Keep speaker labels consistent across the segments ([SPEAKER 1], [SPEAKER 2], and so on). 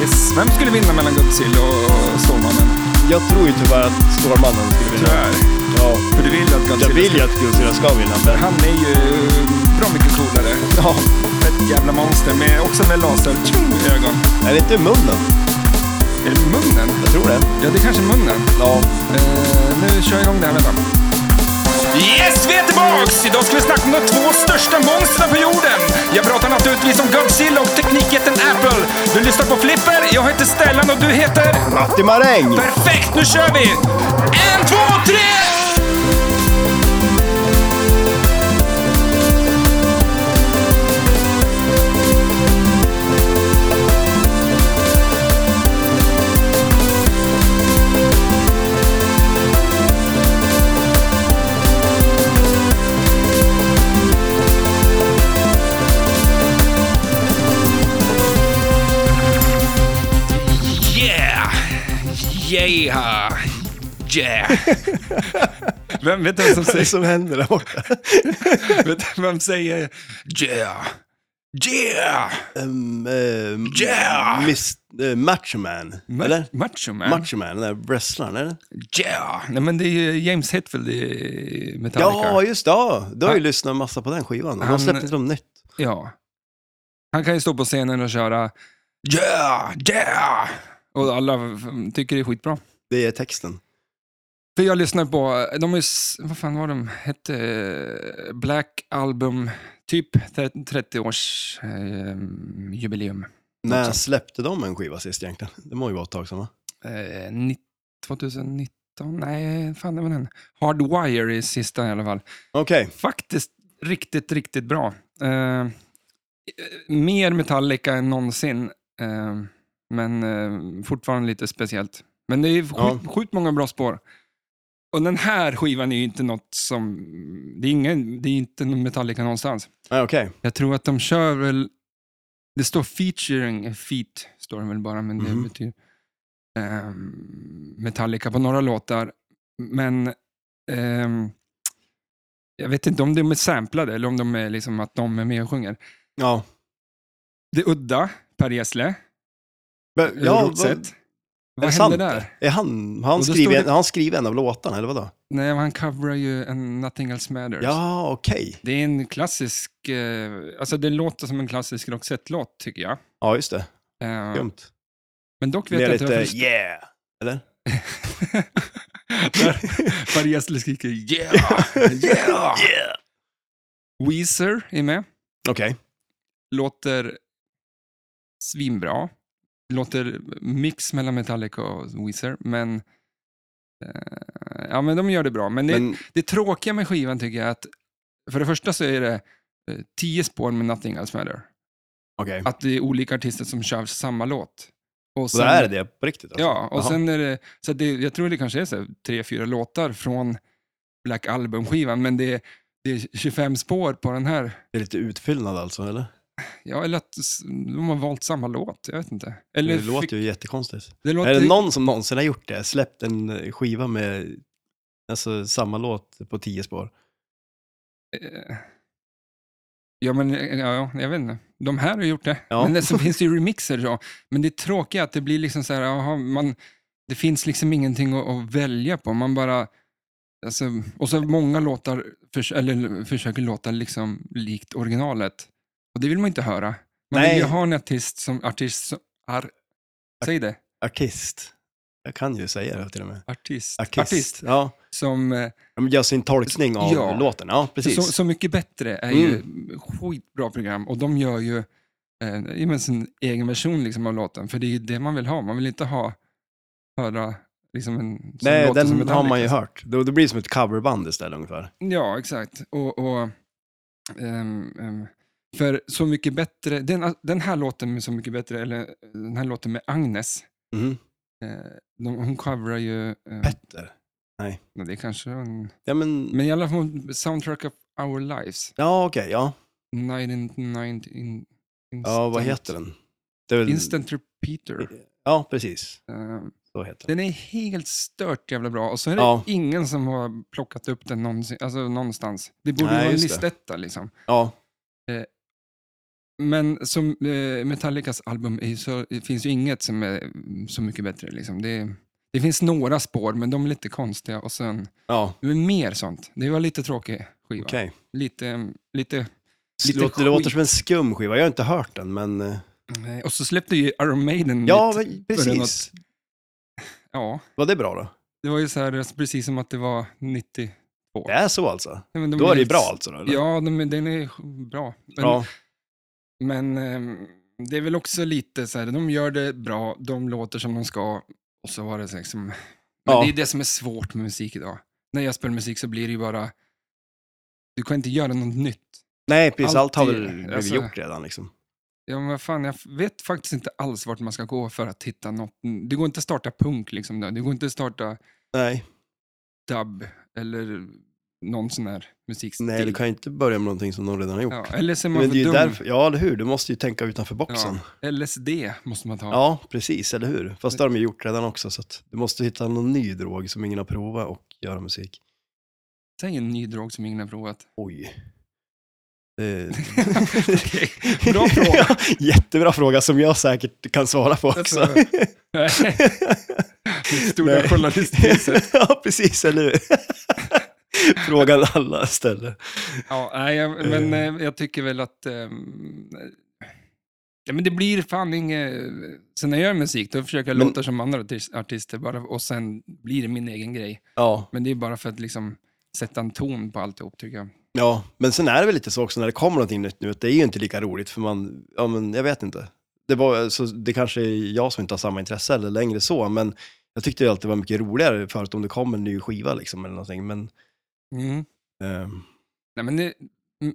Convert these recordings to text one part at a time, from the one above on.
[SPEAKER 1] Yes, vem skulle vinna mellan Godzilla och Stålmannen?
[SPEAKER 2] Jag tror ju tyvärr att Stålmannen skulle vinna.
[SPEAKER 1] Tyvärr.
[SPEAKER 2] Ja.
[SPEAKER 1] För du vill ju att Godzilla
[SPEAKER 2] Jag vill ju att Godzilla ska vinna, men...
[SPEAKER 1] Han är ju bra mycket coolare.
[SPEAKER 2] Ja.
[SPEAKER 1] Ett jävla monster med också med laser tjong, i ögon.
[SPEAKER 2] Är det inte munnen?
[SPEAKER 1] Är det munnen?
[SPEAKER 2] Jag tror det.
[SPEAKER 1] Ja, det är kanske munnen.
[SPEAKER 2] Ja.
[SPEAKER 1] Eh, nu kör jag igång det här, vänta. Yes, vi är tillbaks! Idag ska vi snacka om de två största monstren på jorden. Jag pratar naturligtvis om Godzilla och teknikjätten Apple. Du lyssnar på Flipper, jag heter Stellan och du heter...
[SPEAKER 2] Matti Maräng!
[SPEAKER 1] Perfekt, nu kör vi! En, två, tre! Yeah! Yeah! Yeah! Vem vet vem som
[SPEAKER 2] Vad är det
[SPEAKER 1] säger,
[SPEAKER 2] som händer där borta?
[SPEAKER 1] vet vem säger yeah? Yeah!
[SPEAKER 2] Um, um,
[SPEAKER 1] Yeah!
[SPEAKER 2] Miss, eh, Macho Man, eller?
[SPEAKER 1] Macho man.
[SPEAKER 2] Macho Man, den där wrestlaren, eller?
[SPEAKER 1] yeah! Nej men det är ju James Hetfield i Metallica.
[SPEAKER 2] Ja, just det. Ja. Du har ju
[SPEAKER 1] Han-
[SPEAKER 2] lyssnat massa på den skivan. De har
[SPEAKER 1] Han-
[SPEAKER 2] släppt lite om nytt.
[SPEAKER 1] Ja. Han kan ju stå på scenen och köra Yeah, yeah! Och alla mm, tycker det är skitbra.
[SPEAKER 2] Det är texten.
[SPEAKER 1] För jag lyssnar på, de är, ju s- vad fan var de hette, eh, Black Album, typ 30 års eh, jubileum.
[SPEAKER 2] När
[SPEAKER 1] sånt.
[SPEAKER 2] släppte de en skiva sist egentligen? Det må ju vara ett tag sedan, va?
[SPEAKER 1] Eh, ni- 2019, nej, fan det var den. Hardwire är sista i alla fall.
[SPEAKER 2] Okej.
[SPEAKER 1] Faktiskt riktigt, riktigt bra. Eh, mer Metallica än någonsin, eh, men eh, fortfarande lite speciellt. Men det är sjukt
[SPEAKER 2] Ja.
[SPEAKER 1] sjukt många bra spår. Och den här skivan är ju inte något som... Det är, ingen, det är inte någon Metallica någonstans.
[SPEAKER 2] Nej, okej.
[SPEAKER 1] Jag tror att de kör väl... Det står featuring, feat står det väl bara, men det
[SPEAKER 2] Mhm.
[SPEAKER 1] betyder ehm, Metallica på några låtar. Men ehm, jag vet inte om de är samplade eller om de är liksom att de är med och sjunger.
[SPEAKER 2] Ja.
[SPEAKER 1] Det är udda, Per Gessle,
[SPEAKER 2] Men-
[SPEAKER 1] ja,
[SPEAKER 2] ja,
[SPEAKER 1] vad,
[SPEAKER 2] vad,
[SPEAKER 1] vad
[SPEAKER 2] sant
[SPEAKER 1] hände där?
[SPEAKER 2] är han,
[SPEAKER 1] Och
[SPEAKER 2] han,
[SPEAKER 1] då stod
[SPEAKER 2] skriver,
[SPEAKER 1] det-
[SPEAKER 2] han skriver en av låtarna, eller vadå?
[SPEAKER 1] Nej, men han coverar ju en Nothing Else Matters.
[SPEAKER 2] Ja, okej.
[SPEAKER 1] Det är en klassisk, eh, alltså det låter som en klassisk Roxette-låt tycker jag.
[SPEAKER 2] Ja, just det.
[SPEAKER 1] Eh,
[SPEAKER 2] Skumt.
[SPEAKER 1] men dock vet
[SPEAKER 2] Det är
[SPEAKER 1] jag inte
[SPEAKER 2] lite
[SPEAKER 1] varför
[SPEAKER 2] yeah, eller?
[SPEAKER 1] Där Per Gessle skriker yeah, yeah.
[SPEAKER 2] Yeah!
[SPEAKER 1] Weezer är med.
[SPEAKER 2] Okej.
[SPEAKER 1] Låter svinbra. Låter mix mellan Metallica och Weezer, men eh, ja, men de gör det bra. Men det,
[SPEAKER 2] Men
[SPEAKER 1] det tråkiga med skivan tycker jag är att för det första så är det eh, tio spår med Nothing Else Matter.
[SPEAKER 2] okej.
[SPEAKER 1] Att det är olika artister som kör samma låt. Och
[SPEAKER 2] Så det här är det på riktigt? Alltså.
[SPEAKER 1] Ja, och
[SPEAKER 2] Jaha.
[SPEAKER 1] sen är det, så att det, jag tror det kanske är så här, tre, fyra låtar från Black Album-skivan, men det är, det är 25 spår på den här.
[SPEAKER 2] Det är lite utfyllnad alltså, eller?
[SPEAKER 1] Ja, eller att s- de har valt samma låt, jag vet inte.
[SPEAKER 2] Det
[SPEAKER 1] Eller fick-
[SPEAKER 2] låter ju jättekonstigt.
[SPEAKER 1] det låter
[SPEAKER 2] Är det någon som någonsin har gjort det? Släppt en eh, skiva med alltså, samma låt på tio spår?
[SPEAKER 1] eh, Ja, men eh, ja, ja, jag vet inte. De här har gjort det.
[SPEAKER 2] Ja.
[SPEAKER 1] Men det, så finns det ju remixer. Ja. Men det tråkiga är att det blir liksom så här, aha, man, det finns liksom ingenting att, att välja på. Man bara, alltså, och så många låtar förs eller, försöker låta liksom likt originalet. Och det vill man inte höra. Man vill
[SPEAKER 2] Nej.
[SPEAKER 1] ju ha en artist som, artist som, ar, säg det,
[SPEAKER 2] Artist. Jag kan ju säga det till och med.
[SPEAKER 1] artist,
[SPEAKER 2] Artist. Ja.
[SPEAKER 1] som eh,
[SPEAKER 2] Ja, men Gör sin tolkning av
[SPEAKER 1] Ja.
[SPEAKER 2] låten. Ja, precis. Mm.
[SPEAKER 1] Så, så mycket bättre är ju skitbra program och de gör ju eh, ja, men sin egen version liksom av låten, för det är ju det man vill ha. Man vill inte ha, höra liksom en som
[SPEAKER 2] Nej,
[SPEAKER 1] låter som
[SPEAKER 2] den har
[SPEAKER 1] Metallica.
[SPEAKER 2] man ju hört. Då, då blir det som ett coverband istället ungefär.
[SPEAKER 1] Ja, exakt. Och, och, ehm, ehm, för Så mycket bättre, den, den här låten med Så mycket bättre, eller den här låten med Agnes,
[SPEAKER 2] Mhm.
[SPEAKER 1] eh, de, hon coverar ju, eh,
[SPEAKER 2] Petter.
[SPEAKER 1] det är kanske en,
[SPEAKER 2] Ja, men...
[SPEAKER 1] men i alla fall Soundtrack of Our Lives,
[SPEAKER 2] Ja, okej. ja.
[SPEAKER 1] 1990 in,
[SPEAKER 2] ja, vad heter den? Det är väl...
[SPEAKER 1] Instant Repeater.
[SPEAKER 2] Ja, precis.
[SPEAKER 1] Eh,
[SPEAKER 2] Så heter den.
[SPEAKER 1] Den är helt stört jävla bra och så är det
[SPEAKER 2] Ja.
[SPEAKER 1] ingen som har plockat upp den någonsin, alltså någonstans. Det borde ju
[SPEAKER 2] Nej,
[SPEAKER 1] vara en
[SPEAKER 2] just det.
[SPEAKER 1] listetta liksom.
[SPEAKER 2] Ja,
[SPEAKER 1] Men som eh, Metallicas album är ju så, det finns ju inget som är mm, så mycket bättre. Liksom. Det, det finns några spår, men de är lite konstiga. Och sen,
[SPEAKER 2] Ja,
[SPEAKER 1] men mer sånt. Det var lite tråkig skiva.
[SPEAKER 2] okej.
[SPEAKER 1] Lite, lite,
[SPEAKER 2] Det,
[SPEAKER 1] lite
[SPEAKER 2] låter, det låter
[SPEAKER 1] skit.
[SPEAKER 2] som en skum skiva. Jag har inte hört den, men... eh,
[SPEAKER 1] Nej, Och så släppte ju Iron Maiden
[SPEAKER 2] Ja,
[SPEAKER 1] nytt.
[SPEAKER 2] men
[SPEAKER 1] Var det
[SPEAKER 2] precis.
[SPEAKER 1] något- ja,
[SPEAKER 2] Var det bra då?
[SPEAKER 1] det var ju så här, precis som att det var 90.
[SPEAKER 2] Det är så alltså?
[SPEAKER 1] Nej, men de
[SPEAKER 2] Då är det ju
[SPEAKER 1] lite-
[SPEAKER 2] bra alltså? Då, eller?
[SPEAKER 1] Ja, de, den är sj- bra. Men,
[SPEAKER 2] ja.
[SPEAKER 1] men ehm, det är väl också lite så här, de gör det bra, de låter som de ska och så var det så liksom... Men
[SPEAKER 2] Ja.
[SPEAKER 1] det är det som är svårt med musik idag. När jag spelar musik så blir det ju bara... Du kan inte göra något nytt.
[SPEAKER 2] Nej, precis. Allt har
[SPEAKER 1] alltid-
[SPEAKER 2] väl blivit
[SPEAKER 1] alltså-
[SPEAKER 2] gjort redan liksom.
[SPEAKER 1] Ja, men vad fan, jag f- vet faktiskt inte alls vart man ska gå för att hitta något. Det går inte att starta punk liksom. där. Det går inte att starta
[SPEAKER 2] Nej.
[SPEAKER 1] dub eller någon sån här musikstil.
[SPEAKER 2] Nej, du kan ju inte börja med någonting som någon redan har gjort.
[SPEAKER 1] ja, eller så är man
[SPEAKER 2] men
[SPEAKER 1] för
[SPEAKER 2] det är ju
[SPEAKER 1] dum.
[SPEAKER 2] därför, ja, eller hur? Du måste ju tänka utanför boxen.
[SPEAKER 1] LSD måste man ta.
[SPEAKER 2] Ja, precis, eller hur? Fast det har de ju gjort redan också, så att du måste hitta någon ny drog som ingen har provat och göra musik.
[SPEAKER 1] Säg en ny drog som ingen har provat.
[SPEAKER 2] Oj. Eh,
[SPEAKER 1] Okej, bra fråga.
[SPEAKER 2] Ja, Jättebra fråga som jag säkert kan svara på också.
[SPEAKER 1] Alltså, Det Stora
[SPEAKER 2] Nej.
[SPEAKER 1] journalistpriset.
[SPEAKER 2] ja, precis, eller hur? Frågan alla ställer.
[SPEAKER 1] Ja, nej, jag, men eh, jag tycker väl att... Eh, ja, men det blir fan inget... Sen när jag gör musik, då försöker jag
[SPEAKER 2] Men-
[SPEAKER 1] låta som andra artis- artister bara, och sen blir det min egen grej.
[SPEAKER 2] Ja,
[SPEAKER 1] Men det är bara för att liksom sätta en ton på alltihop, tycker jag.
[SPEAKER 2] Ja, men sen är det väl lite så också när det kommer någonting nytt nu, att det är ju inte lika roligt för man, ja men jag vet inte. Det, var, så det kanske är jag som inte har samma intresse eller längre så, men jag tyckte ju alltid det var mycket roligare förut om det kom en ny skiva liksom eller någonting, men
[SPEAKER 1] Mm.
[SPEAKER 2] ehm,
[SPEAKER 1] Nej, men det, mm,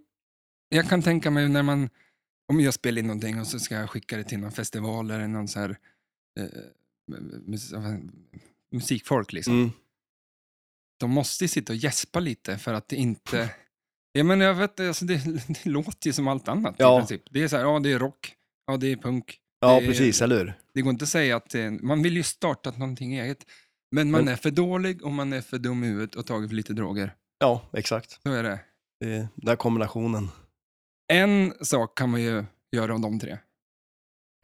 [SPEAKER 1] jag kan tänka mig när man, om jag spelar in någonting och så ska jag skicka det till någon festival eller någon så här, eh, mus, vad fan, musikfolk. Liksom.
[SPEAKER 2] mm,
[SPEAKER 1] De måste ju sitta och gäspa lite för att det inte... ja, men jag vet, alltså det, det låter ju som allt annat
[SPEAKER 2] Ja.
[SPEAKER 1] i princip. Det är så här, ja det är rock, ja det är punk.
[SPEAKER 2] ja
[SPEAKER 1] Det-
[SPEAKER 2] precis, eller hur?
[SPEAKER 1] Det går inte att säga att det är en- man vill ju starta någonting eget. Men man
[SPEAKER 2] Men-
[SPEAKER 1] är för dålig och man är för dum i huvudet och tagit för lite droger.
[SPEAKER 2] Ja, exakt.
[SPEAKER 1] Så är det.
[SPEAKER 2] Det är Eh, den här kombinationen.
[SPEAKER 1] En sak kan man ju göra av de tre.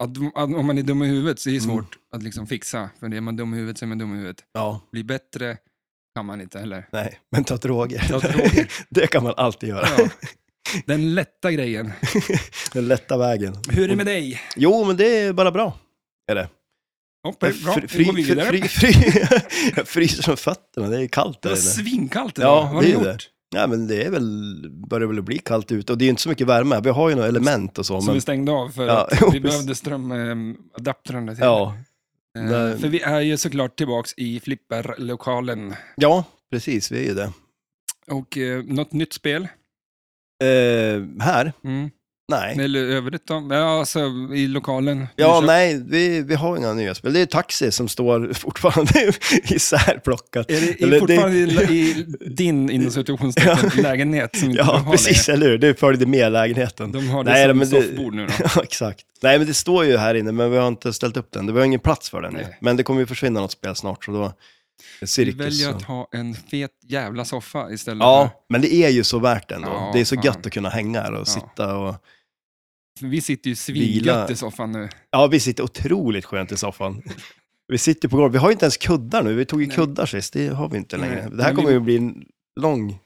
[SPEAKER 1] Att, att, om man är dum i huvudet så är det
[SPEAKER 2] Mm.
[SPEAKER 1] svårt att liksom fixa. För är man dum i huvudet så är man dum i huvudet.
[SPEAKER 2] Ja,
[SPEAKER 1] Bli bättre kan man inte heller.
[SPEAKER 2] nej, men ta droger.
[SPEAKER 1] Ta droger.
[SPEAKER 2] det kan man alltid göra.
[SPEAKER 1] Ja. Den lätta grejen.
[SPEAKER 2] Den lätta vägen.
[SPEAKER 1] Hur är det med dig?
[SPEAKER 2] Jo, men det är bara bra. Är det?
[SPEAKER 1] Hopp,
[SPEAKER 2] Jag
[SPEAKER 1] bra.
[SPEAKER 2] fr-
[SPEAKER 1] Fri, går vi vidare.
[SPEAKER 2] fri, fri, jag fryser som fötterna, det är kallt
[SPEAKER 1] det
[SPEAKER 2] där
[SPEAKER 1] var
[SPEAKER 2] inne.
[SPEAKER 1] svinkallt idag.
[SPEAKER 2] Ja,
[SPEAKER 1] Vad har
[SPEAKER 2] det
[SPEAKER 1] du
[SPEAKER 2] är
[SPEAKER 1] gjort?
[SPEAKER 2] det. Ja, men det är väl, börjar väl bli kallt ute och det är ju inte så mycket värme. Vi har ju några element och så.
[SPEAKER 1] Som vi
[SPEAKER 2] Men,
[SPEAKER 1] stängde av för
[SPEAKER 2] Ja,
[SPEAKER 1] att vi
[SPEAKER 2] precis.
[SPEAKER 1] behövde strömadaptrarna till.
[SPEAKER 2] ja,
[SPEAKER 1] Eh,
[SPEAKER 2] där-
[SPEAKER 1] För vi är ju såklart tillbaks i flipperlokalen.
[SPEAKER 2] ja, precis, vi är ju det.
[SPEAKER 1] Och eh, något nytt spel.
[SPEAKER 2] Eh, här?
[SPEAKER 1] Mm.
[SPEAKER 2] Nej.
[SPEAKER 1] Eller övrigt då? Ja, alltså i lokalen.
[SPEAKER 2] Ja,
[SPEAKER 1] Nyköping.
[SPEAKER 2] nej, vi, vi har inga nya spel. Det är taxi som står fortfarande isärplockat.
[SPEAKER 1] Är det i-
[SPEAKER 2] Eller det-
[SPEAKER 1] fortfarande i, i din, inom situationstecken, lägenhet som inte de
[SPEAKER 2] Ja,
[SPEAKER 1] har
[SPEAKER 2] precis, eller hur? Det följde med lägenheten.
[SPEAKER 1] längre? De har det
[SPEAKER 2] Nej,
[SPEAKER 1] som
[SPEAKER 2] men det-
[SPEAKER 1] soffbord nu då.
[SPEAKER 2] Ja, exakt. Nej, men det står ju här inne, men vi har inte ställt upp den. Det var ingen plats för den. ju.
[SPEAKER 1] Nej.
[SPEAKER 2] Men det kommer ju försvinna något spel snart, så då...
[SPEAKER 1] Vi
[SPEAKER 2] Cirkus.
[SPEAKER 1] väljer
[SPEAKER 2] och-
[SPEAKER 1] att ha en fet jävla soffa istället för...
[SPEAKER 2] Ja, men det är ju så värt det ändå.
[SPEAKER 1] Ja,
[SPEAKER 2] det är så
[SPEAKER 1] fan.
[SPEAKER 2] gött att kunna hänga här och sitta och...
[SPEAKER 1] för Vi sitter ju
[SPEAKER 2] Vila.
[SPEAKER 1] svingött i soffan nu.
[SPEAKER 2] Ja, vi sitter otroligt skönt i soffan. Vi sitter på golvet. Vi har ju inte ens kuddar nu. Vi tog ju
[SPEAKER 1] Nej.
[SPEAKER 2] kuddar sist. Det har vi inte
[SPEAKER 1] Nej.
[SPEAKER 2] längre. Det
[SPEAKER 1] Men
[SPEAKER 2] här
[SPEAKER 1] vi-
[SPEAKER 2] kommer ju bli en lång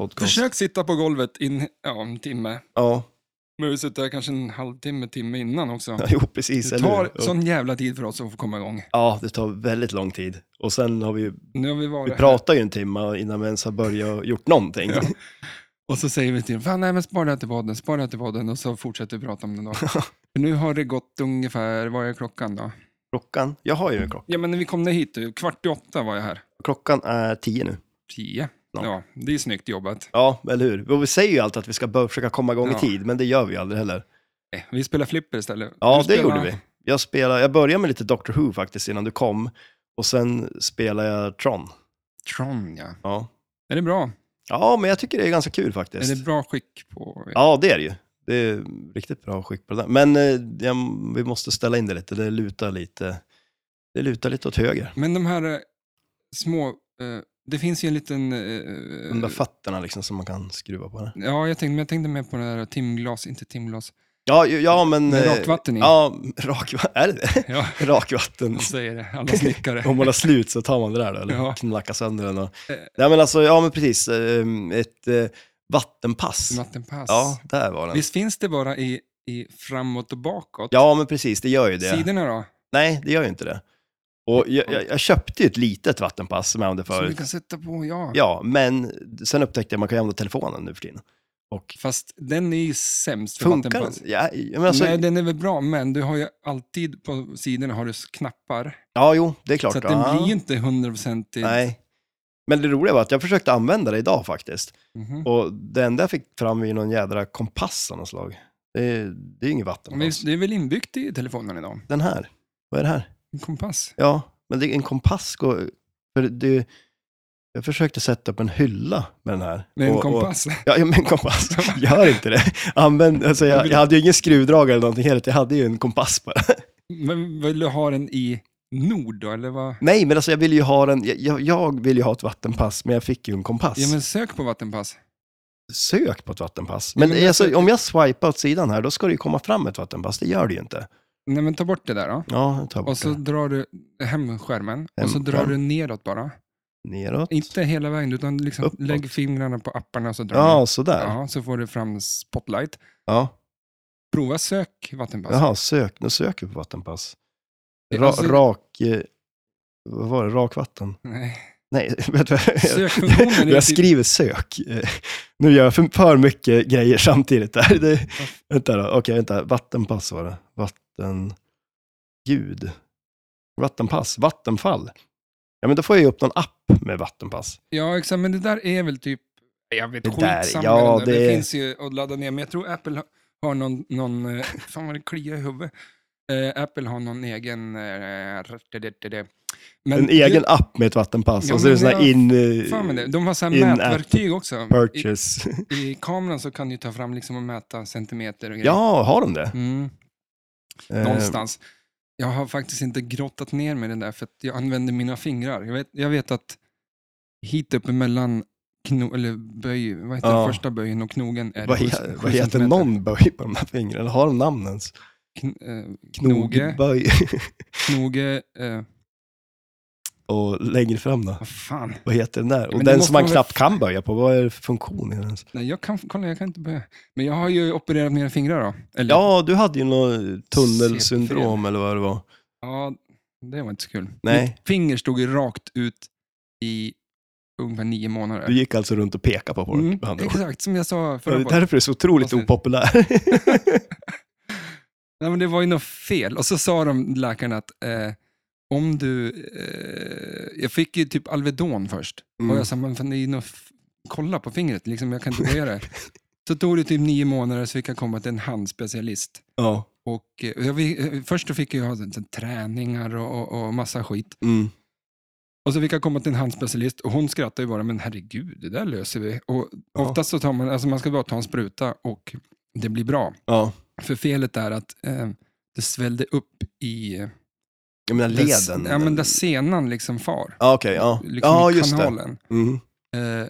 [SPEAKER 2] podcast.
[SPEAKER 1] Försök sitta på golvet in, ja, en timme.
[SPEAKER 2] Ja,
[SPEAKER 1] Men vi sitter här kanske en halvtimme, timme innan också.
[SPEAKER 2] jo precis.
[SPEAKER 1] Det
[SPEAKER 2] eller hur?
[SPEAKER 1] tar sån jävla tid för oss att få komma igång.
[SPEAKER 2] Ja, det tar väldigt lång tid. Och sen har vi ju...
[SPEAKER 1] Nu har vi
[SPEAKER 2] Vi
[SPEAKER 1] varit här
[SPEAKER 2] pratar ju en timme innan vi ens har börjat och gjort någonting.
[SPEAKER 1] Ja. och så säger vi till dem, fan nej men spara det här till podden, spara det här till podden och så fortsätter vi prata om den då. nu har det gått ungefär, vad är klockan då?
[SPEAKER 2] Klockan? Jag har ju en klocka.
[SPEAKER 1] Ja, men när vi kom ner hit, du, kvart i åtta var jag här.
[SPEAKER 2] Klockan är tio nu.
[SPEAKER 1] Tio.
[SPEAKER 2] Ja.
[SPEAKER 1] Ja, det är snyggt jobbat.
[SPEAKER 2] Ja, eller hur? Och vi säger ju alltid att vi ska bör- försöka komma igång
[SPEAKER 1] Ja.
[SPEAKER 2] i tid, men det gör vi ju aldrig heller.
[SPEAKER 1] Nej, Eh, Vi spelar flipper istället.
[SPEAKER 2] Ja,
[SPEAKER 1] Du
[SPEAKER 2] det
[SPEAKER 1] spelar-
[SPEAKER 2] gjorde vi. Jag, spelade, jag började med lite Doctor Who faktiskt innan du kom. Och sen spelade jag Tron.
[SPEAKER 1] Tron, ja.
[SPEAKER 2] Ja,
[SPEAKER 1] Är det bra?
[SPEAKER 2] ja men jag tycker det är ganska kul faktiskt.
[SPEAKER 1] Är det bra skick på...
[SPEAKER 2] Ja, det är det ju. Det är riktigt bra skick på det där. Men eh, jag, vi måste ställa in det lite. Det lutar lite, det lutar lite åt höger.
[SPEAKER 1] Men de här eh, små... eh, det finns ju en liten... eh,
[SPEAKER 2] De där fötterna liksom som man kan skruva på. Det.
[SPEAKER 1] ja, jag tänkte, men jag tänkte mer på det här timglas, inte timglas.
[SPEAKER 2] Ja, ju- ja men...
[SPEAKER 1] Med
[SPEAKER 2] eh,
[SPEAKER 1] rakvatten i.
[SPEAKER 2] Ja, rakvatten. Är det det
[SPEAKER 1] Ja,
[SPEAKER 2] Rakvatten.
[SPEAKER 1] de säger det. Alla snickare.
[SPEAKER 2] Om man har slut så tar man det där då, eller
[SPEAKER 1] Ja.
[SPEAKER 2] knackar sönder den. Och...
[SPEAKER 1] Eh.
[SPEAKER 2] Nej men alltså, ja men precis. ehm, Ett eh, vattenpass.
[SPEAKER 1] Vattenpass.
[SPEAKER 2] Ja, där var den.
[SPEAKER 1] Visst finns det bara i, i framåt och bakåt?
[SPEAKER 2] Ja men precis, det gör ju det.
[SPEAKER 1] Sidorna då?
[SPEAKER 2] Nej, det gör ju inte det. Och jag, jag, jag köpte ju ett litet vattenpass som jag använde
[SPEAKER 1] Som du
[SPEAKER 2] förut.
[SPEAKER 1] kan sätta på, ja.
[SPEAKER 2] Ja, men sen upptäckte jag att man kan använda telefonen nu för tiden. Och
[SPEAKER 1] Fast den är ju sämst för
[SPEAKER 2] funkar den?
[SPEAKER 1] vattenpass.
[SPEAKER 2] Ja, men alltså,
[SPEAKER 1] Nej, den är väl bra, men du har ju alltid på sidorna har du s- knappar.
[SPEAKER 2] ja, jo, det är klart.
[SPEAKER 1] så att
[SPEAKER 2] då.
[SPEAKER 1] den
[SPEAKER 2] Ja.
[SPEAKER 1] blir ju inte hundraprocentig.
[SPEAKER 2] Nej. Men det roliga var att jag försökte använda det idag faktiskt.
[SPEAKER 1] Mhm.
[SPEAKER 2] Och det enda jag fick fram var ju någon jädra kompass av något slag. Det är, det är ju inget
[SPEAKER 1] Men visst,
[SPEAKER 2] vattenpass.
[SPEAKER 1] Det är väl inbyggt i telefonen idag?
[SPEAKER 2] Den här, vad är det här?
[SPEAKER 1] En kompass?
[SPEAKER 2] Ja, men det, en kompass går... För det, jag försökte sätta upp en hylla med den här.
[SPEAKER 1] Med en
[SPEAKER 2] Och- och-
[SPEAKER 1] kompass?
[SPEAKER 2] Ja, ja, men en kompass. Gör inte det. Använd, alltså jag, jag hade ju ingen skruvdragare eller någonting heller, jag hade ju en kompass bara.
[SPEAKER 1] Men vill du ha den i nord då, eller vad?
[SPEAKER 2] Nej, men alltså jag ville ju ha den, jag- jag, jag ville ju ha ett vattenpass, men jag fick ju en kompass.
[SPEAKER 1] Ja, men sök på vattenpass.
[SPEAKER 2] Sök på ett vattenpass.
[SPEAKER 1] Ja,
[SPEAKER 2] Men,
[SPEAKER 1] men jag
[SPEAKER 2] alltså,
[SPEAKER 1] söker-
[SPEAKER 2] om jag swipar åt sidan här, då ska det ju komma fram ett vattenpass. Det gör det ju inte.
[SPEAKER 1] Nej, men ta bort det där då.
[SPEAKER 2] Ja, jag tar bort
[SPEAKER 1] Och så
[SPEAKER 2] det.
[SPEAKER 1] drar du hem skärmen och så
[SPEAKER 2] Hem
[SPEAKER 1] drar
[SPEAKER 2] skärm.
[SPEAKER 1] du neråt bara.
[SPEAKER 2] Neråt.
[SPEAKER 1] Inte hela vägen, utan liksom
[SPEAKER 2] Uppåt.
[SPEAKER 1] lägg fingrarna på apparna och så drar
[SPEAKER 2] Ja,
[SPEAKER 1] du.
[SPEAKER 2] sådär. Ja.
[SPEAKER 1] Ja, så får du fram spotlight. Prova sök vattenpass.
[SPEAKER 2] Jaha, sök. Nu söker vi på vattenpass.
[SPEAKER 1] Det-
[SPEAKER 2] Ra,
[SPEAKER 1] alltså-
[SPEAKER 2] rak... eh, Vad var det? Rakvatten?
[SPEAKER 1] Nej.
[SPEAKER 2] Nej, vet du vad?
[SPEAKER 1] Sökfunktionen är
[SPEAKER 2] jag
[SPEAKER 1] typ-
[SPEAKER 2] skriver sök. Eh, Nu gör jag för, för mycket grejer samtidigt. Där. Det, vänta då, okej, vänta. Vattenpass var det. Vattenljud. Vattenpass, vattenfall. Ja, men då får jag ju upp någon app med vattenpass.
[SPEAKER 1] Ja, exakt, men det där är väl typ, jag vet,
[SPEAKER 2] Det där,
[SPEAKER 1] skitsamma. med den
[SPEAKER 2] ja,
[SPEAKER 1] där. det...
[SPEAKER 2] det-
[SPEAKER 1] finns ju att ladda ner, men jag tror Apple har- har någon, någon eh, fan vad det kliar i huvudet. Eh, Apple har någon egen, eh, det, det, det, det. Men
[SPEAKER 2] en
[SPEAKER 1] det-
[SPEAKER 2] egen app med ett vattenpass.
[SPEAKER 1] Ja,
[SPEAKER 2] och så är det
[SPEAKER 1] men
[SPEAKER 2] sån här
[SPEAKER 1] jag-
[SPEAKER 2] in...
[SPEAKER 1] Fan med det.
[SPEAKER 2] eh,
[SPEAKER 1] De har så här
[SPEAKER 2] in-app
[SPEAKER 1] mätverktyg också. I,
[SPEAKER 2] Purchase.
[SPEAKER 1] I kameran så kan du ta fram liksom och mäta centimeter och grejer.
[SPEAKER 2] Ja, har de det?
[SPEAKER 1] Mm,
[SPEAKER 2] Eh,
[SPEAKER 1] någonstans. Jag har faktiskt inte grottat ner mig i den där för att jag använder mina fingrar. Jag vet, jag vet att hit uppe mellan kno, eller böj, vad heter
[SPEAKER 2] Ja.
[SPEAKER 1] det, första böjen och knogen är
[SPEAKER 2] Vad,
[SPEAKER 1] sju-
[SPEAKER 2] he-
[SPEAKER 1] sju
[SPEAKER 2] vad heter
[SPEAKER 1] centimeter.
[SPEAKER 2] någon böj på de här fingrarna? Har de namn ens?
[SPEAKER 1] Kn, eh, knoge,
[SPEAKER 2] Knogböj.
[SPEAKER 1] knoge, eh,
[SPEAKER 2] och längre fram då?
[SPEAKER 1] vad fan.
[SPEAKER 2] Vad heter den där? Och
[SPEAKER 1] Men det
[SPEAKER 2] den
[SPEAKER 1] måste
[SPEAKER 2] som man
[SPEAKER 1] man väl-
[SPEAKER 2] knappt kan böja på, vad är det för funktion i den? ens?
[SPEAKER 1] Nej, jag kan, kolla, jag kan inte böja. Men jag har ju opererat mina fingrar då. Eller,
[SPEAKER 2] Ja, du hade ju något tunnelsyndrom eller vad det var.
[SPEAKER 1] Ja, det var inte så kul.
[SPEAKER 2] Nej.
[SPEAKER 1] Mitt finger stod ju rakt ut i ungefär nio månader.
[SPEAKER 2] Du gick alltså runt och pekade på folk
[SPEAKER 1] Mm,
[SPEAKER 2] med andra ord.
[SPEAKER 1] exakt, som jag sa
[SPEAKER 2] Det är
[SPEAKER 1] förra
[SPEAKER 2] därför du är så otroligt
[SPEAKER 1] Avsnitt.
[SPEAKER 2] opopulär.
[SPEAKER 1] Nej, men det var ju något fel. Och så sa de läkaren att eh, om du... Eh, jag fick ju typ Alvedon först.
[SPEAKER 2] Mm.
[SPEAKER 1] Och jag sa, men fan, det är ju något... f- Kolla på fingret, liksom, jag kan inte böja det. så tog det typ nio månader så fick jag komma till en handspecialist.
[SPEAKER 2] ja.
[SPEAKER 1] Och, eh, jag, fick- eh, först så fick jag ha sån- sån träningar och, och, och massa skit.
[SPEAKER 2] Mm.
[SPEAKER 1] Och så fick jag komma till en handspecialist och hon skrattade ju bara, men herregud, det där löser vi. Och
[SPEAKER 2] Ja.
[SPEAKER 1] oftast så tar man, alltså man ska bara ta en spruta och det blir bra.
[SPEAKER 2] ja.
[SPEAKER 1] För felet är att eh, det svällde upp i eh,
[SPEAKER 2] Jag menar
[SPEAKER 1] där-
[SPEAKER 2] leden.
[SPEAKER 1] ja, men där senan liksom far.
[SPEAKER 2] Ja, okej. ja.
[SPEAKER 1] Liksom
[SPEAKER 2] ja,
[SPEAKER 1] i
[SPEAKER 2] just det.
[SPEAKER 1] kanalen.
[SPEAKER 2] Mm.
[SPEAKER 1] Eh,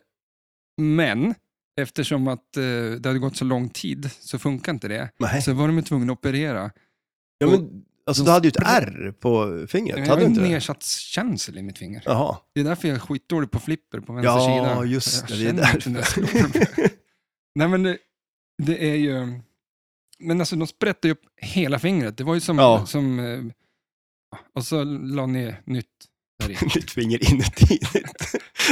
[SPEAKER 1] men eftersom att eh, det hade gått så lång tid så funkar inte det.
[SPEAKER 2] Nej.
[SPEAKER 1] Så var de ju tvungna att operera.
[SPEAKER 2] Ja, men, alltså, du hade ju ett
[SPEAKER 1] Spr-
[SPEAKER 2] R på fingret,
[SPEAKER 1] Jag har
[SPEAKER 2] hade du
[SPEAKER 1] ju
[SPEAKER 2] inte det?
[SPEAKER 1] nedsatt känsel i mitt finger.
[SPEAKER 2] Jaha.
[SPEAKER 1] Det är därför jag är skitdålig på flipper på vänster sida.
[SPEAKER 2] Ja, just det.
[SPEAKER 1] Jag
[SPEAKER 2] Det är
[SPEAKER 1] känner inte när jag
[SPEAKER 2] därför.
[SPEAKER 1] slår dem. Nej, men det, det är ju... Men alltså de sprättade ju upp hela fingret. Det var ju som...
[SPEAKER 2] Ja.
[SPEAKER 1] som eh, och så la ner nytt där i.
[SPEAKER 2] Nytt finger inuti ditt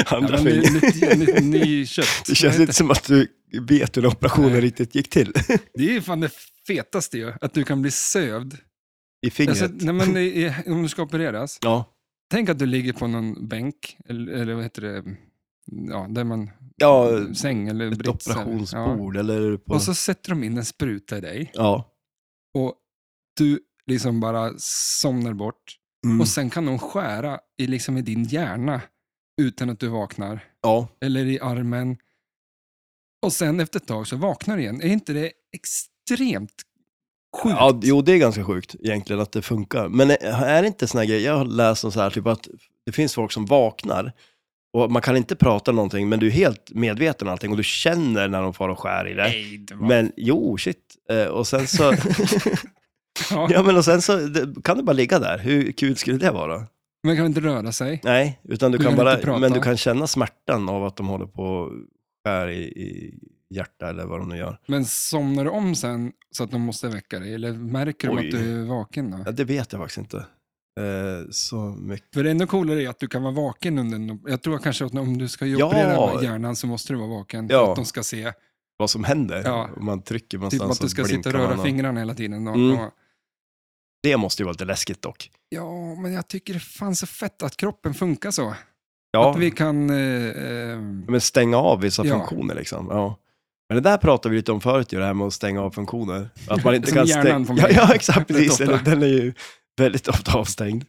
[SPEAKER 2] andra
[SPEAKER 1] Ja, men
[SPEAKER 2] finger.
[SPEAKER 1] Nytt, nytt, ny kött.
[SPEAKER 2] Det känns inte som att du vet hur operationen
[SPEAKER 1] Nej.
[SPEAKER 2] riktigt gick till.
[SPEAKER 1] det är ju fan det fetaste ju, att du kan bli sövd.
[SPEAKER 2] I fingret.
[SPEAKER 1] Alltså, nej, men, i- i- om du ska opereras,
[SPEAKER 2] Ja.
[SPEAKER 1] tänk att du ligger på någon bänk, eller, eller vad heter det, ja, där man,
[SPEAKER 2] ja,
[SPEAKER 1] säng eller
[SPEAKER 2] ett
[SPEAKER 1] brits eller- Mm, Ja.
[SPEAKER 2] operationsbord eller på...
[SPEAKER 1] Och så sätter de in en spruta i dig
[SPEAKER 2] Ja.
[SPEAKER 1] och du liksom bara somnar bort.
[SPEAKER 2] Mm.
[SPEAKER 1] Och sen kan de skära i, liksom, i din hjärna utan att du vaknar.
[SPEAKER 2] ja.
[SPEAKER 1] eller i armen. Och sen efter ett tag så vaknar du igen. Är inte det extremt sjukt?
[SPEAKER 2] ja, jo det är ganska sjukt egentligen att det funkar. Men är är det inte såna här grejer, jag har läst om så här, typ att det finns folk som vaknar Och man kan inte prata någonting, men du är helt medveten om allting och du känner när de far och skär i det.
[SPEAKER 1] Nej, det var...
[SPEAKER 2] Men jo, shit. Eh, och sen så,
[SPEAKER 1] ja.
[SPEAKER 2] ja, men och sen så det, kan du bara ligga där. Hur kul skulle det vara?
[SPEAKER 1] Man kan inte röra sig.
[SPEAKER 2] Nej, utan du,
[SPEAKER 1] Du
[SPEAKER 2] kan
[SPEAKER 1] kan
[SPEAKER 2] bara,
[SPEAKER 1] inte prata.
[SPEAKER 2] men du kan känna smärtan av att de håller på och skär i, i hjärta eller vad de nu gör.
[SPEAKER 1] Men somnar du om sen så att de måste väcka dig? Eller märker de
[SPEAKER 2] Oj.
[SPEAKER 1] att du är vaken då?
[SPEAKER 2] Ja, det vet jag faktiskt inte. Eh, så mycket.
[SPEAKER 1] För det ännu coolare är att du kan vara vaken under en... Jag tror kanske att om du ska ju
[SPEAKER 2] Ja.
[SPEAKER 1] operera hjärnan så måste du vara vaken.
[SPEAKER 2] Ja.
[SPEAKER 1] För att de ska se.
[SPEAKER 2] Vad som händer
[SPEAKER 1] Ja.
[SPEAKER 2] om man trycker
[SPEAKER 1] Typ
[SPEAKER 2] någonstans
[SPEAKER 1] att du ska
[SPEAKER 2] så
[SPEAKER 1] sitta
[SPEAKER 2] blinkar
[SPEAKER 1] och
[SPEAKER 2] man.
[SPEAKER 1] röra fingrarna hela tiden. Och,
[SPEAKER 2] Mm.
[SPEAKER 1] och,
[SPEAKER 2] Det måste ju vara lite läskigt dock.
[SPEAKER 1] ja, men jag tycker det är fan så fett att kroppen funkar så.
[SPEAKER 2] Ja,
[SPEAKER 1] Att vi kan... Eh, eh,
[SPEAKER 2] men stänga av vissa
[SPEAKER 1] Ja.
[SPEAKER 2] funktioner liksom. Ja. Men det där pratade vi lite om förut ju, det här med att stänga av funktioner. Att man inte
[SPEAKER 1] Som
[SPEAKER 2] kan
[SPEAKER 1] hjärnan
[SPEAKER 2] stänga...
[SPEAKER 1] på
[SPEAKER 2] Ja,
[SPEAKER 1] mig.
[SPEAKER 2] ja, exakt. Precis.
[SPEAKER 1] ofta.
[SPEAKER 2] Eller, Den är ju väldigt ofta avstängd.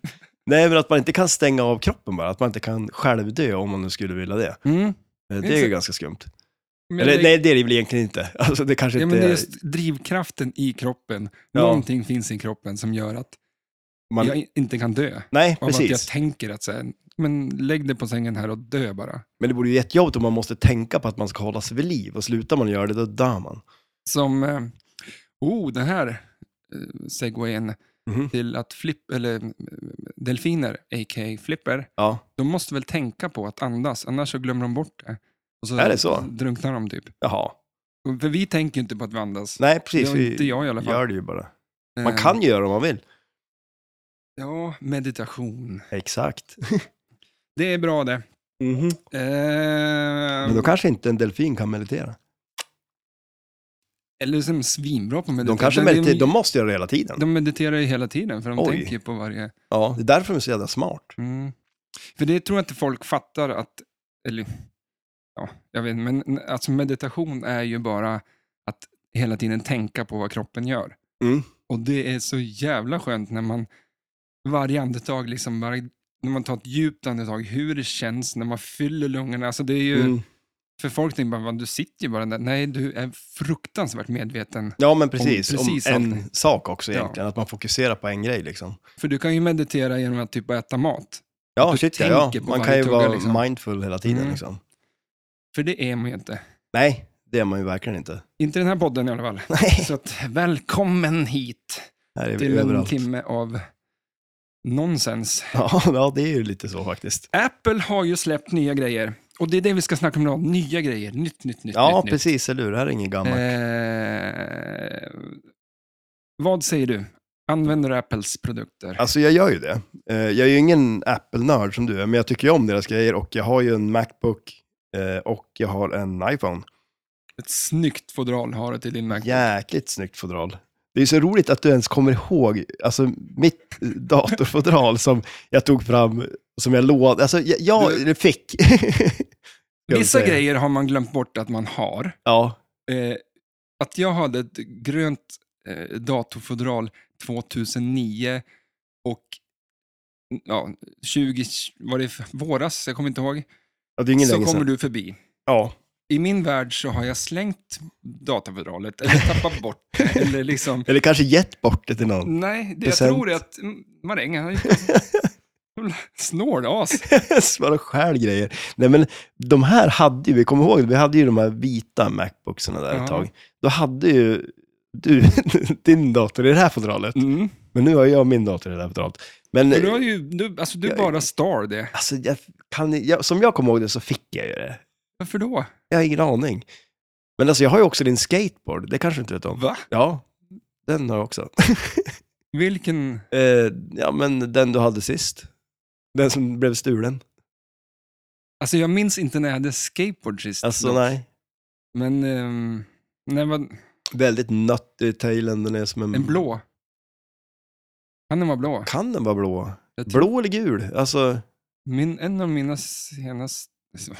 [SPEAKER 2] Nej, men att man inte kan stänga av kroppen bara. Att man inte kan självdö om man nu skulle vilja det.
[SPEAKER 1] mm.
[SPEAKER 2] Eh, Det är ju
[SPEAKER 1] Exakt.
[SPEAKER 2] ganska skumt.
[SPEAKER 1] Men
[SPEAKER 2] Eller,
[SPEAKER 1] det-
[SPEAKER 2] nej, det är det väl egentligen inte. Alltså, det kanske
[SPEAKER 1] Ja,
[SPEAKER 2] inte
[SPEAKER 1] men det är just drivkraften i kroppen.
[SPEAKER 2] Ja.
[SPEAKER 1] Någonting finns i kroppen som gör att
[SPEAKER 2] man,
[SPEAKER 1] jag inte kan dö.
[SPEAKER 2] Nej,
[SPEAKER 1] Av att jag
[SPEAKER 2] precis.
[SPEAKER 1] tänker att så här, men lägg dig på sängen här och dö bara.
[SPEAKER 2] Men det borde ju jättejobbigt om man måste tänka på att man ska hålla sig vid liv och slutar man göra det, då dör man.
[SPEAKER 1] Som, eh, oh, den här eh, segwayen
[SPEAKER 2] Mhm.
[SPEAKER 1] till att flipp, eller, eh, delfiner, a.k.a. flipper,
[SPEAKER 2] Ja,
[SPEAKER 1] de måste väl tänka på att andas, annars så glömmer de bort det. Och så
[SPEAKER 2] Är det så?
[SPEAKER 1] drunknar de typ.
[SPEAKER 2] jaha.
[SPEAKER 1] Och- För vi tänker ju inte på att vi andas.
[SPEAKER 2] Nej, precis.
[SPEAKER 1] Det gör inte jag i alla fall.
[SPEAKER 2] Gör det ju bara. Man
[SPEAKER 1] Eh,
[SPEAKER 2] kan ju göra om man vill.
[SPEAKER 1] Ja, meditation.
[SPEAKER 2] Exakt. Mhm.
[SPEAKER 1] Det är bra det. Eh,
[SPEAKER 2] Men då kanske inte en delfin kan meditera.
[SPEAKER 1] Eller som är svinbra på meditation.
[SPEAKER 2] De, kanske
[SPEAKER 1] Det är-
[SPEAKER 2] mediterar, de måste göra det hela tiden.
[SPEAKER 1] De mediterar ju hela tiden, för de
[SPEAKER 2] Oj.
[SPEAKER 1] tänker ju på varje...
[SPEAKER 2] Ja, det är därför de är så jävla smart.
[SPEAKER 1] Mm. För det tror jag inte folk fattar att... Eller, ja, jag vet inte, men alltså meditation är ju bara att hela tiden tänka på vad kroppen gör.
[SPEAKER 2] Mm.
[SPEAKER 1] Och det är så jävla skönt när man varje andetag, liksom, varje, när man tar ett djupt andetag, hur det känns när man fyller lungorna. Alltså det är ju,
[SPEAKER 2] Mm.
[SPEAKER 1] För folk tänker bara, "Vad, du sitter ju bara där. Nej, du är fruktansvärt medveten.
[SPEAKER 2] Ja, men precis. Om,
[SPEAKER 1] precis
[SPEAKER 2] en
[SPEAKER 1] allting.
[SPEAKER 2] sak också
[SPEAKER 1] Ja.
[SPEAKER 2] egentligen, att man fokuserar på en grej liksom.
[SPEAKER 1] För du kan ju meditera genom att typ bara äta mat.
[SPEAKER 2] Ja,
[SPEAKER 1] Du
[SPEAKER 2] shit, ja,
[SPEAKER 1] tänker
[SPEAKER 2] ja.
[SPEAKER 1] på
[SPEAKER 2] Man
[SPEAKER 1] varje
[SPEAKER 2] kan ju
[SPEAKER 1] tugga,
[SPEAKER 2] vara
[SPEAKER 1] liksom.
[SPEAKER 2] mindful hela tiden
[SPEAKER 1] Mm.
[SPEAKER 2] liksom.
[SPEAKER 1] För det är man ju inte.
[SPEAKER 2] Nej, det är man ju verkligen inte.
[SPEAKER 1] Inte den här podden i alla fall.
[SPEAKER 2] Nej,
[SPEAKER 1] Så att, välkommen hit
[SPEAKER 2] här är vi
[SPEAKER 1] till en
[SPEAKER 2] överallt.
[SPEAKER 1] timme av nonsens.
[SPEAKER 2] Ja, ja, det är ju lite så faktiskt.
[SPEAKER 1] Apple har ju släppt nya grejer. Och det är det vi ska snacka om idag. Nya grejer. Nytt, nytt, nytt.
[SPEAKER 2] Ja,
[SPEAKER 1] nytt, nytt.
[SPEAKER 2] precis, eller hur? Det här är ingen gammal.
[SPEAKER 1] Eh, vad säger du? Använder du Apples produkter?
[SPEAKER 2] Alltså jag gör ju det. Eh, Jag är ju ingen Apple-nörd som du är, men jag tycker ju om deras grejer och jag har ju en Macbook eh, och jag har en iPhone.
[SPEAKER 1] Ett snyggt fodral har du till din Macbook.
[SPEAKER 2] Jäkligt snyggt fodral. Det är så roligt att du ens kommer ihåg, alltså mitt datorfodral som jag tog fram, som jag lånade, alltså jag, jag
[SPEAKER 1] Du-
[SPEAKER 2] eller fick. Ska vi
[SPEAKER 1] Vissa
[SPEAKER 2] säga.
[SPEAKER 1] grejer har man glömt bort att man har.
[SPEAKER 2] Ja,
[SPEAKER 1] Eh, att jag hade ett grönt eh, datorfodral 2009 och ja, 20, var det f- våras? Jag kommer inte ihåg.
[SPEAKER 2] Ja, det är ingen
[SPEAKER 1] så
[SPEAKER 2] länge
[SPEAKER 1] kommer
[SPEAKER 2] sedan.
[SPEAKER 1] du förbi.
[SPEAKER 2] Ja,
[SPEAKER 1] I min värld så har jag slängt datafodralet eller tappat bort det, eller liksom...
[SPEAKER 2] eller kanske gett bort det till någon.
[SPEAKER 1] Nej, det jag
[SPEAKER 2] Present.
[SPEAKER 1] tror är att mm, Maräng, han är ju- snål as.
[SPEAKER 2] Bara stjäl grejer. Nej men de här hade ju, vi kommer ihåg, vi hade ju de här vita Macbooksarna där
[SPEAKER 1] Ja.
[SPEAKER 2] ett tag. Då hade ju du din dator i det här fodralet.
[SPEAKER 1] Mm.
[SPEAKER 2] Men nu har jag min dator i det här fodralet. Men
[SPEAKER 1] För Du, har ju, du, alltså, du
[SPEAKER 2] Jag-
[SPEAKER 1] bara star det.
[SPEAKER 2] alltså, jag kan, jag, som jag kommer ihåg det så fick jag ju det.
[SPEAKER 1] Varför då?
[SPEAKER 2] Jag har ingen aning. Men alltså jag har ju också din skateboard, det kanske du inte vet om?
[SPEAKER 1] Va?
[SPEAKER 2] Ja, den har jag också.
[SPEAKER 1] Vilken...
[SPEAKER 2] Eh, ja, men den du hade sist. Den som blev stulen.
[SPEAKER 1] Alltså jag minns inte när jag hade skateboard sist.
[SPEAKER 2] Alltså
[SPEAKER 1] dock.
[SPEAKER 2] nej.
[SPEAKER 1] Men, ehm, nej, vad,
[SPEAKER 2] Väldigt nutty tailen, den är som en...
[SPEAKER 1] en blå. Kan den vara blå?
[SPEAKER 2] Kan den vara blå?
[SPEAKER 1] Jag tror-
[SPEAKER 2] Blå eller gul? Alltså,
[SPEAKER 1] Min, en av mina senaste, så-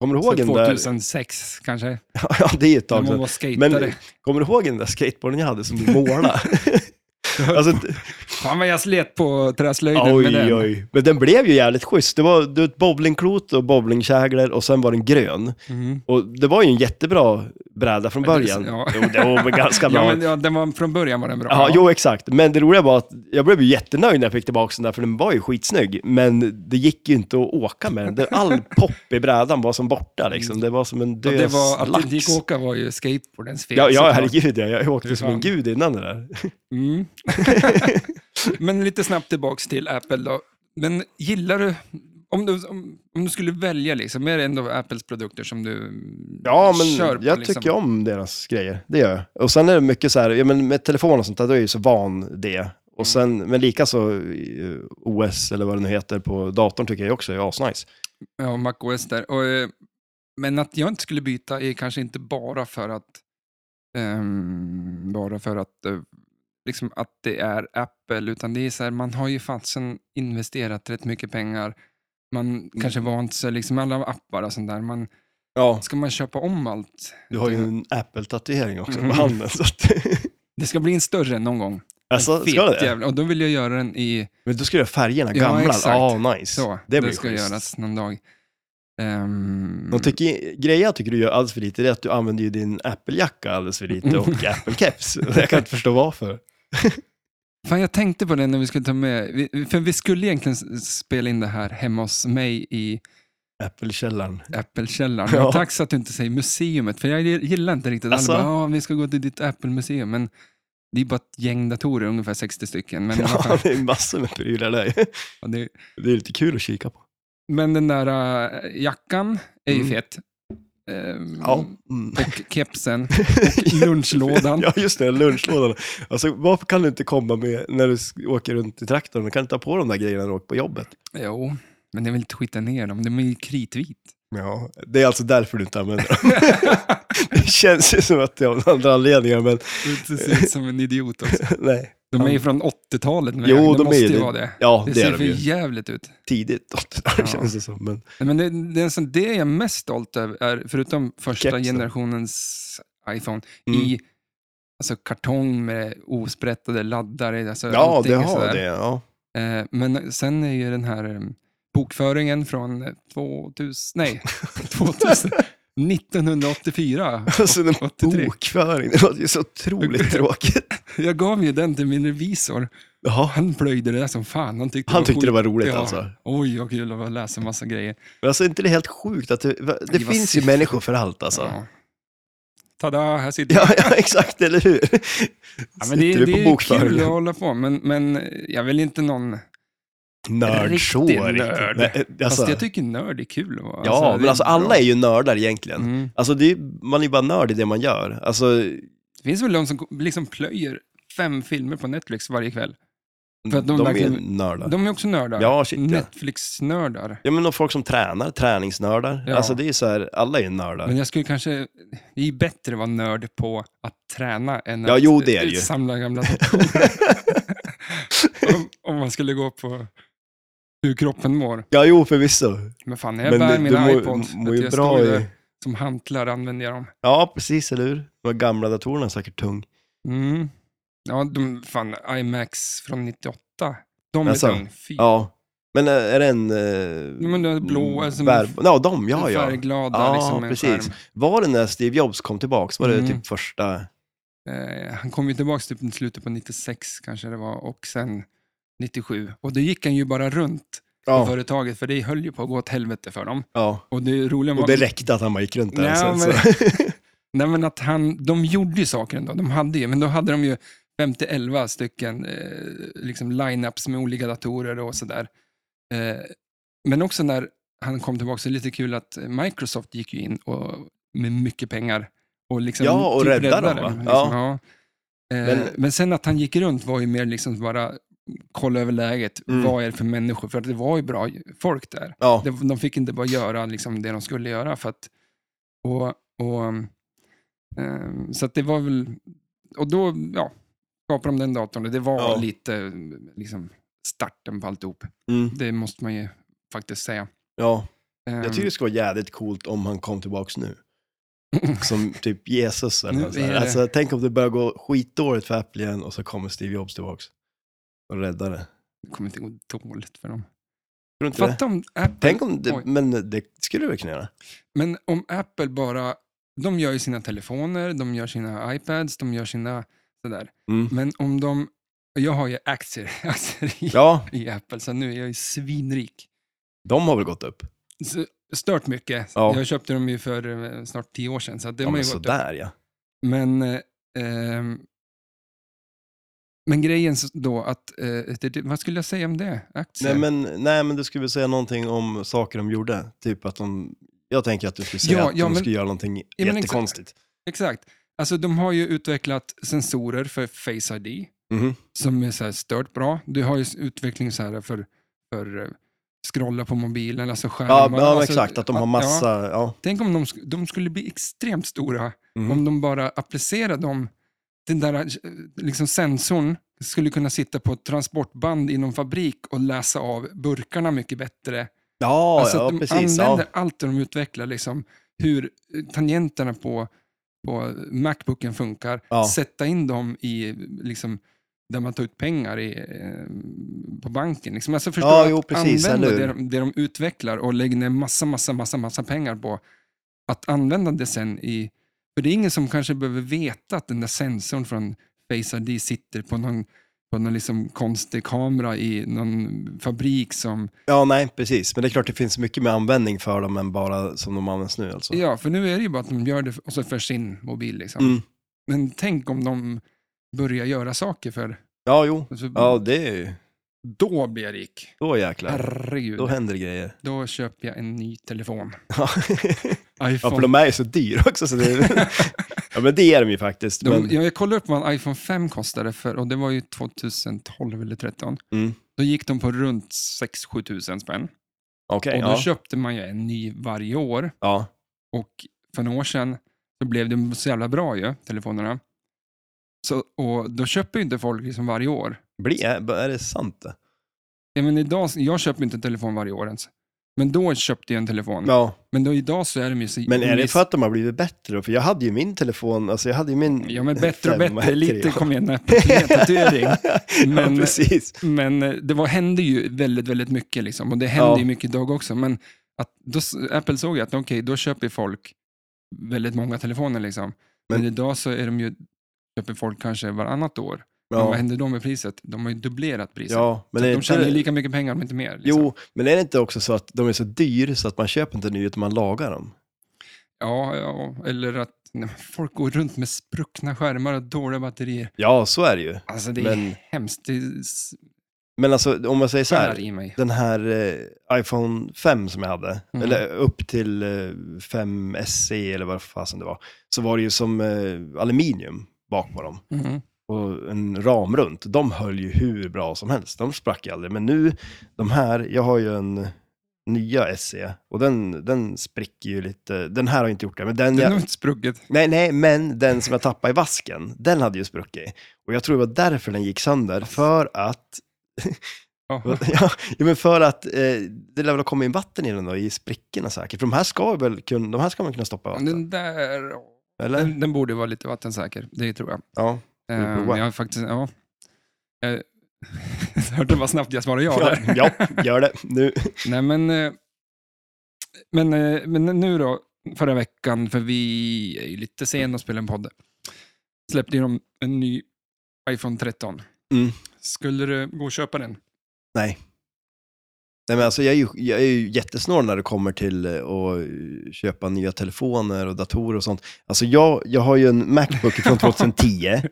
[SPEAKER 2] kommer du ihåg den där?
[SPEAKER 1] 2006 kanske,
[SPEAKER 2] Ja, det är ett
[SPEAKER 1] när
[SPEAKER 2] tag
[SPEAKER 1] man
[SPEAKER 2] sedan.
[SPEAKER 1] var
[SPEAKER 2] Men
[SPEAKER 1] skatare.
[SPEAKER 2] kommer du ihåg den där skateboarden jag hade som du målade? Alltså, d-
[SPEAKER 1] Fan vad jag slet på träslöjden med
[SPEAKER 2] oj,
[SPEAKER 1] den.
[SPEAKER 2] oj. Men den blev ju jävligt schysst. Det var, det var ett bowlingklot och bowlingkäglor och sen var den grön.
[SPEAKER 1] Mm.
[SPEAKER 2] Och det var ju en jättebra bräda från
[SPEAKER 1] Men det-
[SPEAKER 2] början.
[SPEAKER 1] ja.
[SPEAKER 2] Jo, det var väl ganska bra.
[SPEAKER 1] Ja, men, ja, den var, från början var den bra.
[SPEAKER 2] Ja, jo exakt. Men det roliga var att jag blev ju jättenöjd när jag fick tillbaka den där, för den var ju skitsnygg. Men det gick ju inte att åka med den. Det- All pop i brädan var som borta liksom. Det var som en
[SPEAKER 1] Och
[SPEAKER 2] dös
[SPEAKER 1] det var, att det
[SPEAKER 2] lax.
[SPEAKER 1] inte gick att åka var ju skateboardens fel.
[SPEAKER 2] ja, ja,
[SPEAKER 1] såklart.
[SPEAKER 2] herregud ja. Jag
[SPEAKER 1] Fy
[SPEAKER 2] åkte som
[SPEAKER 1] fan.
[SPEAKER 2] en gud innan det där.
[SPEAKER 1] Mm. Men lite snabbt tillbaks till Apple då. Men gillar du, om du, om, om du skulle välja, liksom, är det ändå Apples produkter som du mm,
[SPEAKER 2] Ja, men
[SPEAKER 1] kör på?
[SPEAKER 2] jag
[SPEAKER 1] liksom?
[SPEAKER 2] tycker om deras grejer. Det gör jag. Och sen är det mycket så här, ja, men med telefon och sånt där, då är jag ju så van det.
[SPEAKER 1] Mm.
[SPEAKER 2] Och sen, men lika så eh, OS eller vad det nu heter på datorn tycker jag också är asnice.
[SPEAKER 1] Ja, MacOS där. Och, eh, men att jag inte skulle byta är kanske inte bara för att ehm, bara för att eh, liksom att det är Apple, utan det är så här, man har ju fasen investerat rätt mycket pengar. Man kanske
[SPEAKER 2] Mm.
[SPEAKER 1] vant sig, liksom alla appar och sånt där. Man,
[SPEAKER 2] Ja.
[SPEAKER 1] ska man köpa om allt?
[SPEAKER 2] Du har ju en Apple-tatuering också på
[SPEAKER 1] Mhm.
[SPEAKER 2] handen. Så att,
[SPEAKER 1] Det ska bli Mm. en större någon gång. En
[SPEAKER 2] alltså,
[SPEAKER 1] fet
[SPEAKER 2] ska det?
[SPEAKER 1] jävla- Och då vill jag göra den i
[SPEAKER 2] Men då ska du göra färgerna
[SPEAKER 1] Ja,
[SPEAKER 2] gamla.
[SPEAKER 1] exakt.
[SPEAKER 2] Ja, nice.
[SPEAKER 1] så.
[SPEAKER 2] det blir
[SPEAKER 1] ska
[SPEAKER 2] schysst.
[SPEAKER 1] göras någon dag. Ehm,
[SPEAKER 2] De tycker, grejer jag tycker du gör alldeles för lite det är att du använder ju din Apple-jacka alldeles för lite och Apple-keps. Jag kan inte förstå varför.
[SPEAKER 1] Fan, jag tänkte på det när vi skulle ta med, vi, för vi skulle egentligen s- spela in det här hemma hos mig i
[SPEAKER 2] Apple-källaren.
[SPEAKER 1] Apple-källaren.
[SPEAKER 2] Ja. Alltså?
[SPEAKER 1] Men Tack så att du inte säger museumet, för jag gillar inte riktigt. Alla
[SPEAKER 2] Asså?
[SPEAKER 1] bara, ja, vi ska gå till ditt Apple-museum, men det är bara ett gäng datorer, ungefär 60 stycken. Men, i alla
[SPEAKER 2] Ja,
[SPEAKER 1] fall,
[SPEAKER 2] det är massor med prylar där.
[SPEAKER 1] ja, det,
[SPEAKER 2] Det är lite kul att kika på.
[SPEAKER 1] men den där äh, jackan är ju
[SPEAKER 2] Mm.
[SPEAKER 1] fet. Ehm,
[SPEAKER 2] Mm.
[SPEAKER 1] Och kepsen och lunchlådan.
[SPEAKER 2] Ja, just det, lunchlådan. Alltså, varför kan du inte komma med när du sk- åker runt i traktorn? Du kan inte ta på de där grejerna när du åker på jobbet.
[SPEAKER 1] Jo, men det är väl inte skita ner dem, de är ju kritvit.
[SPEAKER 2] Ja, det är alltså därför du inte använder dem. det känns ju som att det är av andra anledningar, men
[SPEAKER 1] Du ser ut som en idiot också.
[SPEAKER 2] nej.
[SPEAKER 1] De är ju från 80-talet, men
[SPEAKER 2] Jo,
[SPEAKER 1] det
[SPEAKER 2] de är
[SPEAKER 1] måste
[SPEAKER 2] ju
[SPEAKER 1] ju
[SPEAKER 2] det.
[SPEAKER 1] vara det.
[SPEAKER 2] Ja,
[SPEAKER 1] Det
[SPEAKER 2] det
[SPEAKER 1] ser
[SPEAKER 2] är
[SPEAKER 1] för
[SPEAKER 2] de ju.
[SPEAKER 1] jävligt ut.
[SPEAKER 2] Tidigt 80-tal
[SPEAKER 1] Ja.
[SPEAKER 2] känns det som. Men,
[SPEAKER 1] Nej, Men det, det, är en sån, det är jag mest stolt över, är, förutom första
[SPEAKER 2] Kepsen.
[SPEAKER 1] generationens iPhone,
[SPEAKER 2] Mm.
[SPEAKER 1] i alltså, kartong med osprättade laddare. Alltså,
[SPEAKER 2] ja,
[SPEAKER 1] allting
[SPEAKER 2] det
[SPEAKER 1] är
[SPEAKER 2] har
[SPEAKER 1] sådär.
[SPEAKER 2] det. Ja.
[SPEAKER 1] Eh, men sen är ju den här eh, bokföringen från eh, 2000, nej, 2000, 1984.
[SPEAKER 2] Alltså, den
[SPEAKER 1] 83.
[SPEAKER 2] bokföring, det låter ju så otroligt tråkigt.
[SPEAKER 1] Jag gav ju den till min revisor.
[SPEAKER 2] Jaha.
[SPEAKER 1] Han plöjde det där som fan. Han tyckte,
[SPEAKER 2] Han tyckte det var roligt
[SPEAKER 1] Ja.
[SPEAKER 2] alltså.
[SPEAKER 1] Oj, vad kul det var att läsa massa grejer.
[SPEAKER 2] Men alltså är inte det helt sjukt att det, det,
[SPEAKER 1] Det var
[SPEAKER 2] finns ju
[SPEAKER 1] siffror.
[SPEAKER 2] människor för allt alltså. Ja,
[SPEAKER 1] Ja. Tada, här sitter
[SPEAKER 2] ja, exakt, eller hur?
[SPEAKER 1] Ja, men det,
[SPEAKER 2] Sitter du
[SPEAKER 1] det är
[SPEAKER 2] på
[SPEAKER 1] ju kul att
[SPEAKER 2] bokföringen?
[SPEAKER 1] hålla på, men, men jag vill inte någon...
[SPEAKER 2] Nörd, så
[SPEAKER 1] Riktig
[SPEAKER 2] riktigt.
[SPEAKER 1] nörd.
[SPEAKER 2] Nej, alltså,
[SPEAKER 1] Fast jag tycker nörd är kul. att vara.
[SPEAKER 2] Ja,
[SPEAKER 1] Alltså, det
[SPEAKER 2] men alltså alla
[SPEAKER 1] bra.
[SPEAKER 2] är ju nördar egentligen.
[SPEAKER 1] Mm.
[SPEAKER 2] Alltså det är, man är ju bara nörd i det man gör. Alltså,
[SPEAKER 1] Det finns väl de som liksom plöjer fem filmer på Netflix varje kväll. För att de
[SPEAKER 2] de, är ju
[SPEAKER 1] verkligen-
[SPEAKER 2] nördar.
[SPEAKER 1] De är också nördar. Mm.
[SPEAKER 2] Ja, shit, ja.
[SPEAKER 1] Netflix-nördar.
[SPEAKER 2] Ja, men de folk som tränar, träningsnördar.
[SPEAKER 1] Ja.
[SPEAKER 2] Alltså det är ju så här, alla är ju nördar.
[SPEAKER 1] Men jag skulle kanske... Det är ju bättre att vara nörd på att träna än
[SPEAKER 2] Ja,
[SPEAKER 1] att
[SPEAKER 2] jo, det är det ju.
[SPEAKER 1] samla gamla datorer. om, om man skulle gå på hur kroppen mår.
[SPEAKER 2] Ja, jo, förvisso.
[SPEAKER 1] Men fan, jag bär
[SPEAKER 2] du- du
[SPEAKER 1] mina
[SPEAKER 2] mår-
[SPEAKER 1] iPods.
[SPEAKER 2] mår
[SPEAKER 1] vet
[SPEAKER 2] ju
[SPEAKER 1] jag
[SPEAKER 2] bra
[SPEAKER 1] står
[SPEAKER 2] i-
[SPEAKER 1] där Som hantlar använder jag dem.
[SPEAKER 2] Ja, precis, eller hur? De här gamla datorerna är säkert tung.
[SPEAKER 1] Mm. Ja, de, fan, IMAX från 98. De är
[SPEAKER 2] Alltså,
[SPEAKER 1] tung. Fy.
[SPEAKER 2] Ja. Men eh, är det en... eh,
[SPEAKER 1] Ja, Men den blå, alltså
[SPEAKER 2] bär- Ja, de, ja, ja.
[SPEAKER 1] färgglada
[SPEAKER 2] Ja,
[SPEAKER 1] liksom, med en
[SPEAKER 2] precis.
[SPEAKER 1] skärm.
[SPEAKER 2] Var det när Steve Jobs kom tillbaks? Var det
[SPEAKER 1] Mm.
[SPEAKER 2] typ första...
[SPEAKER 1] Eh, han kom ju tillbaka typ i slutet på 96 kanske det var och sen 97. Och då gick han ju bara runt på
[SPEAKER 2] Ja,
[SPEAKER 1] företaget för det höll ju på att gå åt helvete för dem.
[SPEAKER 2] ja.
[SPEAKER 1] Och det roliga var...
[SPEAKER 2] Och det räckte att han bara gick runt där.
[SPEAKER 1] Nej,
[SPEAKER 2] sen,
[SPEAKER 1] men-
[SPEAKER 2] så.
[SPEAKER 1] Nej, men att han, de gjorde ju saker ändå, de hade ju, men då hade de ju 50-11 stycken eh, liksom lineups med olika datorer och sådär. Eh, men också när han kom tillbaka så är det lite kul att Microsoft gick ju in och, med mycket pengar och liksom
[SPEAKER 2] Ja, och räddade dem, va?
[SPEAKER 1] Liksom, ja.
[SPEAKER 2] Ja.
[SPEAKER 1] Eh, men...
[SPEAKER 2] Men-
[SPEAKER 1] sen att han gick runt var ju mer liksom bara kolla över läget,
[SPEAKER 2] Mm.
[SPEAKER 1] vad är det för människor, för att det var ju bra folk där.
[SPEAKER 2] ja.
[SPEAKER 1] Det- De fick inte bara göra liksom det de skulle göra. För att, och, och, ehm, så att det var väl... Och då ja, skapade de den datorn och det var
[SPEAKER 2] Ja.
[SPEAKER 1] lite liksom, starten på alltihop.
[SPEAKER 2] Mm.
[SPEAKER 1] Det måste man ju faktiskt säga.
[SPEAKER 2] ja.
[SPEAKER 1] Ehm,
[SPEAKER 2] Jag tycker det skulle vara jävligt coolt om han kom tillbaks nu. som typ Jesus. Eller
[SPEAKER 1] Nu
[SPEAKER 2] något sånt
[SPEAKER 1] är
[SPEAKER 2] där.
[SPEAKER 1] det-
[SPEAKER 2] alltså, tänk om det börjar gå skitdåligt för Apple igen och så kommer Steve Jobs tillbaka och räddar det.
[SPEAKER 1] Det kommer inte gå dåligt för dem.
[SPEAKER 2] Tror du inte det?
[SPEAKER 1] Fatta om Apple,
[SPEAKER 2] Tänk om det,
[SPEAKER 1] Oj.
[SPEAKER 2] men det skulle du väl kunna göra?
[SPEAKER 1] men om Apple bara, de gör ju sina telefoner, de gör sina iPads, de gör sina sådär.
[SPEAKER 2] Mm.
[SPEAKER 1] Men om de, jag har ju aktier, aktier i,
[SPEAKER 2] Ja,
[SPEAKER 1] i Apple, så nu är jag ju svinrik.
[SPEAKER 2] de har väl gått upp?
[SPEAKER 1] S- Stört mycket.
[SPEAKER 2] Ja.
[SPEAKER 1] Jag köpte dem ju för eh, snart tio år sedan, så att det
[SPEAKER 2] Ja,
[SPEAKER 1] har man
[SPEAKER 2] men
[SPEAKER 1] ju gått upp.
[SPEAKER 2] sådär ja.
[SPEAKER 1] Men, eh, ehm, men grejen s- då att, eh, det, det, vad skulle jag säga om det? Aktier?
[SPEAKER 2] Nej men, nej, men du skulle väl säga någonting om saker de gjorde? Typ att de... Jag tänker att du skulle säga
[SPEAKER 1] Ja,
[SPEAKER 2] att
[SPEAKER 1] ja,
[SPEAKER 2] de
[SPEAKER 1] men-
[SPEAKER 2] skulle göra någonting
[SPEAKER 1] Ja, men exakt.
[SPEAKER 2] jättekonstigt.
[SPEAKER 1] Exakt. Alltså de har ju utvecklat sensorer för Face ID
[SPEAKER 2] Mhm.
[SPEAKER 1] som är så här stört bra. Du har ju s- utveckling så här för, för eh, scrolla på mobilen, alltså skärmar.
[SPEAKER 2] Ja, ja men
[SPEAKER 1] alltså,
[SPEAKER 2] exakt, att de har
[SPEAKER 1] Ja,
[SPEAKER 2] massa... Ja.
[SPEAKER 1] tänk om de, sk- de skulle bli extremt stora
[SPEAKER 2] Mhm.
[SPEAKER 1] om de bara applicerar dem. Den där eh, liksom sensorn skulle kunna sitta på ett transportband i någon fabrik och läsa av burkarna mycket bättre.
[SPEAKER 2] Ja,
[SPEAKER 1] alltså
[SPEAKER 2] ja
[SPEAKER 1] att de
[SPEAKER 2] precis. Ja.
[SPEAKER 1] använder allt det de utvecklar, liksom, hur eh, tangenterna på, på Macbooken funkar,
[SPEAKER 2] Ja.
[SPEAKER 1] sätta in dem i, liksom, där man tar ut pengar i, eh, på banken. Liksom. Alltså förstå
[SPEAKER 2] Ja,
[SPEAKER 1] att
[SPEAKER 2] jo, precis,
[SPEAKER 1] använda
[SPEAKER 2] eller
[SPEAKER 1] det
[SPEAKER 2] hur?
[SPEAKER 1] de, det de utvecklar och lägga ner massa, massa, massa, massa pengar på. Att använda det sen i... För det är ingen som kanske behöver veta att den där sensorn från Face ID sitter på någon, på någon liksom konstig kamera i någon fabrik som
[SPEAKER 2] ja, nej, precis. Men det är klart det finns mycket mer användning för dem än bara som de används nu alltså.
[SPEAKER 1] Ja, för nu är det ju bara att de gör det för, och så för sin mobil. Liksom.
[SPEAKER 2] Mm.
[SPEAKER 1] Men tänk om de börjar göra saker för...
[SPEAKER 2] Ja, jo.
[SPEAKER 1] Alltså,
[SPEAKER 2] Ja, det är ju...
[SPEAKER 1] Då blir jag rik.
[SPEAKER 2] Då jäklar.
[SPEAKER 1] Herregud.
[SPEAKER 2] Då
[SPEAKER 1] Då,
[SPEAKER 2] händer det grejer.
[SPEAKER 1] köper jag en ny telefon.
[SPEAKER 2] Ja, Ja, för
[SPEAKER 1] iPhone.
[SPEAKER 2] de är ju så dyra också. Så det... ja, men det är de ju faktiskt.
[SPEAKER 1] de,
[SPEAKER 2] Men...
[SPEAKER 1] ja, jag kollade upp vad en iPhone 5 kostade, för, och det var ju 2012 eller 2013.
[SPEAKER 2] Mm.
[SPEAKER 1] Då gick de på runt 6-7 tusen spänn.
[SPEAKER 2] Okej,
[SPEAKER 1] och då
[SPEAKER 2] ja.
[SPEAKER 1] köpte man ju en ny varje år.
[SPEAKER 2] ja.
[SPEAKER 1] Och för några år sedan så blev de så jävla bra ju, telefonerna. Så, och då köper ju inte folk liksom varje år.
[SPEAKER 2] Bli... Är är det sant det?
[SPEAKER 1] Ja, men idag, jag köper inte en telefon varje år ens. Men då köpte jag en telefon.
[SPEAKER 2] Ja.
[SPEAKER 1] Men då, idag så är de ju så...
[SPEAKER 2] Men är det
[SPEAKER 1] miss-
[SPEAKER 2] för att de har blivit bättre? då? För jag hade ju min telefon, alltså jag hade ju min...
[SPEAKER 1] Ja, men bättre och
[SPEAKER 2] Fem-
[SPEAKER 1] bättre. Lite
[SPEAKER 2] tre.
[SPEAKER 1] kom igen, näppenflätatuering.
[SPEAKER 2] ja,
[SPEAKER 1] men-
[SPEAKER 2] precis.
[SPEAKER 1] Men eh, det var, hände ju väldigt, väldigt mycket liksom. Och det hände
[SPEAKER 2] Ja.
[SPEAKER 1] ju mycket idag också. Men att, då, s- Apple såg ju att okej, då köper folk väldigt många telefoner liksom. Men,
[SPEAKER 2] Men-
[SPEAKER 1] idag så är de ju, köper folk kanske varannat år. Men vad
[SPEAKER 2] Ja,
[SPEAKER 1] händer då med priset? De har ju dubblerat priset.
[SPEAKER 2] ja men är det
[SPEAKER 1] de tjänar ju
[SPEAKER 2] inte...
[SPEAKER 1] lika mycket pengar, om inte mer. Liksom.
[SPEAKER 2] Jo, men är det inte också så att de är så dyra så att man köper inte nya utan man lagar dem?
[SPEAKER 1] Ja, ja, eller att nej, folk går runt med spruckna skärmar och dåliga batterier.
[SPEAKER 2] Ja, så är det ju.
[SPEAKER 1] Alltså det är
[SPEAKER 2] Men-
[SPEAKER 1] hemskt. Det
[SPEAKER 2] Men alltså om man säger så
[SPEAKER 1] spärrar
[SPEAKER 2] här,
[SPEAKER 1] i mig.
[SPEAKER 2] den här eh, iPhone 5 som jag hade,
[SPEAKER 1] Mm.
[SPEAKER 2] eller upp till eh, 5 SE eller vad fasen det var, så var det ju som eh, aluminium bak på dem.
[SPEAKER 1] Mhm.
[SPEAKER 2] och en ram runt. De höll ju hur bra som helst. De sprack ju aldrig. Men nu, de här, jag har ju en nya SE och den, den spricker ju lite. Den här har inte gjort det, men den
[SPEAKER 1] Det är nog
[SPEAKER 2] jag,
[SPEAKER 1] inte sprucket.
[SPEAKER 2] nej, nej, men den som jag tappade i vasken, den hade ju spruckit. Och jag tror det var därför den gick sönder, för att,
[SPEAKER 1] Ja.
[SPEAKER 2] ja, jo, men för att eh, det lär väl ha kommit in vatten i den då, i sprickorna säkert. För de här ska väl kunna, de här ska man kunna stoppa i vatten,
[SPEAKER 1] Den där,
[SPEAKER 2] eller?
[SPEAKER 1] den, den borde vara lite vattensäker. Det tror jag.
[SPEAKER 2] Ja. Ska vi
[SPEAKER 1] Ehm,
[SPEAKER 2] prova?
[SPEAKER 1] jag har faktiskt, ja. Jag hörde vad snabbt jag svarade ja
[SPEAKER 2] Ja,
[SPEAKER 1] där.
[SPEAKER 2] ja, gör det nu.
[SPEAKER 1] Nej, men, eh, men, eh, men nu då, förra veckan, för vi är ju lite sen att spela en podd, släppte ju de en ny iPhone 13.
[SPEAKER 2] Mm.
[SPEAKER 1] Skulle du gå och köpa den?
[SPEAKER 2] Nej, men alltså jag, är ju, jag är ju jättesnål när det kommer till eh, att eh, köpa nya telefoner och datorer och sånt. Alltså jag, jag har ju en Macbook från 2010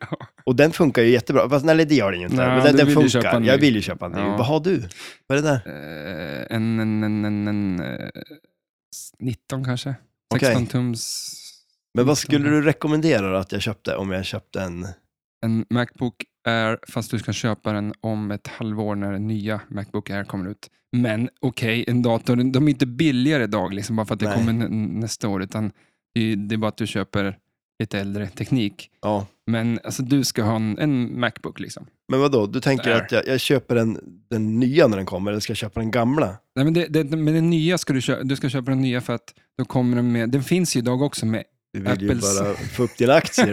[SPEAKER 2] och den funkar ju jättebra. Fast, nej, det gör den ju inte.
[SPEAKER 1] Nej,
[SPEAKER 2] men den,
[SPEAKER 1] du
[SPEAKER 2] den
[SPEAKER 1] vill ju
[SPEAKER 2] funkar.
[SPEAKER 1] köpa en ny.
[SPEAKER 2] jag vill ju köpa en ny.
[SPEAKER 1] Ja.
[SPEAKER 2] Vad har du? Vad är det där?
[SPEAKER 1] Eh, en, en, en, en, en eh, 19 kanske?
[SPEAKER 2] Okej.
[SPEAKER 1] 16 tums...
[SPEAKER 2] Men vad skulle du rekommendera då att jag köpte om jag köpte en?
[SPEAKER 1] En Macbook Air, fast du ska köpa den om ett halvår när den nya Macbook Air kommer ut. Men okej, en dator, de är inte billigare idag, liksom, bara för att det
[SPEAKER 2] Nej.
[SPEAKER 1] kommer nä- nästa år, utan det är, det är bara att du köper lite äldre teknik.
[SPEAKER 2] Ja.
[SPEAKER 1] Men alltså, du ska ha en, en Macbook. liksom.
[SPEAKER 2] Men vad då? Du tänker
[SPEAKER 1] Där.
[SPEAKER 2] att jag, jag köper den, den nya när den kommer eller ska jag köpa den gamla?
[SPEAKER 1] Nej, men, det, det, men den nya ska du, köpa, du ska köpa den nya för att då kommer den med, den finns ju idag också med
[SPEAKER 2] Du vill ju
[SPEAKER 1] Apples-
[SPEAKER 2] bara få upp dina aktier.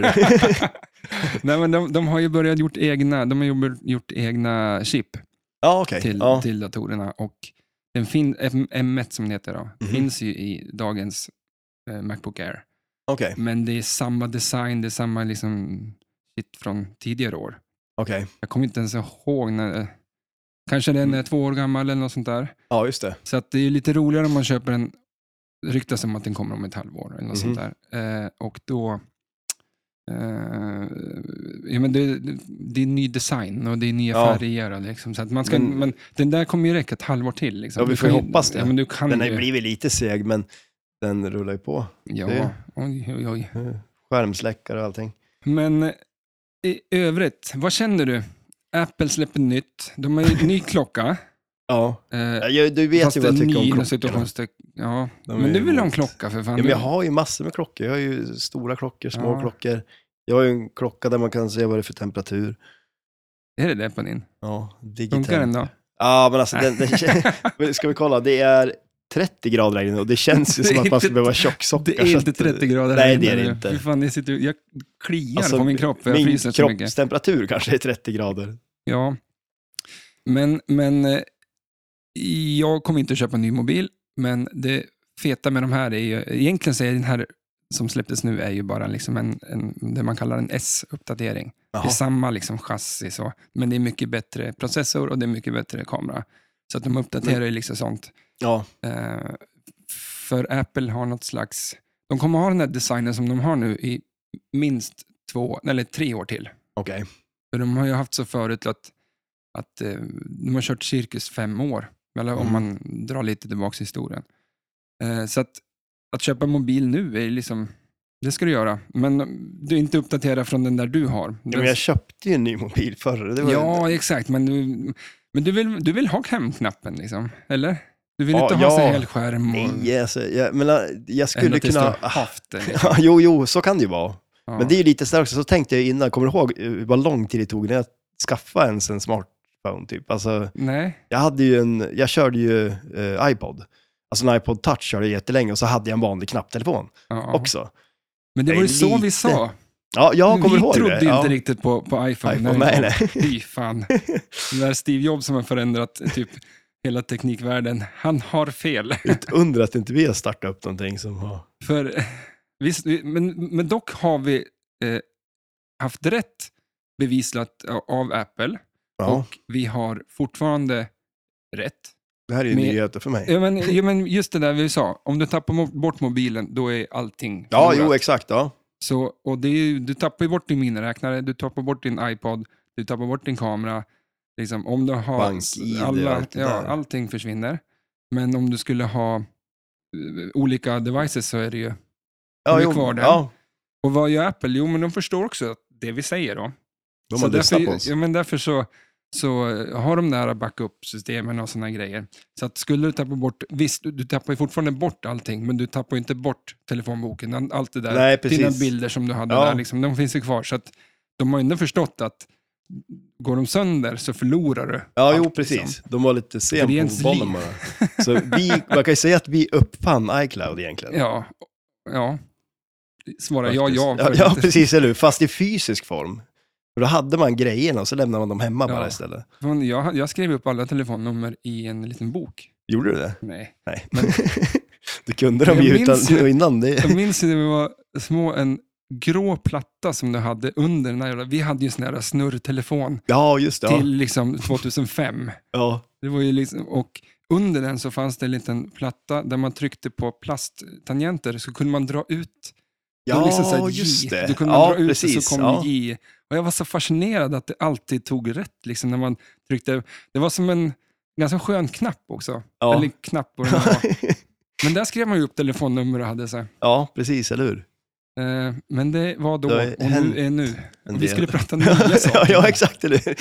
[SPEAKER 1] Nej, men de, de har ju börjat gjort egna, de har ju bör- gjort egna chip
[SPEAKER 2] ja, okej.
[SPEAKER 1] till,
[SPEAKER 2] Ja.
[SPEAKER 1] till datorerna. Och den fin, M- M1 som det heter då,
[SPEAKER 2] Mhm.
[SPEAKER 1] finns ju i dagens eh, Macbook Air.
[SPEAKER 2] Okej,
[SPEAKER 1] Men det är samma design, det är samma liksom shit från tidigare år.
[SPEAKER 2] okej.
[SPEAKER 1] Jag kommer inte ens ihåg när, kanske den
[SPEAKER 2] Mm.
[SPEAKER 1] är två år gammal eller något sånt där.
[SPEAKER 2] Ja, just det.
[SPEAKER 1] Så att det är lite roligare om man köper en, det ryktas om att den kommer om ett halvår eller något
[SPEAKER 2] Mhm.
[SPEAKER 1] sånt där. Eh, och då, eh, ja, men det, det är ny design och det är nya
[SPEAKER 2] Ja.
[SPEAKER 1] färger. och Liksom, så att man ska,
[SPEAKER 2] Men-
[SPEAKER 1] men, den där kommer ju räcka ett halvår till. Liksom.
[SPEAKER 2] Ja, vi
[SPEAKER 1] Du
[SPEAKER 2] får
[SPEAKER 1] kan
[SPEAKER 2] ju hoppas det.
[SPEAKER 1] Ja, men du kan
[SPEAKER 2] Den har
[SPEAKER 1] ju,
[SPEAKER 2] ju blivit lite seg, men den rullar ju på.
[SPEAKER 1] ja,
[SPEAKER 2] det-
[SPEAKER 1] oj, oj, oj.
[SPEAKER 2] Eh, Skärmsläckare och allting.
[SPEAKER 1] Men eh, i övrigt, vad känner du? Apple släpper nytt, de har ju en ny klocka.
[SPEAKER 2] Ja,
[SPEAKER 1] Eh,
[SPEAKER 2] Ja, jag, du vet ju vad jag tycker om klockorna.
[SPEAKER 1] klockorna. Ja,
[SPEAKER 2] De är
[SPEAKER 1] men du
[SPEAKER 2] ju
[SPEAKER 1] vill ha en
[SPEAKER 2] emot.
[SPEAKER 1] klocka för fan.
[SPEAKER 2] Ja, men jag har ju massor med klockor. Jag har ju stora klockor, små
[SPEAKER 1] Ja.
[SPEAKER 2] klockor. Jag har ju en klocka där man kan se vad det är för temperatur.
[SPEAKER 1] Är det det på din?
[SPEAKER 2] Ja, digital.
[SPEAKER 1] Funkar den då?
[SPEAKER 2] Ja, men alltså, den, den, ska vi kolla? Det är 30 grader här inne och det känns ju
[SPEAKER 1] Det är
[SPEAKER 2] som att man
[SPEAKER 1] inte-
[SPEAKER 2] skulle behöva tjocksockar.
[SPEAKER 1] Det
[SPEAKER 2] så
[SPEAKER 1] är inte
[SPEAKER 2] att- eh,
[SPEAKER 1] 30 grader
[SPEAKER 2] Nej,
[SPEAKER 1] här inne
[SPEAKER 2] det är det
[SPEAKER 1] nu.
[SPEAKER 2] inte.
[SPEAKER 1] Fy fan, jag, sitter, jag kliar
[SPEAKER 2] Alltså,
[SPEAKER 1] på min kropp för jag
[SPEAKER 2] Min
[SPEAKER 1] fryser så mycket.
[SPEAKER 2] kroppstemperatur kanske är 30 grader.
[SPEAKER 1] Ja. Men, men eh, jag kommer inte att köpa en ny mobil, men det feta med de här är ju, egentligen så är den här som släpptes nu är ju bara liksom en, en, det man kallar en S-uppdatering. Det
[SPEAKER 2] Jaha.
[SPEAKER 1] är samma liksom chassi, så, men det är mycket bättre processor och det är mycket bättre kamera. Så att de uppdaterar ju liksom sånt.
[SPEAKER 2] Ja,
[SPEAKER 1] Eh, för Apple har något slags... De kommer ha den här designen som de har nu i minst två, eller tre år till.
[SPEAKER 2] okej.
[SPEAKER 1] För de har ju haft så förut att, att eh, de har kört cirkus fem år, eller om
[SPEAKER 2] Mm.
[SPEAKER 1] man drar lite tillbaka i historien. Eh, så att, att köpa mobil nu är ju liksom, det ska du göra, men eh, du är inte uppdatera från den där du har.
[SPEAKER 2] Ja, men jag köpte ju en ny mobil förr. Det var
[SPEAKER 1] Ja, exakt, men du, men du, vill, du vill ha hemknappen liksom, eller? Du vill
[SPEAKER 2] Ja,
[SPEAKER 1] inte ha
[SPEAKER 2] ja.
[SPEAKER 1] så hel skärm och...
[SPEAKER 2] Nej, alltså, jag, men, äh, jag skulle
[SPEAKER 1] Eller tills du
[SPEAKER 2] kunna...
[SPEAKER 1] har haft det. liksom.
[SPEAKER 2] Ja, jo, jo, så kan det ju vara.
[SPEAKER 1] Ja.
[SPEAKER 2] Men det är ju lite sådär också, så tänkte jag innan, kommer du ihåg eh, vad lång tid det tog när jag skaffade ens en smartphone typ? Alltså,
[SPEAKER 1] Nej,
[SPEAKER 2] jag hade ju en, jag körde ju eh, iPod. Alltså en iPod touch körde jag jättelänge och så hade jag en vanlig knapptelefon
[SPEAKER 1] ja.
[SPEAKER 2] också.
[SPEAKER 1] men det
[SPEAKER 2] det
[SPEAKER 1] var
[SPEAKER 2] är
[SPEAKER 1] ju så
[SPEAKER 2] lite-
[SPEAKER 1] vi sa.
[SPEAKER 2] Ja, jag kommer
[SPEAKER 1] vi
[SPEAKER 2] ihåg
[SPEAKER 1] trodde
[SPEAKER 2] det.
[SPEAKER 1] ju
[SPEAKER 2] Ja,
[SPEAKER 1] inte riktigt på, på iPhone.
[SPEAKER 2] iPhone,
[SPEAKER 1] när
[SPEAKER 2] nej,
[SPEAKER 1] den
[SPEAKER 2] nej.
[SPEAKER 1] kom. Fy fan. Den där Steve Jobs som har förändrat typ hela teknikvärlden, han har fel.
[SPEAKER 2] Ett under att inte vi har startat upp någonting som har...
[SPEAKER 1] För, visst, vi- men, men dock har vi eh, haft rätt bevislat av Apple
[SPEAKER 2] Ja,
[SPEAKER 1] och vi har fortfarande rätt.
[SPEAKER 2] det här är ju
[SPEAKER 1] med- Eh,
[SPEAKER 2] nyheter för mig.
[SPEAKER 1] Ja, men, ja, men just det där vi sa, om du tappar mo- bort mobilen, då är allting
[SPEAKER 2] Ja,
[SPEAKER 1] förlorat.
[SPEAKER 2] jo, exakt. Ja.
[SPEAKER 1] Så, och det är, ju- du tappar ju bort din miniräknare, du tappar bort din iPod, du tappar bort din kamera. Liksom, om du har
[SPEAKER 2] BankID och
[SPEAKER 1] alla,
[SPEAKER 2] allt det
[SPEAKER 1] ja,
[SPEAKER 2] där.
[SPEAKER 1] allting försvinner. Men om du skulle ha eh, olika devices så är det ju...
[SPEAKER 2] Ja,
[SPEAKER 1] Vi är
[SPEAKER 2] jo,
[SPEAKER 1] kvar där.
[SPEAKER 2] ja,
[SPEAKER 1] Och vad gör Apple? Jo, men de förstår också att det vi säger då.
[SPEAKER 2] de
[SPEAKER 1] så
[SPEAKER 2] har lyssnat på
[SPEAKER 1] därför,
[SPEAKER 2] oss.
[SPEAKER 1] ja, men därför så, så eh, har de där backup-systemen och sådana grejer. Så att skulle du tappa bort, visst, du, du tappar ju fortfarande bort allting, men du tappar ju inte bort telefonboken, all- allt det där
[SPEAKER 2] Nej,
[SPEAKER 1] dina
[SPEAKER 2] precis.
[SPEAKER 1] bilder som du hade
[SPEAKER 2] Ja.
[SPEAKER 1] där, liksom, de finns ju kvar. Så att de har ändå förstått att går de sönder så förlorar du.
[SPEAKER 2] Ja,
[SPEAKER 1] allt,
[SPEAKER 2] jo,
[SPEAKER 1] liksom.
[SPEAKER 2] precis. De var lite sen
[SPEAKER 1] För det är
[SPEAKER 2] på
[SPEAKER 1] ens
[SPEAKER 2] bollen
[SPEAKER 1] liv.
[SPEAKER 2] bara. Så vi, man kan ju säga att vi uppfann iCloud egentligen.
[SPEAKER 1] Ja, ja. Svarar jag
[SPEAKER 2] Faktiskt.
[SPEAKER 1] ja.
[SPEAKER 2] ja,
[SPEAKER 1] för-
[SPEAKER 2] ja, precis, eller hur? Fast i fysisk form. För då hade man grejerna och så lämnade man dem hemma
[SPEAKER 1] Ja.
[SPEAKER 2] bara istället.
[SPEAKER 1] Fan, Jag, jag skrev upp alla telefonnummer i en liten bok.
[SPEAKER 2] Gjorde du det?
[SPEAKER 1] Nej.
[SPEAKER 2] Nej.
[SPEAKER 1] Men-
[SPEAKER 2] du kunde dem
[SPEAKER 1] Jag
[SPEAKER 2] ju
[SPEAKER 1] minns
[SPEAKER 2] utan,
[SPEAKER 1] ju-
[SPEAKER 2] innan. Det...
[SPEAKER 1] Jag minns ju när vi var små, en grå platta som du hade under den här jävla, vi hade ju sån här snurrtelefon
[SPEAKER 2] Ja, just det. Ja.
[SPEAKER 1] till liksom 2005.
[SPEAKER 2] Ja.
[SPEAKER 1] Det var ju liksom, och under den så fanns det en liten platta där man tryckte på plasttangenter så kunde man dra ut det var
[SPEAKER 2] Ja,
[SPEAKER 1] liksom så här J.
[SPEAKER 2] just det.
[SPEAKER 1] Då kunde man
[SPEAKER 2] ja,
[SPEAKER 1] dra ut
[SPEAKER 2] precis.
[SPEAKER 1] och så kom
[SPEAKER 2] ja.
[SPEAKER 1] J. Och jag var så fascinerad att det alltid tog rätt liksom, när man tryckte. Det var som en ganska skön knapp också.
[SPEAKER 2] Ja.
[SPEAKER 1] Eller knapp vad det nu var. Men där skrev man ju upp telefonnummer och hade så här.
[SPEAKER 2] ja, precis, eller hur?
[SPEAKER 1] Eh, Men det var då
[SPEAKER 2] Det har
[SPEAKER 1] och
[SPEAKER 2] hänt
[SPEAKER 1] nu är nu.
[SPEAKER 2] En
[SPEAKER 1] Och vi
[SPEAKER 2] del.
[SPEAKER 1] skulle prata nya
[SPEAKER 2] ja,
[SPEAKER 1] saker.
[SPEAKER 2] ja, exakt. Eller hur?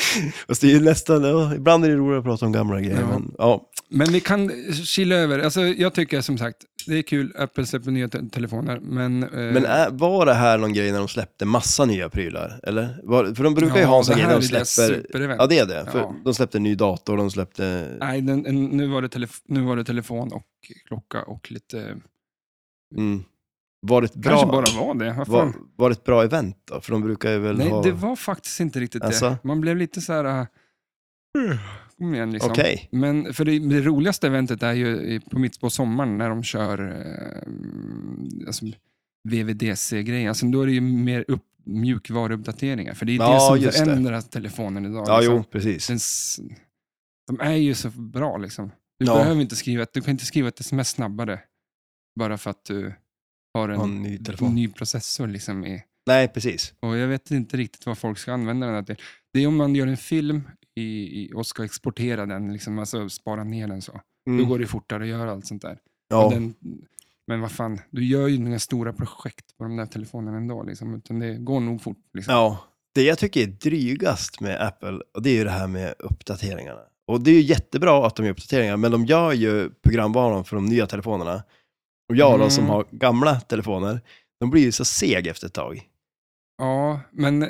[SPEAKER 2] Fast det är ju nästan, ja, ibland är det roligt att prata om gamla grejer.
[SPEAKER 1] Ja.
[SPEAKER 2] Men, ja.
[SPEAKER 1] Men vi kan kila över. Alltså, jag tycker som sagt, det är kul. Apple släpper nya te- telefoner. Men, eh,
[SPEAKER 2] Men är, var det här någon grej när de släppte massa nya prylar? Eller? Var, för de brukar ju
[SPEAKER 1] ja,
[SPEAKER 2] ha en sån
[SPEAKER 1] det
[SPEAKER 2] grej
[SPEAKER 1] här
[SPEAKER 2] när de
[SPEAKER 1] är deras
[SPEAKER 2] släpper...
[SPEAKER 1] superevent.
[SPEAKER 2] Ja, det är det. För
[SPEAKER 1] Ja.
[SPEAKER 2] De släppte en ny dator, de släppte...
[SPEAKER 1] Nej, den, en, nu, var det telef- nu var det telefon och klocka och lite
[SPEAKER 2] Mm. Var det ett
[SPEAKER 1] kanske
[SPEAKER 2] bra,
[SPEAKER 1] bara var det. Vad fan?
[SPEAKER 2] var, var det ett bra event då? För de brukar ju väl
[SPEAKER 1] Nej,
[SPEAKER 2] ha...
[SPEAKER 1] det var faktiskt inte riktigt
[SPEAKER 2] Alltså?
[SPEAKER 1] det. Man blev lite så här... äh, Kom igen liksom.
[SPEAKER 2] Okej.
[SPEAKER 1] Men för det, det roligaste eventet är ju i- på mitt på sommaren när de kör eh, alltså, VVDC-grejer. Alltså, då är det ju mer upp, mjukvaruuppdateringar. För det är
[SPEAKER 2] Ja,
[SPEAKER 1] det
[SPEAKER 2] just det.
[SPEAKER 1] som förändrar telefonen idag.
[SPEAKER 2] Ja,
[SPEAKER 1] liksom.
[SPEAKER 2] jo, precis.
[SPEAKER 1] Den, s- de är ju så bra liksom. Du
[SPEAKER 2] Ja.
[SPEAKER 1] behöver inte skriva, ett- du kan inte skriva ett sms snabbare. Bara för att du har en,
[SPEAKER 2] Ha en ny telefon.
[SPEAKER 1] ny processor liksom i
[SPEAKER 2] Nej, precis.
[SPEAKER 1] och jag vet inte riktigt vad folk ska använda den här till. Det är om man gör en film i, i, och ska exportera den, liksom, alltså spara ner den så. Då går det fortare att göra allt sånt där.
[SPEAKER 2] Mm. ja.
[SPEAKER 1] Men, den, men vad fan, du gör ju inga stora projekt på de där telefonerna ändå, liksom, utan det går nog fort. Liksom.
[SPEAKER 2] Ja, det jag tycker är drygast med Apple, och det är ju det här med uppdateringarna. Och det är ju jättebra att de gör uppdateringar, men de gör ju programvaran för de nya telefonerna. Och jag och de som
[SPEAKER 1] Mm.
[SPEAKER 2] har gamla telefoner, de blir ju så seg efter ett tag.
[SPEAKER 1] Ja, men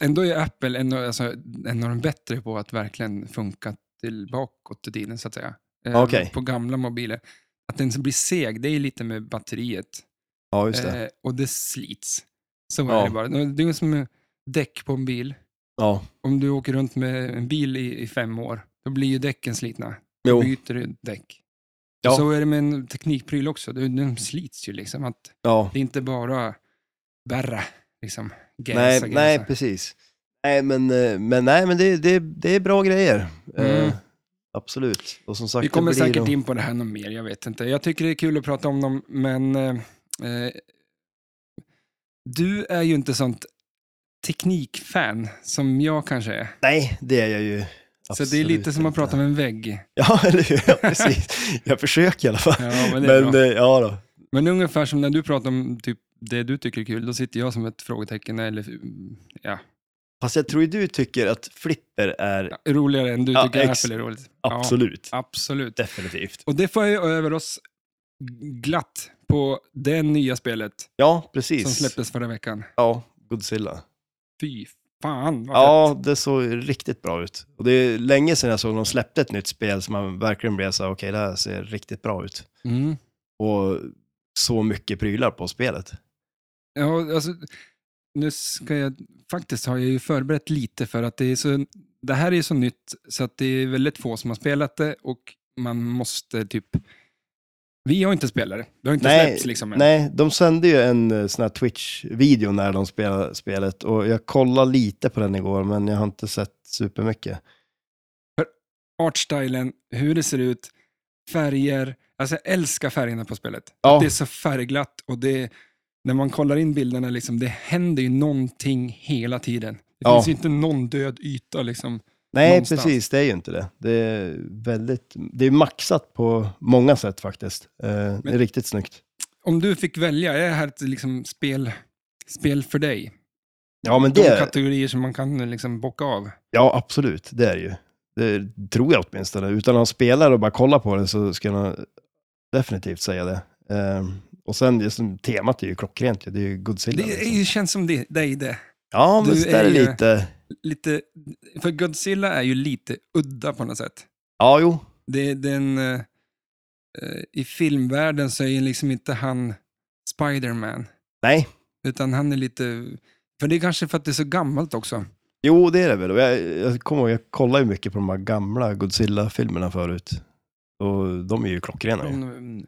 [SPEAKER 1] ändå är Apple en, av- alltså, en av de bättre på att verkligen funka till bakåt i tiden, så att säga. Eh,
[SPEAKER 2] Okej.
[SPEAKER 1] På gamla mobiler. Att den blir seg, det är ju lite med batteriet.
[SPEAKER 2] Ja, just det.
[SPEAKER 1] Eh, och det slits. Så
[SPEAKER 2] Ja.
[SPEAKER 1] är det bara. Det är som eh, däck på en bil.
[SPEAKER 2] Ja,
[SPEAKER 1] Om du åker runt med en bil i, i fem år, då blir ju däcken slitna. Då
[SPEAKER 2] jo.
[SPEAKER 1] byter du däck.
[SPEAKER 2] Ja.
[SPEAKER 1] Och Så är det med en teknikpryl också. Det- Den slits ju liksom. Att
[SPEAKER 2] Ja.
[SPEAKER 1] det är inte bara bärra, liksom. Gänsa,
[SPEAKER 2] Nej,
[SPEAKER 1] gänsa.
[SPEAKER 2] nej, precis. Nej, men, eh, men, nej, men det, det, det är bra grejer.
[SPEAKER 1] Mm.
[SPEAKER 2] Eh, absolut. Och som sagt,
[SPEAKER 1] Vi kommer
[SPEAKER 2] det blir
[SPEAKER 1] säkert
[SPEAKER 2] de-
[SPEAKER 1] in på det här något mer, jag vet inte. Jag tycker det är kul att prata om dem, men eh, eh, du är ju inte sånt teknikfan som jag kanske är.
[SPEAKER 2] Nej, det är jag ju.
[SPEAKER 1] så det är
[SPEAKER 2] absolut
[SPEAKER 1] lite som att
[SPEAKER 2] inte.
[SPEAKER 1] prata med en vägg.
[SPEAKER 2] Ja, eller hur? Ja, precis. Jag försöker i alla fall.
[SPEAKER 1] Ja, men, det är
[SPEAKER 2] Men,
[SPEAKER 1] bra.
[SPEAKER 2] eh, ja då.
[SPEAKER 1] men ungefär som när du pratar om typ, det du tycker är kul, då sitter jag som ett frågetecken. Eller, mm, ja,
[SPEAKER 2] Fast jag tror ju du tycker att flipper är
[SPEAKER 1] roligare än du
[SPEAKER 2] Ja,
[SPEAKER 1] tycker
[SPEAKER 2] ex-
[SPEAKER 1] Apple är roligt.
[SPEAKER 2] absolut,
[SPEAKER 1] Ja, absolut.
[SPEAKER 2] definitivt.
[SPEAKER 1] Och det får jag ju över oss glatt på det nya spelet
[SPEAKER 2] Ja,
[SPEAKER 1] som
[SPEAKER 2] precis.
[SPEAKER 1] släpptes förra veckan.
[SPEAKER 2] Ja, Godzilla.
[SPEAKER 1] Fy fan vad fett.
[SPEAKER 2] Ja, det såg riktigt bra ut. Och det är länge sedan jag såg de släppte ett nytt spel som man verkligen blev så här, okej, det här ser riktigt bra ut.
[SPEAKER 1] Mm.
[SPEAKER 2] Och så mycket prylar på spelet.
[SPEAKER 1] Ja, alltså, nu ska jag, faktiskt har jag ju förberett lite för att det är så, det här är ju så nytt så att det är väldigt få som har spelat det och man måste typ, vi har inte spelat det, det har inte
[SPEAKER 2] Nej,
[SPEAKER 1] släppts liksom än.
[SPEAKER 2] Nej, de sände ju en eh, sån här Twitch-video när de spelade spelet och jag kollade lite på den igår, men jag har inte sett supermycket.
[SPEAKER 1] Artstylen, hur det ser ut, färger, alltså jag älskar färgerna på spelet.
[SPEAKER 2] Ja.
[SPEAKER 1] Det är så färgglatt och det, när man kollar in bilderna, liksom, det händer ju någonting hela tiden. Det
[SPEAKER 2] Ja.
[SPEAKER 1] finns ju inte någon död yta liksom.
[SPEAKER 2] Nej,
[SPEAKER 1] Någonstans.
[SPEAKER 2] precis. Det är ju inte det. Det är väldigt, det är maxat på många sätt faktiskt. Eh, det är
[SPEAKER 1] Men-
[SPEAKER 2] riktigt snyggt.
[SPEAKER 1] Om du fick välja, är det här ett liksom, spel, spel för dig?
[SPEAKER 2] Ja, men
[SPEAKER 1] de
[SPEAKER 2] det,
[SPEAKER 1] kategorier som man kan liksom bocka av.
[SPEAKER 2] ja, absolut. Det är det ju. Det tror jag åtminstone. Utan att spela och bara kolla på det så ska jag nog definitivt säga det. Eh, och sen, just, temat är ju klockrent. ju. Det är ju Godzilla.
[SPEAKER 1] Det
[SPEAKER 2] liksom.
[SPEAKER 1] är, ju- känns som det, dig det.
[SPEAKER 2] Ja, men
[SPEAKER 1] du
[SPEAKER 2] så där
[SPEAKER 1] är
[SPEAKER 2] är
[SPEAKER 1] ju-
[SPEAKER 2] lite...
[SPEAKER 1] Lite, för Godzilla är ju lite udda på något sätt.
[SPEAKER 2] Ja, jo.
[SPEAKER 1] Det, den, eh, eh, I filmvärlden så är ju liksom inte han Spider-Man,
[SPEAKER 2] Nej.
[SPEAKER 1] utan han är lite... För det är kanske för att det är så gammalt också.
[SPEAKER 2] Jo, det är det väl. Och Jag, jag kommer ihåg, jag kollade ju mycket på de här gamla Godzilla-filmerna förut. Och de är ju klockrena. Ju.
[SPEAKER 1] Från mm,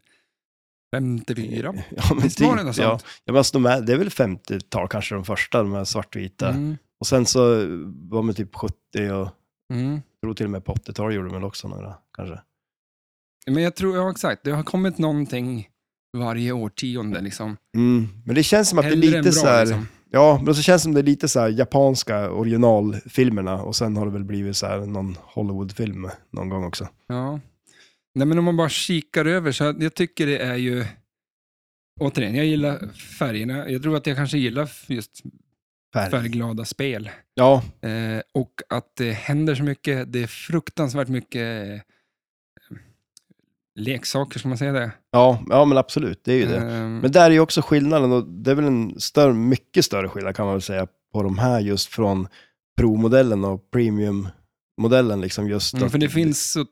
[SPEAKER 1] 54.
[SPEAKER 2] Ja, men
[SPEAKER 1] Visst var det
[SPEAKER 2] typ,
[SPEAKER 1] något
[SPEAKER 2] ja.
[SPEAKER 1] sånt?
[SPEAKER 2] Ja, men alltså de här, det är väl 50-tal kanske de första, de här svartvita.
[SPEAKER 1] Mm,
[SPEAKER 2] Och sen så var man typ 70 och jag
[SPEAKER 1] mm.
[SPEAKER 2] tror till och med på 80-tal gjorde de väl också några kanske.
[SPEAKER 1] Men jag tror, ja exakt, det har kommit någonting varje årtionde liksom.
[SPEAKER 2] Men det känns som att det
[SPEAKER 1] Hellre
[SPEAKER 2] är
[SPEAKER 1] än
[SPEAKER 2] lite
[SPEAKER 1] bra,
[SPEAKER 2] så här,
[SPEAKER 1] liksom.
[SPEAKER 2] ja, men så känns det som det är lite så här japanska originalfilmerna och sen har det väl blivit så här någon Hollywoodfilm någon gång också.
[SPEAKER 1] Ja. Nej, men om man bara kikar över så jag tycker det är ju... Återigen, jag gillar färgerna. Jag tror att jag kanske gillar just
[SPEAKER 2] Färg.
[SPEAKER 1] färgglada spel.
[SPEAKER 2] Ja,
[SPEAKER 1] Eh, och att det händer så mycket. Det är fruktansvärt mycket eh, leksaker, ska man säga det?
[SPEAKER 2] ja, ja, men absolut, det är ju det.
[SPEAKER 1] Ehm,
[SPEAKER 2] Men där är ju också skillnaden, och det är väl en större, mycket större skillnad kan man väl säga på de här just från Pro-modellen och Premium-modellen. Liksom just
[SPEAKER 1] mm,
[SPEAKER 2] att
[SPEAKER 1] för det finns så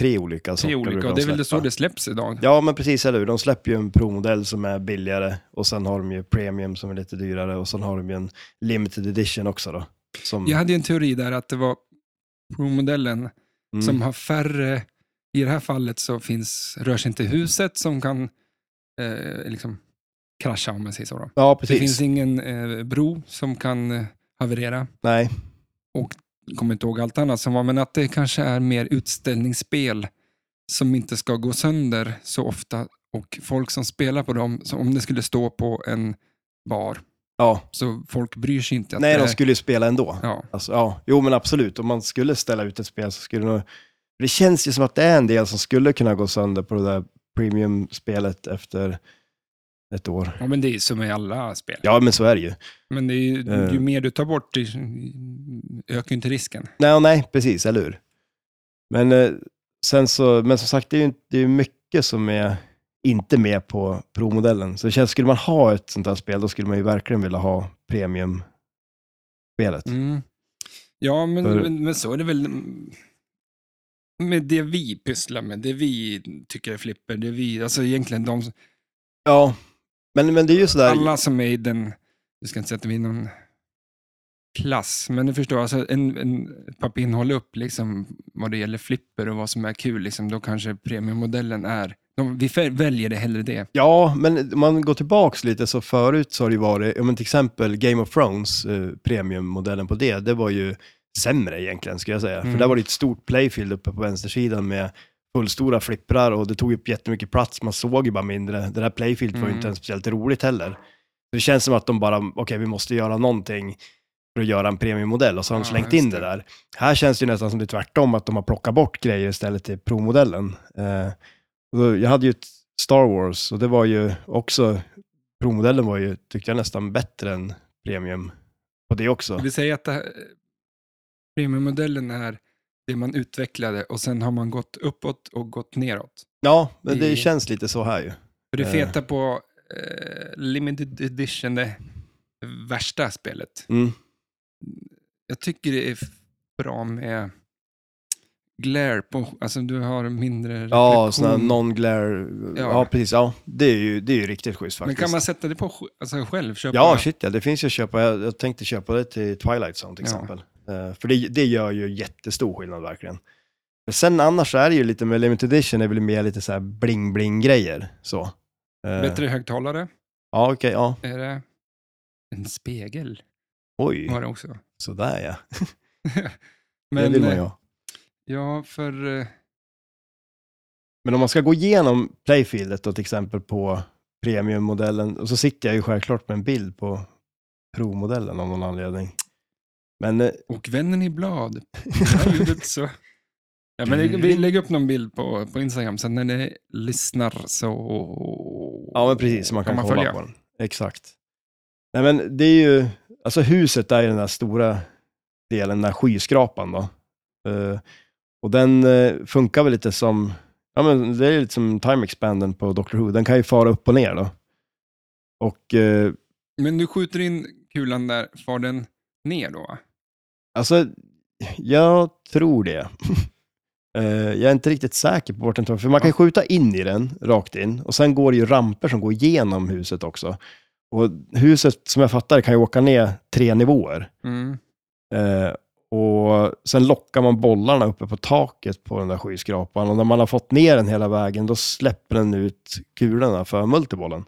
[SPEAKER 2] tre olika
[SPEAKER 1] Tre olika,
[SPEAKER 2] brukar
[SPEAKER 1] och
[SPEAKER 2] de
[SPEAKER 1] det är väl det så
[SPEAKER 2] släppa.
[SPEAKER 1] det släpps idag.
[SPEAKER 2] Ja, men precis, eller hur? De släpper ju en provmodell som är billigare och sen har de ju premium som är lite dyrare och sen har de ju en limited edition också då. Som,
[SPEAKER 1] Jag hade ju en teori där att det var Pro-modellen
[SPEAKER 2] mm,
[SPEAKER 1] som har färre, i det här fallet så finns, rör sig inte huset som kan eh, liksom krascha om man säger så. Då.
[SPEAKER 2] ja,
[SPEAKER 1] Det
[SPEAKER 2] precis.
[SPEAKER 1] finns ingen eh, bro som kan eh, haverera.
[SPEAKER 2] Nej,
[SPEAKER 1] Jag kommer inte ihåg allt annat som var, men att det kanske är mer utställningsspel som inte ska gå sönder så ofta och folk som spelar på dem, så om det skulle stå på en bar,
[SPEAKER 2] ja.
[SPEAKER 1] så folk bryr sig inte. Att
[SPEAKER 2] Nej
[SPEAKER 1] det
[SPEAKER 2] de
[SPEAKER 1] är,
[SPEAKER 2] skulle ju spela ändå.
[SPEAKER 1] ja.
[SPEAKER 2] Alltså, ja, jo men absolut, om man skulle ställa ut ett spel så skulle det nog... Det känns ju som att det är en del som skulle kunna gå sönder på det där premium-spelet efter ett år.
[SPEAKER 1] ja, men det är ju som i alla spel.
[SPEAKER 2] Ja, men så är det ju.
[SPEAKER 1] Men det är ju,
[SPEAKER 2] Eh.
[SPEAKER 1] ju mer du tar bort, det ökar ju inte risken.
[SPEAKER 2] Nej, och nej, precis, eller hur? Men, eh, sen så, men som sagt, det är ju inte- det är ju mycket som är inte med på provmodellen. Så det känns, skulle man ha ett sånt här spel, då skulle man ju verkligen vilja ha premium-spelet.
[SPEAKER 1] Mm. Ja, men,
[SPEAKER 2] För-
[SPEAKER 1] men, men så är det väl mm, med det vi pysslar med, det vi tycker är flipper, det vi, alltså egentligen de,
[SPEAKER 2] Ja, men, men det är ju sådär...
[SPEAKER 1] alla som är i den, jag ska inte säga att vi är någon klass, men du förstår, alltså en, en ett pappin håller upp liksom vad det gäller flipper och vad som är kul, liksom, då kanske premiummodellen är, de, vi fär- väljer det hellre det.
[SPEAKER 2] Ja, men om man går tillbaks lite så förut så har det ju varit, ja, men till exempel Game of Thrones, eh, premiummodellen på det, det var ju sämre egentligen skulle jag säga.
[SPEAKER 1] Mm.
[SPEAKER 2] För där var det ett stort playfield uppe på vänstersidan med fullstora flipprar och det tog upp jättemycket plats, man såg ju bara mindre. Det där playfieldet var ju
[SPEAKER 1] Mm.
[SPEAKER 2] inte ens speciellt roligt heller. Det känns som att de bara, okej vi måste göra någonting för att göra en premiummodell och så har de
[SPEAKER 1] Ja,
[SPEAKER 2] slängt
[SPEAKER 1] just
[SPEAKER 2] in det
[SPEAKER 1] det.
[SPEAKER 2] där. Här känns det ju nästan som det är tvärtom, att de har plockat bort grejer istället till provmodellen. Eh, och då- jag hade ju ett Star Wars och det var ju också, provmodellen var ju, tyckte jag nästan bättre än premium på det också.
[SPEAKER 1] Vi säger att det här, premiummodellen är det man utvecklade och sen har man gått uppåt och gått neråt.
[SPEAKER 2] Ja, men det
[SPEAKER 1] I-
[SPEAKER 2] känns lite så här ju.
[SPEAKER 1] För det
[SPEAKER 2] Eh.
[SPEAKER 1] feta på eh, limited edition, det värsta spelet.
[SPEAKER 2] Mm.
[SPEAKER 1] Jag tycker det är f- bra med glare på, alltså du har mindre
[SPEAKER 2] Ja,
[SPEAKER 1] reflektion.
[SPEAKER 2] sådana non-glare, ja.
[SPEAKER 1] Ja.
[SPEAKER 2] precis, ja, det är ju, det är ju riktigt schysst
[SPEAKER 1] Men
[SPEAKER 2] faktiskt.
[SPEAKER 1] kan man sätta det på sj- alltså själv? Köpa?
[SPEAKER 2] Ja, shit ja, det finns ju att köpa, jag, jag tänkte köpa det till Twilight Zone till
[SPEAKER 1] Ja.
[SPEAKER 2] exempel. Eh, för det, det gör ju jättestor skillnad verkligen. Men sen annars är det ju lite med limited edition, är väl mer lite så här bling-bling-grejer. Så. Eh,
[SPEAKER 1] Bättre högtalare?
[SPEAKER 2] Ja, okej, ja.
[SPEAKER 1] Är det en spegel?
[SPEAKER 2] Oj,
[SPEAKER 1] Var det också.
[SPEAKER 2] sådär ja.
[SPEAKER 1] Men,
[SPEAKER 2] det vill man ju
[SPEAKER 1] eh,
[SPEAKER 2] ha.
[SPEAKER 1] Ja, för... eh,
[SPEAKER 2] Men om man ska gå igenom playfieldet då till exempel på premiummodellen, och så sitter jag ju självklart med en bild på provmodellen av någon anledning. Men eh,
[SPEAKER 1] Och vännen i blad. Det här ljudet så... Ja, men det-
[SPEAKER 2] Mm.
[SPEAKER 1] vi lägger upp någon bild på, på Instagram, sen när ni lyssnar så...
[SPEAKER 2] Ja, men precis. så Man kan,
[SPEAKER 1] man
[SPEAKER 2] kolla
[SPEAKER 1] följa.
[SPEAKER 2] på den. Exakt. Nej, men det är ju, alltså huset är ju den där stora delen, den där skyskrapan då. Eh, och den eh, funkar väl lite som, ja men det är lite som time expanden på Doctor Who. Den kan ju fara upp och ner då. Och eh,
[SPEAKER 1] Men du skjuter in kulan där, far den ner då? va?
[SPEAKER 2] alltså, jag tror det. Eh, jag är inte riktigt säker på vart den tar, för man kan ju skjuta in i den, rakt in, och sen går det ju ramper som går igenom huset också. Och huset, som jag fattar kan ju åka ner tre nivåer.
[SPEAKER 1] Mm.
[SPEAKER 2] Eh, och sen lockar man bollarna uppe på taket på den där skyskrapan. Och när man har fått ner den hela vägen, då släpper den ut kulorna för multibollen.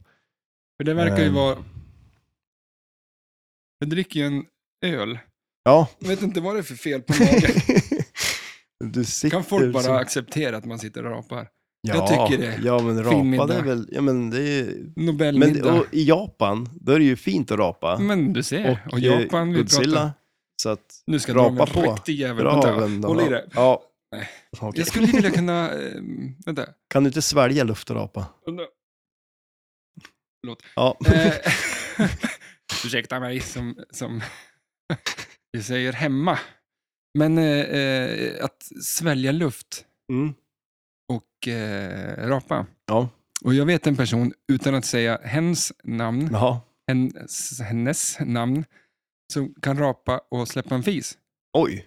[SPEAKER 1] För det verkar ju
[SPEAKER 2] Ehm.
[SPEAKER 1] vara... Jag dricker ju en öl.
[SPEAKER 2] Ja.
[SPEAKER 1] Jag vet inte vad det är för fel på magen.
[SPEAKER 2] du sitter
[SPEAKER 1] Kan folk bara
[SPEAKER 2] som-
[SPEAKER 1] acceptera att man sitter och rapar?
[SPEAKER 2] ja,
[SPEAKER 1] jag tycker det.
[SPEAKER 2] Ja, men
[SPEAKER 1] Fin
[SPEAKER 2] rapade
[SPEAKER 1] middag.
[SPEAKER 2] är väl... Ja, men det är ju... Men det-
[SPEAKER 1] Nobelmiddag.
[SPEAKER 2] och i Japan, då är det ju fint att rapa.
[SPEAKER 1] Men, du ser, och,
[SPEAKER 2] eh,
[SPEAKER 1] Japan vi pratar.
[SPEAKER 2] Godzilla. Så att,
[SPEAKER 1] Nu ska jag
[SPEAKER 2] Rapa
[SPEAKER 1] dra mig
[SPEAKER 2] på.
[SPEAKER 1] en riktig jävel.
[SPEAKER 2] bra
[SPEAKER 1] Vänta,
[SPEAKER 2] vän. då.
[SPEAKER 1] Håll i det.
[SPEAKER 2] Ja.
[SPEAKER 1] Nej.
[SPEAKER 2] Okej.
[SPEAKER 1] Jag skulle vilja kunna... ehm, vänta.
[SPEAKER 2] Kan du inte svälja luft och rapa? Ja.
[SPEAKER 1] Eh, ursäkta mig som, som vi säger hemma. Men eh, eh, att svälja luft
[SPEAKER 2] Mm.
[SPEAKER 1] och eh, rapa.
[SPEAKER 2] Ja.
[SPEAKER 1] Och jag vet en person, utan att säga hens namn,
[SPEAKER 2] Jaha.
[SPEAKER 1] hennes, hennes namn, som kan rapa och släppa en fis.
[SPEAKER 2] Oj.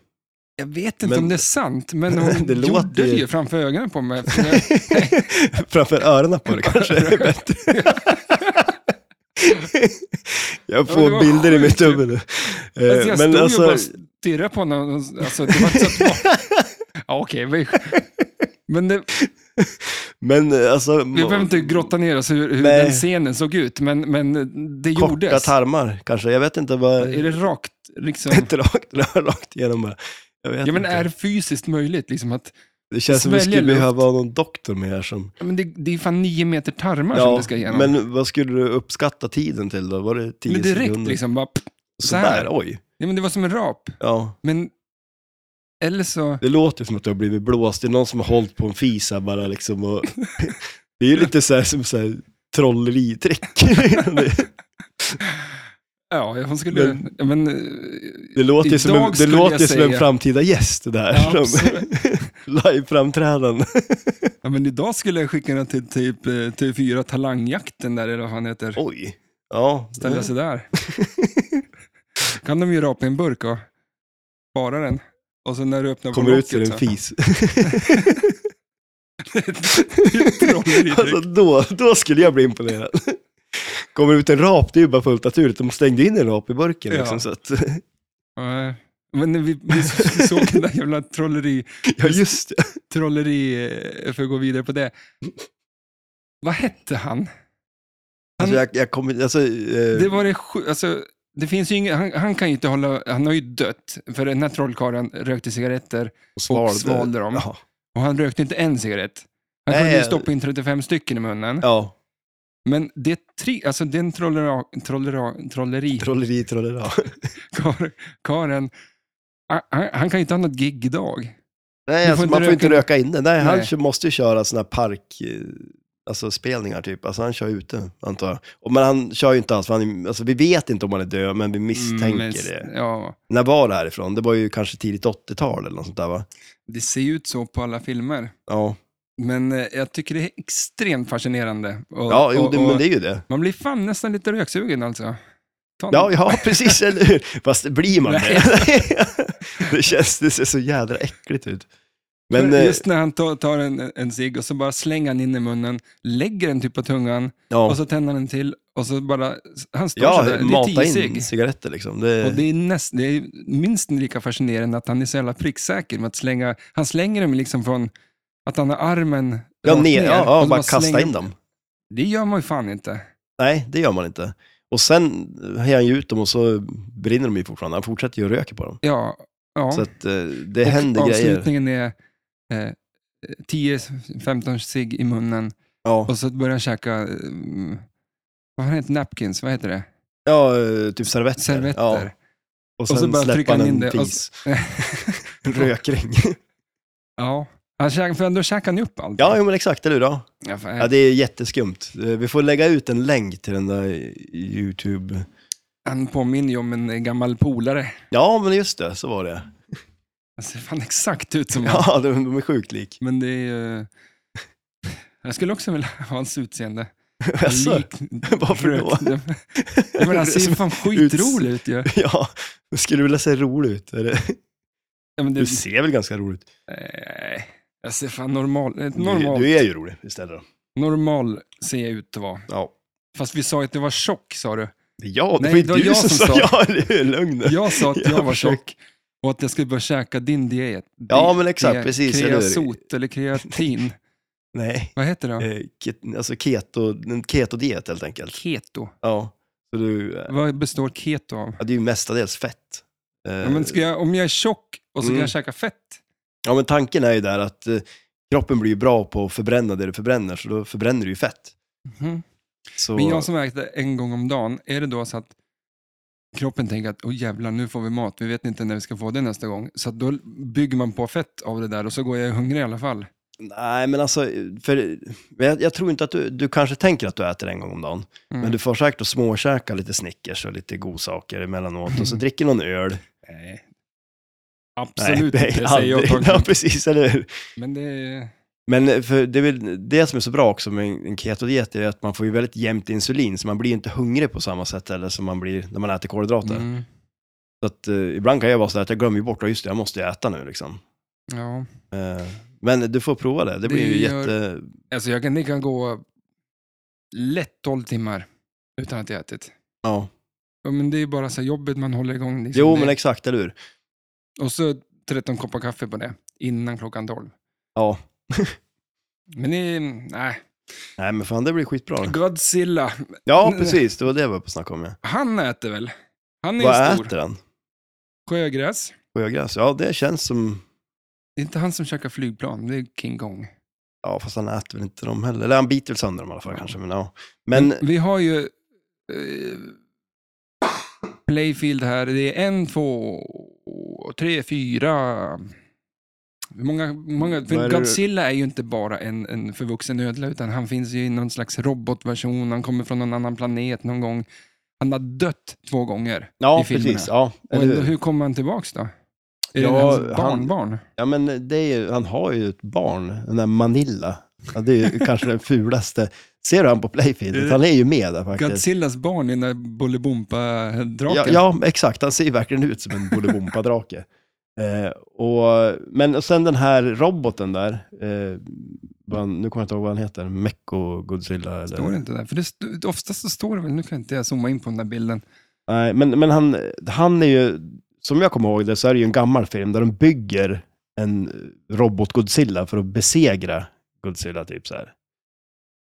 [SPEAKER 1] Jag vet inte
[SPEAKER 2] Men-
[SPEAKER 1] om det är sant, men hon
[SPEAKER 2] Det
[SPEAKER 1] gjorde
[SPEAKER 2] låter
[SPEAKER 1] det
[SPEAKER 2] ju-
[SPEAKER 1] ju framför ögonen på mig. eftersom jag-
[SPEAKER 2] Framför öronen på det kanske är bättre. Jag
[SPEAKER 1] Ja, men det
[SPEAKER 2] får
[SPEAKER 1] var
[SPEAKER 2] bilder i mitt
[SPEAKER 1] sjukt.
[SPEAKER 2] huvud nu.
[SPEAKER 1] Alltså,
[SPEAKER 2] Eh,
[SPEAKER 1] jag
[SPEAKER 2] Men
[SPEAKER 1] stod ju och
[SPEAKER 2] alltså,
[SPEAKER 1] bara stirrade på honom. och- Alltså, det var inte så att, ja, okej, vi, men det,
[SPEAKER 2] men eh, alltså,
[SPEAKER 1] vi behöver inte grotta ner oss hur, hur
[SPEAKER 2] Nej.
[SPEAKER 1] den scenen såg ut, men, men det
[SPEAKER 2] korta
[SPEAKER 1] gjordes.
[SPEAKER 2] tarmar kanske. Jag vet inte vad...
[SPEAKER 1] Är det rakt? Liksom?
[SPEAKER 2] Inte rakt, rakt- rakt igenom bara. Jag vet
[SPEAKER 1] Ja, men
[SPEAKER 2] inte.
[SPEAKER 1] är det fysiskt möjligt? Liksom att,
[SPEAKER 2] det känns som vi
[SPEAKER 1] svälja
[SPEAKER 2] skulle
[SPEAKER 1] luft?
[SPEAKER 2] behöva ha någon doktor med här som...
[SPEAKER 1] ja, men det, det är fan nio meter tarmar som det ska igenom.
[SPEAKER 2] men vad skulle du uppskatta tiden till då? Var det 10
[SPEAKER 1] Men direkt
[SPEAKER 2] sekunder?
[SPEAKER 1] liksom bara... pff, så här.
[SPEAKER 2] Sådär, oj.
[SPEAKER 1] Ja, men det var som en rap.
[SPEAKER 2] Ja.
[SPEAKER 1] Men... Eller så...
[SPEAKER 2] Det låter ju som att du har blivit blåst. Det är någon som har hållit på en fis här bara liksom. Och... Det är ju lite så här som så här trolleritrick. Det-
[SPEAKER 1] Ja, hon skulle... Men, men, eh,
[SPEAKER 2] Det låter ju som,
[SPEAKER 1] Idag
[SPEAKER 2] en, det
[SPEAKER 1] skulle
[SPEAKER 2] låter ju
[SPEAKER 1] jag
[SPEAKER 2] som en
[SPEAKER 1] säga-
[SPEAKER 2] framtida gäst det där.
[SPEAKER 1] Ja,
[SPEAKER 2] som Live-framträdande.
[SPEAKER 1] ja, men idag skulle jag skicka den till typ eh, TV4 Talangjakten där, eller vad han heter.
[SPEAKER 2] Oj. Ja.
[SPEAKER 1] Ställa sig där. kan de ju rapa i en burk och spara den. Och så när du öppnar
[SPEAKER 2] Kommer
[SPEAKER 1] på
[SPEAKER 2] ut till en fis.
[SPEAKER 1] Trolleritrick.
[SPEAKER 2] Alltså då, då skulle jag bli imponerad. Kommer ut en rap, det är ju bara fullt naturligt. De stängde in en rap i burken
[SPEAKER 1] Ja.
[SPEAKER 2] liksom. Så att,
[SPEAKER 1] Ja, Men vi, vi såg den där jävla trolleri...
[SPEAKER 2] ja, just det.
[SPEAKER 1] trolleri, eh, för att gå vidare på det. Vad hette han?
[SPEAKER 2] Eh. Alltså, jag, jag kommer, alltså, eh,
[SPEAKER 1] Det var det sju- alltså, det finns ju ingen, han, han kan ju inte hålla, han har ju dött, för den här trollkarlen rökte cigaretter och svalde dem.
[SPEAKER 2] Ja.
[SPEAKER 1] Och han rökte inte en cigarett. Han
[SPEAKER 2] Nej,
[SPEAKER 1] kunde ju
[SPEAKER 2] jag-
[SPEAKER 1] stoppa in 35 stycken i munnen.
[SPEAKER 2] ja.
[SPEAKER 1] Men det tre, alltså den trollera, trollera, trolleri
[SPEAKER 2] Trolleri, trollera.
[SPEAKER 1] kar- karlen, han, han- han kan ju inte ha något gig idag.
[SPEAKER 2] Nej,
[SPEAKER 1] Du
[SPEAKER 2] alltså,
[SPEAKER 1] får
[SPEAKER 2] man
[SPEAKER 1] inte
[SPEAKER 2] får inte
[SPEAKER 1] röka-
[SPEAKER 2] röka inne. Nej, han
[SPEAKER 1] Nej.
[SPEAKER 2] kö- måste ju köra såna här park... eh, Alltså spelningar typ, alltså han kör ute antar jag. Och, men han kör ju inte alls, för han, är- alltså, vi vet inte om han är död, men vi misstänker
[SPEAKER 1] Mm, Men s-
[SPEAKER 2] det.
[SPEAKER 1] Ja,
[SPEAKER 2] När var det härifrån? Det var ju kanske tidigt 80-tal eller något sånt där va?
[SPEAKER 1] det ser ju ut så på alla filmer.
[SPEAKER 2] Ja,
[SPEAKER 1] Men eh, jag tycker det är extremt fascinerande. Och,
[SPEAKER 2] ja jo,
[SPEAKER 1] och,
[SPEAKER 2] det,
[SPEAKER 1] och,
[SPEAKER 2] men det är ju det.
[SPEAKER 1] Man blir fan nästan lite röksugen alltså. Ta
[SPEAKER 2] Ja,
[SPEAKER 1] en-
[SPEAKER 2] ja, precis, eller hur? Fast det blir man
[SPEAKER 1] Nej.
[SPEAKER 2] det. det känns, det ser så jädra äckligt ut. Men,
[SPEAKER 1] För
[SPEAKER 2] eh,
[SPEAKER 1] just när han tar, tar en, en cigg och så bara slänger han in i munnen, lägger den typ på tungan och
[SPEAKER 2] ja,
[SPEAKER 1] så tänder han en till och så bara, han står
[SPEAKER 2] ja
[SPEAKER 1] sådär, alltså, det är
[SPEAKER 2] mata
[SPEAKER 1] tio
[SPEAKER 2] in
[SPEAKER 1] cigg.
[SPEAKER 2] cigaretter liksom. Det,
[SPEAKER 1] Och det är, näst, det är minst lika fascinerande att han är så jävla pricksäker med att slänga, han slänger dem liksom från att han har armen
[SPEAKER 2] ja,
[SPEAKER 1] rakt
[SPEAKER 2] ner, ja,
[SPEAKER 1] och
[SPEAKER 2] ja,
[SPEAKER 1] så
[SPEAKER 2] bara kasta
[SPEAKER 1] slänger-
[SPEAKER 2] in dem.
[SPEAKER 1] Det gör man ju fan inte.
[SPEAKER 2] Nej, det gör man inte. Och sen hejar han ju ut dem och så brinner de ju fortfarande. Han fortsätter ju och röker på dem.
[SPEAKER 1] Ja, ja.
[SPEAKER 2] Så att eh, det
[SPEAKER 1] och
[SPEAKER 2] händer grejer.
[SPEAKER 1] avslutningen är eh, 10-15 cigg i munnen
[SPEAKER 2] Ja,
[SPEAKER 1] och så börjar han käka, mm, vad heter napkins, vad heter det?
[SPEAKER 2] ja eh, typ servetter.
[SPEAKER 1] Servetter.
[SPEAKER 2] Ja. Och sen
[SPEAKER 1] så bara trycker
[SPEAKER 2] släpper
[SPEAKER 1] han
[SPEAKER 2] han
[SPEAKER 1] in
[SPEAKER 2] en
[SPEAKER 1] det Alltså, och-
[SPEAKER 2] fis. Rökring.
[SPEAKER 1] ja, han käkar, för då käkar han ju upp allt.
[SPEAKER 2] ja, jo, men exakt, eller hur? Då?
[SPEAKER 1] Ja, fan,
[SPEAKER 2] Ja, det är jätteskumt. Eh, Vi får lägga ut en länk till den där YouTube...
[SPEAKER 1] Han påminner ju om en eh, gammal polare.
[SPEAKER 2] Ja, men just det, så var det.
[SPEAKER 1] Han ser fan exakt ut som han.
[SPEAKER 2] Ja, de, de är sjukt lik.
[SPEAKER 1] Men det är ju... Jag skulle också vilja ha hans utseende.
[SPEAKER 2] Alltså, varför då?
[SPEAKER 1] Jag menar, han ser ju fan skitrolig ut ju.
[SPEAKER 2] ja, jag skulle vilja se rolig ut. Är det-
[SPEAKER 1] Ja, men det,
[SPEAKER 2] Du ser väl ganska rolig ut?
[SPEAKER 1] nej, jag ser fan normal, ett
[SPEAKER 2] Du,
[SPEAKER 1] normal,
[SPEAKER 2] du är ju rolig istället. Då.
[SPEAKER 1] normal ser jag ut att vara.
[SPEAKER 2] Ja.
[SPEAKER 1] Fast vi sa ju att det var tjock, sa du.
[SPEAKER 2] Ja, det
[SPEAKER 1] Nej,
[SPEAKER 2] var inte
[SPEAKER 1] det var
[SPEAKER 2] du
[SPEAKER 1] jag
[SPEAKER 2] som
[SPEAKER 1] som
[SPEAKER 2] sa
[SPEAKER 1] sa.
[SPEAKER 2] ja, eller hur? Lugn nu.
[SPEAKER 1] Jag sa att jag,
[SPEAKER 2] Jag
[SPEAKER 1] var
[SPEAKER 2] försöker-
[SPEAKER 1] tjock och att jag skulle börja käka din diet.
[SPEAKER 2] Ja,
[SPEAKER 1] Di-
[SPEAKER 2] men exakt,
[SPEAKER 1] di-
[SPEAKER 2] precis, eller hur?
[SPEAKER 1] Kreasot eller kreatin.
[SPEAKER 2] Nej,
[SPEAKER 1] Vad heter det?
[SPEAKER 2] eh, ke- alltså keto, en ketodiet helt enkelt.
[SPEAKER 1] Keto.
[SPEAKER 2] Ja, så du, eh,
[SPEAKER 1] Vad består keto av?
[SPEAKER 2] ja, det är ju mestadels fett. Eh,
[SPEAKER 1] Ja, men ska jag, om jag är tjock och så kan
[SPEAKER 2] Mm.
[SPEAKER 1] jag käka fett,
[SPEAKER 2] ja, men tanken är ju där att eh, kroppen blir ju bra på att förbränna det du förbränner, så då förbränner du ju fett.
[SPEAKER 1] Mhm.
[SPEAKER 2] Så,
[SPEAKER 1] men jag som äter en gång om dagen, är det då så att kroppen tänker att åh jävlar, nu får vi mat, vi vet inte när vi ska få det nästa gång. Så att då bygger man på fett av det där och så går jag hungrig i alla fall.
[SPEAKER 2] Nej, men alltså, för, men jag, jag tror inte att du, du kanske tänker att du äter en gång om dagen,
[SPEAKER 1] Mm.
[SPEAKER 2] men du får säkert att småkäka lite Snickers och lite godsaker emellanåt,
[SPEAKER 1] Mm.
[SPEAKER 2] och så dricker någon öl.
[SPEAKER 1] Nej. Absolut
[SPEAKER 2] Nej,
[SPEAKER 1] inte,
[SPEAKER 2] nej,
[SPEAKER 1] säger jag.
[SPEAKER 2] aldrig. Ja,
[SPEAKER 1] tagen.
[SPEAKER 2] precis, eller hur?
[SPEAKER 1] Men det är...
[SPEAKER 2] Men eh, för det är väl det som är så bra också med en en ketodiet är att man får ju väldigt jämnt insulin, så man blir ju inte hungrig på samma sätt eller som man blir när man äter kolhydrater.
[SPEAKER 1] Mm.
[SPEAKER 2] Så Så att, eh, ibland kan jag vara så här att jag glömmer ju bort, "Ja, just det, jag måste ju äta nu liksom.
[SPEAKER 1] Ja.
[SPEAKER 2] Eh, men du får prova det, det blir ju
[SPEAKER 1] gör-
[SPEAKER 2] jätte...
[SPEAKER 1] Alltså jag kan, det kan gå lätt 12 timmar utan att jag ätit.
[SPEAKER 2] Ja.
[SPEAKER 1] Ja, men det är bara så här jobbet man håller igång. Liksom.
[SPEAKER 2] Jo,
[SPEAKER 1] Det-
[SPEAKER 2] men exakt, eller hur?
[SPEAKER 1] Och så 13 koppar kaffe på det innan klockan 12.
[SPEAKER 2] Ja.
[SPEAKER 1] Men det, nej.
[SPEAKER 2] Nej, men fan det blir skitbra.
[SPEAKER 1] Godzilla,
[SPEAKER 2] Ja, precis, det var det jag var på att snacka om. Ja.
[SPEAKER 1] han äter väl? Han är
[SPEAKER 2] Vad
[SPEAKER 1] ju stor.
[SPEAKER 2] äter han?
[SPEAKER 1] Sjögräs.
[SPEAKER 2] Sjögräs? Ja, det känns som...
[SPEAKER 1] Det är inte han som käkar flygplan, det är King Kong.
[SPEAKER 2] Ja, fast han äter väl inte dem heller. Eller han biter väl sönder dem i alla fall
[SPEAKER 1] Ja. Mm.
[SPEAKER 2] kanske. Men, ja.
[SPEAKER 1] Men,
[SPEAKER 2] men
[SPEAKER 1] vi har ju eh, Playfield här. Det är en, två, tre, fyra. Hur Många, många,
[SPEAKER 2] Vad
[SPEAKER 1] för
[SPEAKER 2] är det-
[SPEAKER 1] Godzilla är ju inte bara en, en förvuxen ödla, utan han finns ju i någon slags robotversion. Han kommer från någon annan planet någon gång. Han har dött två gånger.
[SPEAKER 2] ja,
[SPEAKER 1] i filmerna.
[SPEAKER 2] precis. Ja,
[SPEAKER 1] Och
[SPEAKER 2] eller
[SPEAKER 1] ändå,
[SPEAKER 2] hur?
[SPEAKER 1] hur kommer han tillbaks då? Är
[SPEAKER 2] Ja,
[SPEAKER 1] det hans
[SPEAKER 2] han-
[SPEAKER 1] barnbarn?
[SPEAKER 2] ja, men det är ju, han har ju ett barn, den där Manilla. Ja, det är ju kanske den fulaste. Ser du han på Playfield? Han är ju med där faktiskt.
[SPEAKER 1] Godzillas barn är den där Bolibompa-draken.
[SPEAKER 2] Ja, ja, exakt. Han ser ju verkligen ut som en Bolibompa-drake. Eh, och, men och sen den här roboten där, eh, vad han- nu kommer jag inte ihåg vad han heter, Mecko Godzilla eller?
[SPEAKER 1] Står det inte där? För det st- oftast så står det väl, nu kan inte jag zooma in på den där bilden.
[SPEAKER 2] Nej, men, men han, han är ju, som jag kommer ihåg det, så är det ju en gammal film där de bygger en robot Godzilla för att besegra Godzilla, typ så här.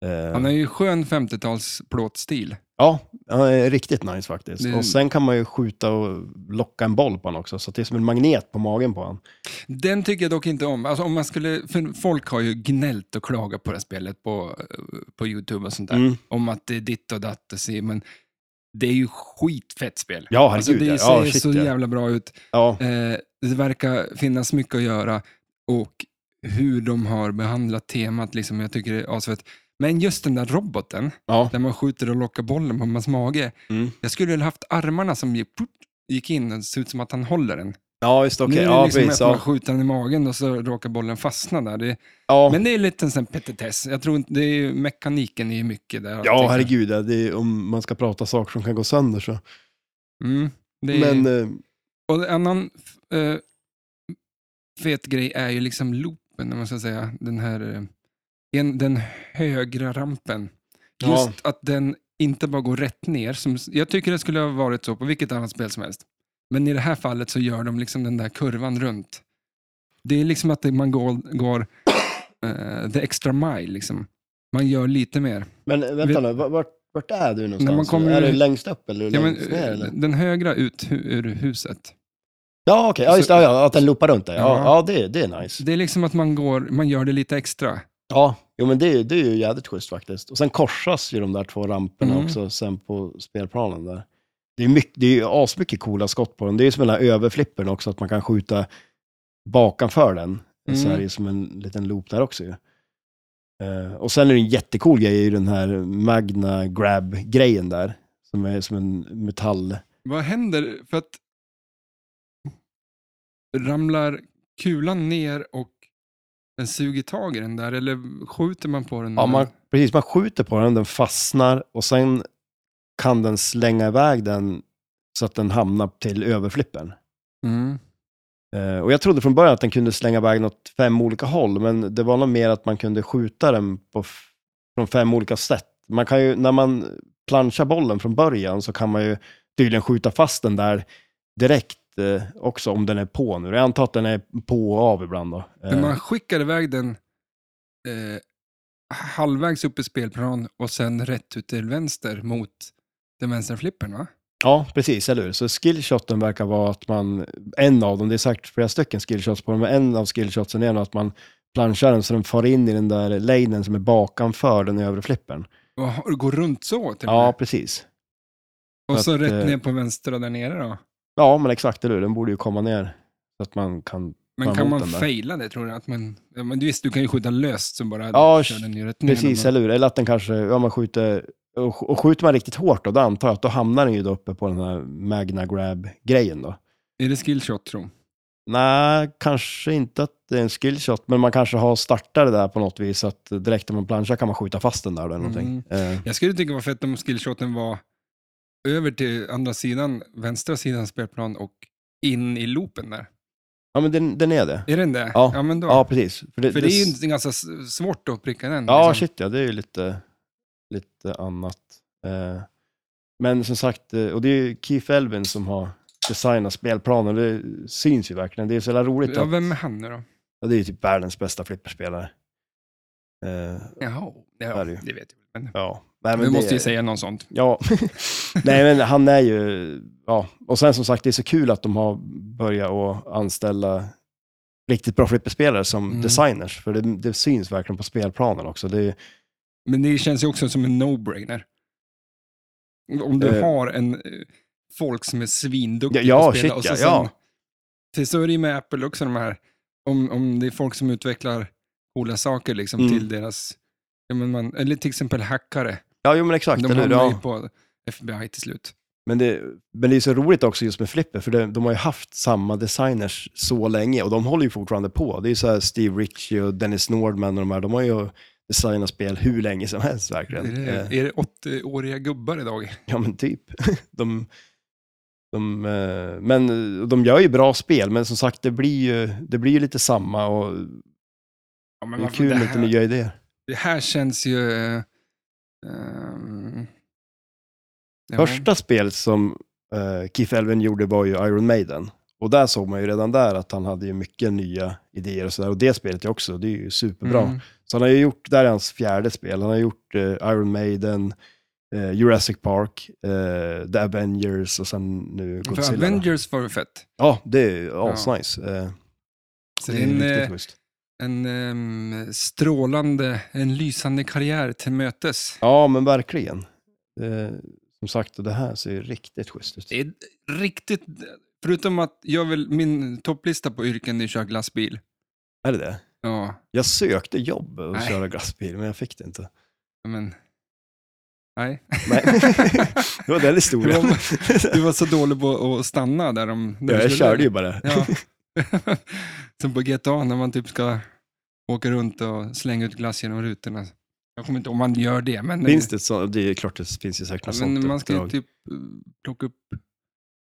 [SPEAKER 2] Eh,
[SPEAKER 1] Han har ju skön 50-tals plåtstil.
[SPEAKER 2] Ja, han är riktigt nice faktiskt.
[SPEAKER 1] Det-
[SPEAKER 2] Och sen kan man ju skjuta och locka en boll på honom också, så att det är som en magnet på magen på honom.
[SPEAKER 1] Den tycker jag dock inte om. Alltså om man skulle, för folk har ju gnällt och klagat på det här spelet på, eh, på YouTube och sånt där.
[SPEAKER 2] Mm.
[SPEAKER 1] Om att det är ditt och datt och se, men det är ju skitfett spel.
[SPEAKER 2] Ja, herregud.
[SPEAKER 1] Alltså det
[SPEAKER 2] ja.
[SPEAKER 1] ser
[SPEAKER 2] ja, shit,
[SPEAKER 1] så
[SPEAKER 2] ja.
[SPEAKER 1] jävla bra ut.
[SPEAKER 2] ja.
[SPEAKER 1] Eh, det verkar finnas mycket att göra och hur de har behandlat temat, liksom, jag tycker det är asfett. Men just den där roboten,
[SPEAKER 2] Ja.
[SPEAKER 1] där man skjuter och lockar bollen på hans mage.
[SPEAKER 2] Mm.
[SPEAKER 1] Jag skulle väl haft armarna som gick, put, gick in, det ser ut som att han håller den.
[SPEAKER 2] ja, just det,
[SPEAKER 1] nu
[SPEAKER 2] okej.
[SPEAKER 1] är det
[SPEAKER 2] Ja,
[SPEAKER 1] liksom
[SPEAKER 2] precis.
[SPEAKER 1] att man
[SPEAKER 2] Ja.
[SPEAKER 1] skjuter den i magen och så råkar bollen fastna där. Det,
[SPEAKER 2] Ja.
[SPEAKER 1] Men det är lite en sån petitess. Jag tror inte, det är ju, mekaniken är ju mycket där.
[SPEAKER 2] ja, herregud. Ja, det är, om man ska prata saker som kan gå sönder så.
[SPEAKER 1] Mm, det är,
[SPEAKER 2] Men, eh,
[SPEAKER 1] Och en annan eh, fet grej är ju liksom loopen, om man ska säga. Den här eh, en, den högra rampen.
[SPEAKER 2] Ja.
[SPEAKER 1] Just att den inte bara går rätt ner. Som, jag tycker det skulle ha varit så på vilket annat spel som helst. Men i det här fallet så gör de liksom den där kurvan runt. Det är liksom att det- man går, går eh, the extra mile. Liksom. Man gör lite mer.
[SPEAKER 2] men eh, vänta nu, va- vart, vart är du någonstans?
[SPEAKER 1] När man kommer-
[SPEAKER 2] Är det längst upp eller
[SPEAKER 1] Ja, men, eh,
[SPEAKER 2] längst ner? Eller?
[SPEAKER 1] den högra ut hu- ur huset.
[SPEAKER 2] Ja, okej. Ja, just det. Ja, ja, att den loopar runt där. Ja,
[SPEAKER 1] Ja.
[SPEAKER 2] ja det, det är nice.
[SPEAKER 1] Det är liksom att man, går, man gör det lite extra.
[SPEAKER 2] Ja, jo, men det, är- det är ju jävligt schysst faktiskt. Och sen korsas ju de där två ramperna
[SPEAKER 1] Mm.
[SPEAKER 2] också sen på spelplanen där. Det är, mycket, det är ju asmycket coola skott på den. Det är ju som den här överflippen också, att man kan skjuta bakanför den. Så är det ju som en liten loop där också ju. Eh, och sen är det en jättecool grej, i den här Magna Grab-grejen där. Som är som en metall...
[SPEAKER 1] Vad händer för att ramlar kulan ner och den suger tag i den där eller skjuter man på den?
[SPEAKER 2] Ja, man, Mm. precis. Man skjuter på den, den fastnar och sen kan den slänga iväg den så att den hamnar till överflippen.
[SPEAKER 1] Mm.
[SPEAKER 2] Eh, och jag trodde från början att den kunde slänga iväg åt fem olika håll, men det var nog mer att man kunde skjuta den på f- från fem olika sätt. Man kan ju, när man planchar bollen från början så kan man ju tydligen skjuta fast den där direkt eh, också om den är på nu. Jag antar att den är på och av ibland då. Eh,
[SPEAKER 1] Men man skickar iväg den eh, halvvägs upp i spelplan och sen rätt ut till vänster mot den vänstra flippen va?
[SPEAKER 2] Ja, precis, eller hur? Så skillshoten verkar vara att man, en av dem, det är säkert flera stycken skillshots på dem, men en av skillshotsen är nog att man planchar den så den far in i den där lanen som är bakanför den övre flippen.
[SPEAKER 1] Och och går runt så till och
[SPEAKER 2] Ja,
[SPEAKER 1] med.
[SPEAKER 2] precis.
[SPEAKER 1] Och så
[SPEAKER 2] att,
[SPEAKER 1] rätt
[SPEAKER 2] eh,
[SPEAKER 1] ner på vänstra där nere då.
[SPEAKER 2] Ja, men exakt, eller hur? Den borde ju komma ner så att man kan...
[SPEAKER 1] Men
[SPEAKER 2] man
[SPEAKER 1] kan
[SPEAKER 2] mot
[SPEAKER 1] man
[SPEAKER 2] den där.
[SPEAKER 1] faila det tror du? Att man, ja, men du, visst, du kan ju skjuta löst så bara
[SPEAKER 2] Ja,
[SPEAKER 1] kör den ju rätt ner.
[SPEAKER 2] Precis,
[SPEAKER 1] när man-
[SPEAKER 2] eller hur? Eller att den kanske, ja man skjuter, och, och skjuter man riktigt hårt då, då antar jag att då hamnar den ju då uppe på den här Magna Grab-grejen då.
[SPEAKER 1] Är det skillshot tror
[SPEAKER 2] Nej, kanske inte att det är en skillshot, men man kanske har startat det där på något vis, så att direkt när man planchar kan man skjuta fast den där eller någonting. Eh,
[SPEAKER 1] Jag skulle tycka det var fett om skillshoten var över till andra sidan, vänstra sidan spelplan och in i loopen där.
[SPEAKER 2] Ja, men den, den är det.
[SPEAKER 1] Är den det?
[SPEAKER 2] Ja.
[SPEAKER 1] men då.
[SPEAKER 2] Ja, precis. För det,
[SPEAKER 1] För det är
[SPEAKER 2] det-
[SPEAKER 1] ju inte- ganska s- svårt att pricka den.
[SPEAKER 2] Ja,
[SPEAKER 1] liksom.
[SPEAKER 2] shit ja, det är ju lite, lite annat. Eh, men som sagt, eh, och det är ju Keith Elvin som har designat spelplanen, det syns ju verkligen. Det är så jävla roligt.
[SPEAKER 1] Ja,
[SPEAKER 2] att,
[SPEAKER 1] vem är han nu då?
[SPEAKER 2] ja, det är ju typ världens bästa flipperspelare. Eh,
[SPEAKER 1] Jaha,
[SPEAKER 2] Så
[SPEAKER 1] ja,
[SPEAKER 2] är det
[SPEAKER 1] det
[SPEAKER 2] ju.
[SPEAKER 1] vet jag. väl, Men,
[SPEAKER 2] ja. Nej,
[SPEAKER 1] men du
[SPEAKER 2] det-
[SPEAKER 1] måste ju säga något sånt.
[SPEAKER 2] Ja. Nej, men han är ju... Ja. Och sen som sagt, det är så kul att de har börjat att anställa riktigt bra flipperspelare som
[SPEAKER 1] Mm.
[SPEAKER 2] designers, för det, det syns verkligen på spelplanen också. Det är,
[SPEAKER 1] Men det känns ju också som en no-brainer. Om du
[SPEAKER 2] Eh.
[SPEAKER 1] har en eh, folk som är svinduktiga
[SPEAKER 2] Ja, ja,
[SPEAKER 1] på att spela.
[SPEAKER 2] shit,
[SPEAKER 1] och så
[SPEAKER 2] ja,
[SPEAKER 1] sen-
[SPEAKER 2] ja.
[SPEAKER 1] Till så är det ju med Apple också de här, om, om det är folk som utvecklar coola saker liksom
[SPEAKER 2] Mm.
[SPEAKER 1] till deras, ja, men man, eller till exempel hackare.
[SPEAKER 2] ja, jo men exakt.
[SPEAKER 1] De
[SPEAKER 2] eller hur?
[SPEAKER 1] hamnar
[SPEAKER 2] ja.
[SPEAKER 1] ju på FBI till slut.
[SPEAKER 2] Men det, men det är så roligt också just med Flipper, för det, de har ju haft samma designers så länge och de håller ju fortfarande på. Det är ju så här Steve Ritchie och Dennis Nordman och de här, de har ju designat spel hur länge som helst verkligen.
[SPEAKER 1] Är
[SPEAKER 2] Eh,
[SPEAKER 1] det, är det 80-åriga gubbar idag?
[SPEAKER 2] Ja men typ. De, de, eh, men eh, de gör ju bra spel, men som sagt det blir ju, det blir ju lite samma och
[SPEAKER 1] Ja,
[SPEAKER 2] det
[SPEAKER 1] men
[SPEAKER 2] är
[SPEAKER 1] varför-
[SPEAKER 2] kul
[SPEAKER 1] det
[SPEAKER 2] med
[SPEAKER 1] här-
[SPEAKER 2] lite nya idéer.
[SPEAKER 1] Det här känns ju... eh, ehm, ja.
[SPEAKER 2] Första spelet som uh, Keith Elvin gjorde var ju Iron Maiden. Och där såg man ju redan där att han hade ju mycket nya idéer och sådär. Och det spelet är också, det är ju superbra.
[SPEAKER 1] Mm.
[SPEAKER 2] Så han har ju gjort, där är hans fjärde spel, han har gjort eh, Iron Maiden, eh, Jurassic Park, eh, The Avengers och sen nu
[SPEAKER 1] För
[SPEAKER 2] Godzilla.
[SPEAKER 1] Avengers var ju fett.
[SPEAKER 2] Ja, det är asnice. Eh,
[SPEAKER 1] Så
[SPEAKER 2] det
[SPEAKER 1] det
[SPEAKER 2] är
[SPEAKER 1] är en,
[SPEAKER 2] riktigt
[SPEAKER 1] eh,
[SPEAKER 2] schysst.
[SPEAKER 1] en ehm, strålande, en lysande karriär till mötes.
[SPEAKER 2] Ja, men verkligen. Eh, som sagt, det här ser ju riktigt schysst ut.
[SPEAKER 1] Det är riktigt... Förutom att jag vill, min topplista på yrken är att köra glassbil.
[SPEAKER 2] Är det det?
[SPEAKER 1] Ja,
[SPEAKER 2] Jag sökte jobb och
[SPEAKER 1] Nej.
[SPEAKER 2] köra glassbil, men jag fick det inte.
[SPEAKER 1] men... Nej.
[SPEAKER 2] Nej, det var den historien.
[SPEAKER 1] Det Du var så dålig på att stanna där de... Där
[SPEAKER 2] ja,
[SPEAKER 1] du
[SPEAKER 2] jag
[SPEAKER 1] skulle-
[SPEAKER 2] körde ju bara.
[SPEAKER 1] Ja. Som på GTA när man typ ska åka runt och slänga ut glass genom rutorna. Jag kommer inte ihåg om man gör det, men,
[SPEAKER 2] Finns det så, det är klart det finns ju säkert något sånt
[SPEAKER 1] men man ska ju
[SPEAKER 2] uppdrag.
[SPEAKER 1] typ eh, plocka upp...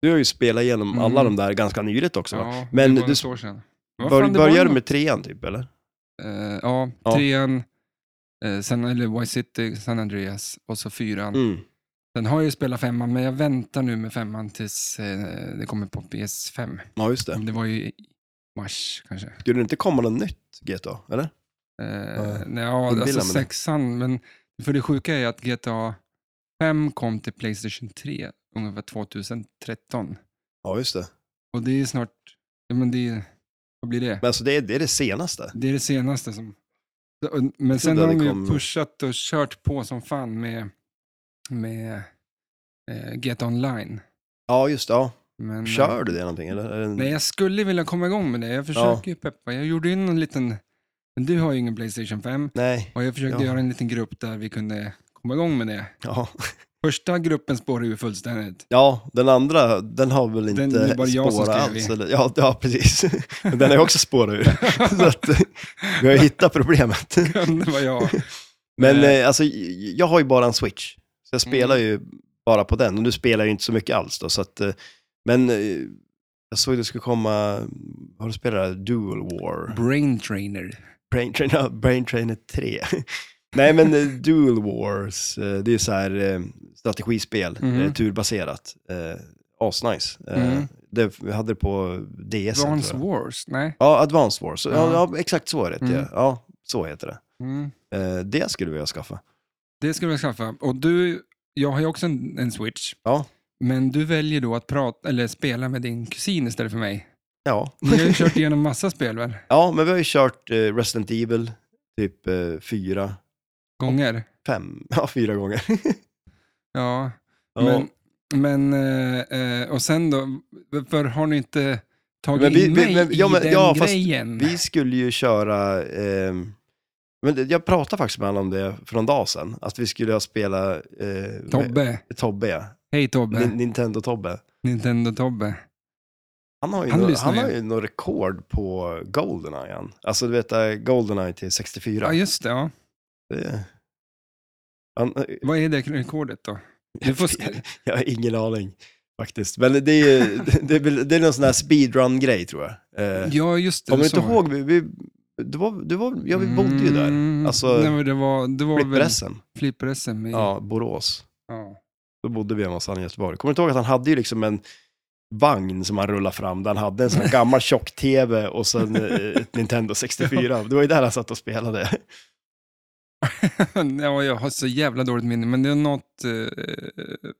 [SPEAKER 2] Du har ju spelat igenom
[SPEAKER 1] Mm.
[SPEAKER 2] alla de där ganska nyligt också. va?
[SPEAKER 1] Ja,
[SPEAKER 2] Men
[SPEAKER 1] det var
[SPEAKER 2] du-
[SPEAKER 1] något år sedan. Vad
[SPEAKER 2] Bör,
[SPEAKER 1] fan, det
[SPEAKER 2] börjar
[SPEAKER 1] var
[SPEAKER 2] du
[SPEAKER 1] något-
[SPEAKER 2] med trean typ, eller?
[SPEAKER 1] Eh, ja,
[SPEAKER 2] Ja.
[SPEAKER 1] trean, eh, sen, eller Vice City, San Andreas och så fyran.
[SPEAKER 2] Mm.
[SPEAKER 1] Sen har jag ju spelat femman, men jag väntar nu med femman tills eh, det kommer på PS5.
[SPEAKER 2] Ja, just det.
[SPEAKER 1] Det var ju i mars kanske.
[SPEAKER 2] Skulle det inte komma något nytt GTA, eller?
[SPEAKER 1] Eh,
[SPEAKER 2] Ja.
[SPEAKER 1] nej, ja,
[SPEAKER 2] Inbillar
[SPEAKER 1] alltså
[SPEAKER 2] mig det.
[SPEAKER 1] sexan, men för det sjuka är att GTA 5 kom till Playstation 3 ungefär 2013.
[SPEAKER 2] Ja, just det.
[SPEAKER 1] Och det är snart, ja men det är, vad blir det?
[SPEAKER 2] Men alltså det är det, är det senaste.
[SPEAKER 1] Det är det senaste som... Men sen
[SPEAKER 2] trodde
[SPEAKER 1] har de
[SPEAKER 2] det
[SPEAKER 1] ju
[SPEAKER 2] kom-
[SPEAKER 1] pushat och kört på som fan med, med eh, GTA Online.
[SPEAKER 2] Ja, just det. Ja.
[SPEAKER 1] Men, eh,
[SPEAKER 2] Kör du det någonting, eller? Är det en-
[SPEAKER 1] Nej, jag skulle vilja komma igång med det. Jag försöker ju peppa. Jag gjorde ju någon liten... Men du har ju ingen Playstation 5.
[SPEAKER 2] Nej.
[SPEAKER 1] Och jag försökte
[SPEAKER 2] Ja.
[SPEAKER 1] göra en liten grupp där vi kunde komma igång med det.
[SPEAKER 2] Ja.
[SPEAKER 1] Första gruppen spårade ju fullständigt.
[SPEAKER 2] ja, den andra, den har väl
[SPEAKER 1] Den
[SPEAKER 2] inte
[SPEAKER 1] är bara jag som
[SPEAKER 2] spårat
[SPEAKER 1] skrev i.
[SPEAKER 2] alls? Eller? Ja, ja, precis. Men den är också spårad ur. Så att, eh, vi har ju hittat problemet.
[SPEAKER 1] det var jag.
[SPEAKER 2] Men
[SPEAKER 1] Eh. Mm.
[SPEAKER 2] eh, alltså, j- jag har ju bara en switch. Så jag spelar ju bara på den. Och du spelar ju inte så mycket alls då. Så att, eh, men eh, jag såg det skulle komma, har du spelat det här? Dual War?
[SPEAKER 1] Brain trainer.
[SPEAKER 2] Brain Trainer, Brain Trainer 3. Nej men eh, Dual Wars, eh, det är så här eh, strategispel,
[SPEAKER 1] Mhm.
[SPEAKER 2] eh, turbaserat. Eh, Asnice. Eh,
[SPEAKER 1] Mm.
[SPEAKER 2] det, vi hade det på DS. tror
[SPEAKER 1] Advance
[SPEAKER 2] jag.
[SPEAKER 1] Wars? Nej.
[SPEAKER 2] Ja, Advanced Wars. Ja,
[SPEAKER 1] Ja.
[SPEAKER 2] ja, exakt så är det.
[SPEAKER 1] Mm.
[SPEAKER 2] Ja. ja, så heter det.
[SPEAKER 1] Mm.
[SPEAKER 2] Eh, det skulle vi vilja skaffa.
[SPEAKER 1] Det ska vi skaffa. Och du, jag har ju också en, en switch.
[SPEAKER 2] Ja.
[SPEAKER 1] Men du väljer då att prata, eller spela med din kusin istället för mig.
[SPEAKER 2] Ja.
[SPEAKER 1] Ni har ju kört igenom massa spel väl?
[SPEAKER 2] Ja, men vi har ju kört eh, Resident Evil typ eh, fyra,
[SPEAKER 1] Gånger?
[SPEAKER 2] fem, ja fyra gånger.
[SPEAKER 1] Ja.
[SPEAKER 2] Ja.
[SPEAKER 1] Men, men eh, eh, och sen då, varför har ni inte tagit
[SPEAKER 2] Men vi-
[SPEAKER 1] in
[SPEAKER 2] vi-
[SPEAKER 1] mig
[SPEAKER 2] men- ja,
[SPEAKER 1] i
[SPEAKER 2] men-
[SPEAKER 1] den
[SPEAKER 2] ja, fast
[SPEAKER 1] grejen?
[SPEAKER 2] vi skulle ju köra, ehm, men det- jag pratade faktiskt med honom om det för någon dag sedan, att vi skulle ha spela eh, med-
[SPEAKER 1] Tobbe.
[SPEAKER 2] Tobbe ja.
[SPEAKER 1] Hej Tobbe.
[SPEAKER 2] Nin- Nintendo-Tobbe.
[SPEAKER 1] Nintendo-Tobbe.
[SPEAKER 2] Han har ju,
[SPEAKER 1] Han
[SPEAKER 2] han
[SPEAKER 1] lyssnar
[SPEAKER 2] han
[SPEAKER 1] ju.
[SPEAKER 2] har ju något rekord på Goldeneye. Han. Alltså du vet, eh, Goldeneye till 64.
[SPEAKER 1] Ja, just det. Ja.
[SPEAKER 2] det, han,
[SPEAKER 1] Vad är det rekordet då? Du får sk-
[SPEAKER 2] jag har ingen aning. faktiskt. Men det är, ju- det, är väl- det är någon sån här speedrun-grej tror jag. Eh,
[SPEAKER 1] Ja, just det.
[SPEAKER 2] Kommer du
[SPEAKER 1] så
[SPEAKER 2] inte
[SPEAKER 1] var det.
[SPEAKER 2] ihåg? Vi, vi, det var, det var, ja, vi bodde ju där.
[SPEAKER 1] Mm,
[SPEAKER 2] Alltså,
[SPEAKER 1] nej, men det var, det var väl Mm.
[SPEAKER 2] Flipper-SM.
[SPEAKER 1] flipper-SM. i-
[SPEAKER 2] Ja, Borås.
[SPEAKER 1] Ja.
[SPEAKER 2] Då bodde vi hemma hos han i Göteborg. Kommer du inte ihåg att han hade ju liksom en vagn som han rullade fram, där han hade en sån här gammal tjock-tv och sen eh, ett Nintendo 64. Det var ju där han satt och spelade.
[SPEAKER 1] ja, jag har så jävla dåligt minne, men det är något... Eh,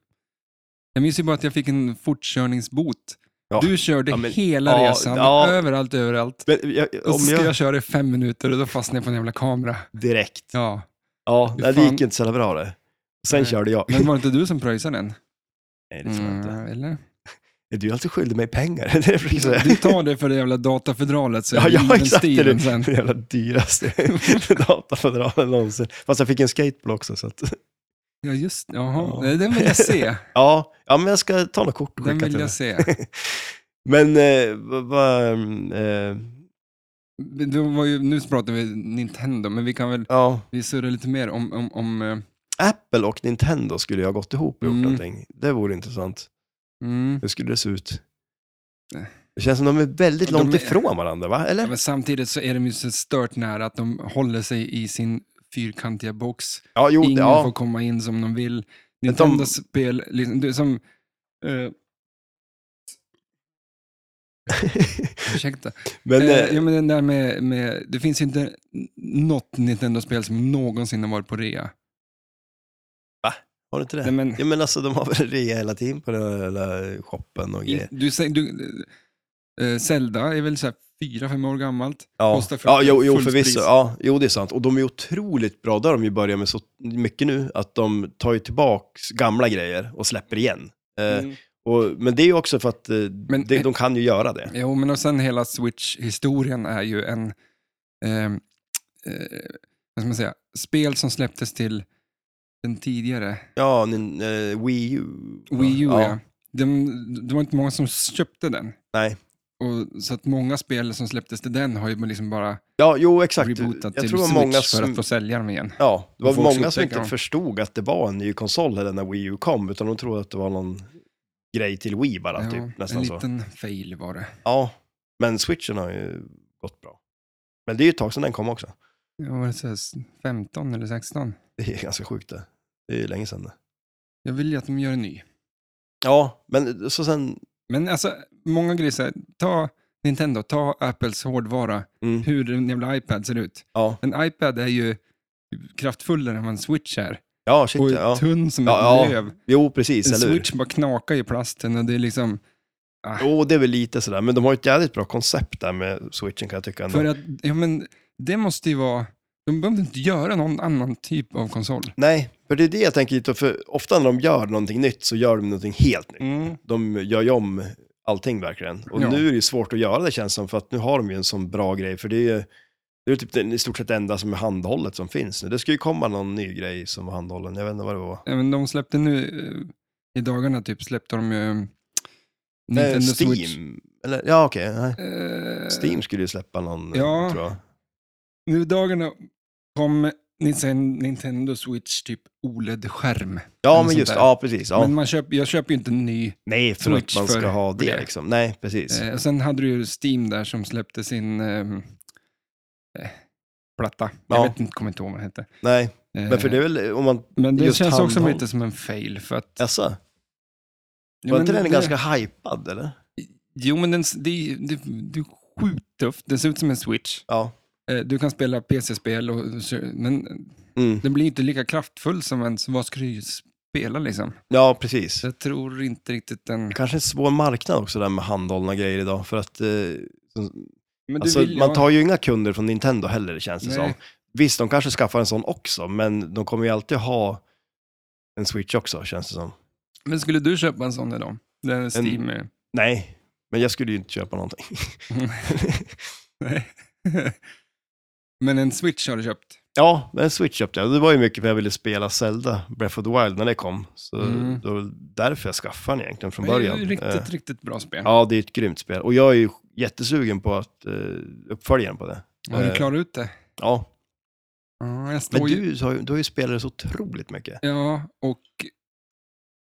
[SPEAKER 1] jag minns ju bara att jag fick en fortkörningsbot.
[SPEAKER 2] Ja.
[SPEAKER 1] Du körde
[SPEAKER 2] Ja, men-
[SPEAKER 1] hela
[SPEAKER 2] ja,
[SPEAKER 1] resan,
[SPEAKER 2] ja.
[SPEAKER 1] överallt, överallt.
[SPEAKER 2] Men jag,
[SPEAKER 1] Och
[SPEAKER 2] om
[SPEAKER 1] så ska jag...
[SPEAKER 2] jag...
[SPEAKER 1] köra i fem minuter och då fastnade jag på en jävla kamera.
[SPEAKER 2] Direkt.
[SPEAKER 1] Ja.
[SPEAKER 2] Ja,
[SPEAKER 1] Fy
[SPEAKER 2] nej, det
[SPEAKER 1] fan.
[SPEAKER 2] gick inte så jävla bra det. Sen
[SPEAKER 1] Nej.
[SPEAKER 2] körde jag.
[SPEAKER 1] Men var det inte du som pröjsade den?
[SPEAKER 2] Nej, det tror jag inte.
[SPEAKER 1] Mm, eller?
[SPEAKER 2] Du är alltid skyldig mig pengar. Det är det jag försöker säga.
[SPEAKER 1] Du tar det för det jävla datafedralet, så är
[SPEAKER 2] Ja,
[SPEAKER 1] det
[SPEAKER 2] ja,
[SPEAKER 1] given
[SPEAKER 2] exakt, det är
[SPEAKER 1] stilen sen.
[SPEAKER 2] Den jävla dyraste datafodralen någonsin. Fast jag fick en skateboard också. Så att,
[SPEAKER 1] Ja, just Jaha,
[SPEAKER 2] Ja.
[SPEAKER 1] Nej, den vill jag se.
[SPEAKER 2] ja, ja, men jag ska ta några kort och
[SPEAKER 1] Den
[SPEAKER 2] skicka till
[SPEAKER 1] vill jag
[SPEAKER 2] dig.
[SPEAKER 1] se.
[SPEAKER 2] Men eh, vad... vad, eh,
[SPEAKER 1] Det var ju, nu pratar vi Nintendo, men vi kan väl
[SPEAKER 2] ja,
[SPEAKER 1] vi surrar lite mer om... om, om eh,
[SPEAKER 2] Apple och Nintendo skulle jag ha gått ihop och gjort
[SPEAKER 1] Mm.
[SPEAKER 2] någonting. Det vore intressant.
[SPEAKER 1] mm.
[SPEAKER 2] Hur skulle det se ut?
[SPEAKER 1] Nej.
[SPEAKER 2] Det känns som de är väldigt
[SPEAKER 1] De
[SPEAKER 2] långt
[SPEAKER 1] är-
[SPEAKER 2] ifrån varandra, va?
[SPEAKER 1] Ja,
[SPEAKER 2] Eller?
[SPEAKER 1] men samtidigt så är de ju så stört nära att de håller sig i sin fyrkantiga box.
[SPEAKER 2] Ja, jo,
[SPEAKER 1] Ingen
[SPEAKER 2] ja.
[SPEAKER 1] får komma in som de vill.
[SPEAKER 2] de-
[SPEAKER 1] Nintendo-spel, liksom, det är som... Eh, ursäkta.
[SPEAKER 2] men,
[SPEAKER 1] eh,
[SPEAKER 2] eh,
[SPEAKER 1] ja, men den där med, med, det finns ju inte n- något Nintendo-spel som någonsin har varit på rea.
[SPEAKER 2] har du inte det?
[SPEAKER 1] Nej, men,
[SPEAKER 2] Ja, men alltså de har väl rea hela tiden på den här jävla shoppen och grejer.
[SPEAKER 1] in, du, säger- du, eh, Zelda är väl så här fyra, fem år gammalt.
[SPEAKER 2] Ja,
[SPEAKER 1] Kostar för-
[SPEAKER 2] ja jo, jo
[SPEAKER 1] fullpris.
[SPEAKER 2] förvisso. Ja, jo, det är sant. Och de är otroligt bra. Där har de ju börjat med så mycket nu, att de tar ju tillbaka gamla grejer och släpper igen. Eh,
[SPEAKER 1] Mm.
[SPEAKER 2] och, men det är ju också för att eh,
[SPEAKER 1] Men-
[SPEAKER 2] det, de kan ju göra det.
[SPEAKER 1] Jo, men och sen hela Switch-historien är ju en... Eh, eh, vad ska man säga? Spel som släpptes till den tidigare
[SPEAKER 2] Ja, nin, eh, Wii U.
[SPEAKER 1] Wii U. Ja.
[SPEAKER 2] ja.
[SPEAKER 1] De, det var inte många som köpte den.
[SPEAKER 2] Nej.
[SPEAKER 1] Och, så att många spel som släpptes till den har ju liksom bara
[SPEAKER 2] Ja, jo, exakt.
[SPEAKER 1] rebootat
[SPEAKER 2] Jag
[SPEAKER 1] till
[SPEAKER 2] tror det
[SPEAKER 1] Switch
[SPEAKER 2] var många
[SPEAKER 1] för att
[SPEAKER 2] som...
[SPEAKER 1] få sälja dem igen.
[SPEAKER 2] Ja, det var
[SPEAKER 1] folk som
[SPEAKER 2] många som
[SPEAKER 1] upptäcker
[SPEAKER 2] inte
[SPEAKER 1] dem.
[SPEAKER 2] förstod att det var en ny konsol eller när Wii U kom, utan de trodde att det var någon grej till Wii bara,
[SPEAKER 1] Ja,
[SPEAKER 2] typ,
[SPEAKER 1] en
[SPEAKER 2] nästan så.
[SPEAKER 1] liten fail var det.
[SPEAKER 2] Ja, men switchen har ju gått bra. Men det är ju ett tag sedan den kom också.
[SPEAKER 1] Ja, var det så här 15 eller 16?
[SPEAKER 2] Det är ganska sjukt det. Det är ju länge sedan det.
[SPEAKER 1] Jag vill ju att de gör en ny.
[SPEAKER 2] Ja, men så sen...
[SPEAKER 1] Men alltså, många grejer så här, ta Nintendo, ta Apples hårdvara,
[SPEAKER 2] Mm,
[SPEAKER 1] hur en jävla iPad ser ut.
[SPEAKER 2] ja.
[SPEAKER 1] En iPad är ju kraftfullare än vad en Switch är.
[SPEAKER 2] ja, shit
[SPEAKER 1] och
[SPEAKER 2] ja.
[SPEAKER 1] tunn som
[SPEAKER 2] Ja,
[SPEAKER 1] ett
[SPEAKER 2] ja,
[SPEAKER 1] löv.
[SPEAKER 2] Jo, precis,
[SPEAKER 1] En
[SPEAKER 2] eller hur?
[SPEAKER 1] Switch bara knakar i plasten och det är liksom... Ah,
[SPEAKER 2] Jo, det är väl lite sådär, men de har ju ett jävligt bra koncept där med switchen kan jag tycka ändå.
[SPEAKER 1] för att, ja men, det måste ju vara... De behöver inte göra någon annan typ av konsol.
[SPEAKER 2] Nej, för det är det jag tänker lite, för ofta när de gör någonting nytt så gör de någonting helt nytt. De gör ju om allting verkligen.
[SPEAKER 1] Mm.
[SPEAKER 2] Och
[SPEAKER 1] Ja.
[SPEAKER 2] nu är det ju svårt att göra det känns som, för att nu har de ju en sån bra grej, för det är ju det är ju typ den, i stort sett det enda som är handhållet som finns nu. Det ska ju komma någon ny grej som var handhållen, jag vet inte vad det var.
[SPEAKER 1] Även de släppte nu, eh, i dagarna typ, släppte de ju... eh,
[SPEAKER 2] Eh,
[SPEAKER 1] Nintendo
[SPEAKER 2] Steam,
[SPEAKER 1] Switch.
[SPEAKER 2] eller ja okej. nej.
[SPEAKER 1] Eh,
[SPEAKER 2] Steam skulle ju släppa någon,
[SPEAKER 1] Ja.
[SPEAKER 2] tror jag.
[SPEAKER 1] Nu i dagarna kom Ninten- Nintendo Switch typ OLED-skärm.
[SPEAKER 2] Ja,
[SPEAKER 1] Något
[SPEAKER 2] men
[SPEAKER 1] sånt
[SPEAKER 2] just,
[SPEAKER 1] där.
[SPEAKER 2] ja precis. Ja.
[SPEAKER 1] Men man köper, jag köper ju inte en ny.
[SPEAKER 2] Nej, för att
[SPEAKER 1] Switch
[SPEAKER 2] man
[SPEAKER 1] för-
[SPEAKER 2] ska ha
[SPEAKER 1] för
[SPEAKER 2] det,
[SPEAKER 1] det.
[SPEAKER 2] liksom. Nej, precis.
[SPEAKER 1] Eh, och sen hade du ju Steam där som släppte sin ehm, eh, platta.
[SPEAKER 2] Ja.
[SPEAKER 1] Jag vet inte, kommer inte ihåg vad den hette.
[SPEAKER 2] Nej,
[SPEAKER 1] Eh,
[SPEAKER 2] men för det är väl om man,
[SPEAKER 1] men det
[SPEAKER 2] just
[SPEAKER 1] känns också
[SPEAKER 2] handhåll.
[SPEAKER 1] lite som en fail. För att,
[SPEAKER 2] jaså? Var
[SPEAKER 1] Ja, men
[SPEAKER 2] inte den
[SPEAKER 1] det-
[SPEAKER 2] ganska hypad eller?
[SPEAKER 1] Jo, men den, s- det, är- det, det är sjukt tufft. Den ser ut som en Switch.
[SPEAKER 2] Ja.
[SPEAKER 1] Eh, du kan spela PC-spel, och, men
[SPEAKER 2] Mm.
[SPEAKER 1] den blir inte lika kraftfull som en, så vad ska du spela liksom?
[SPEAKER 2] Ja, precis.
[SPEAKER 1] Så jag tror inte riktigt den...
[SPEAKER 2] Kanske en svår marknad också där med handhållna grejer idag, för att eh, som-
[SPEAKER 1] Men du
[SPEAKER 2] alltså,
[SPEAKER 1] vill-
[SPEAKER 2] man
[SPEAKER 1] ja.
[SPEAKER 2] tar ju inga kunder från Nintendo heller, det känns
[SPEAKER 1] Nej.
[SPEAKER 2] det som. Visst, de kanske skaffar en sån också, men de kommer ju alltid ha en Switch också, känns det som.
[SPEAKER 1] Men skulle du köpa en sån idag? Den är Steam... eh,
[SPEAKER 2] Nej, men jag skulle ju inte köpa någonting.
[SPEAKER 1] Nej. Men en Switch har du köpt.
[SPEAKER 2] Ja, men Switch köpte jag. Det var ju mycket för jag ville spela Zelda, Breath of the Wild, när det kom. Så
[SPEAKER 1] Mm.
[SPEAKER 2] det var därför jag skaffade den egentligen från
[SPEAKER 1] Det är
[SPEAKER 2] början.
[SPEAKER 1] ju riktigt,
[SPEAKER 2] Eh,
[SPEAKER 1] riktigt bra spel. Ja,
[SPEAKER 2] Ja, det är ett grymt spel. Och jag är ju jättesugen på att eh, uppföljaren på det.
[SPEAKER 1] har du
[SPEAKER 2] eh,
[SPEAKER 1] klarat ut det?
[SPEAKER 2] Ja,
[SPEAKER 1] Ja, jag står
[SPEAKER 2] men
[SPEAKER 1] ju...
[SPEAKER 2] du har, ju- du har ju spelat det så otroligt mycket.
[SPEAKER 1] Ja, och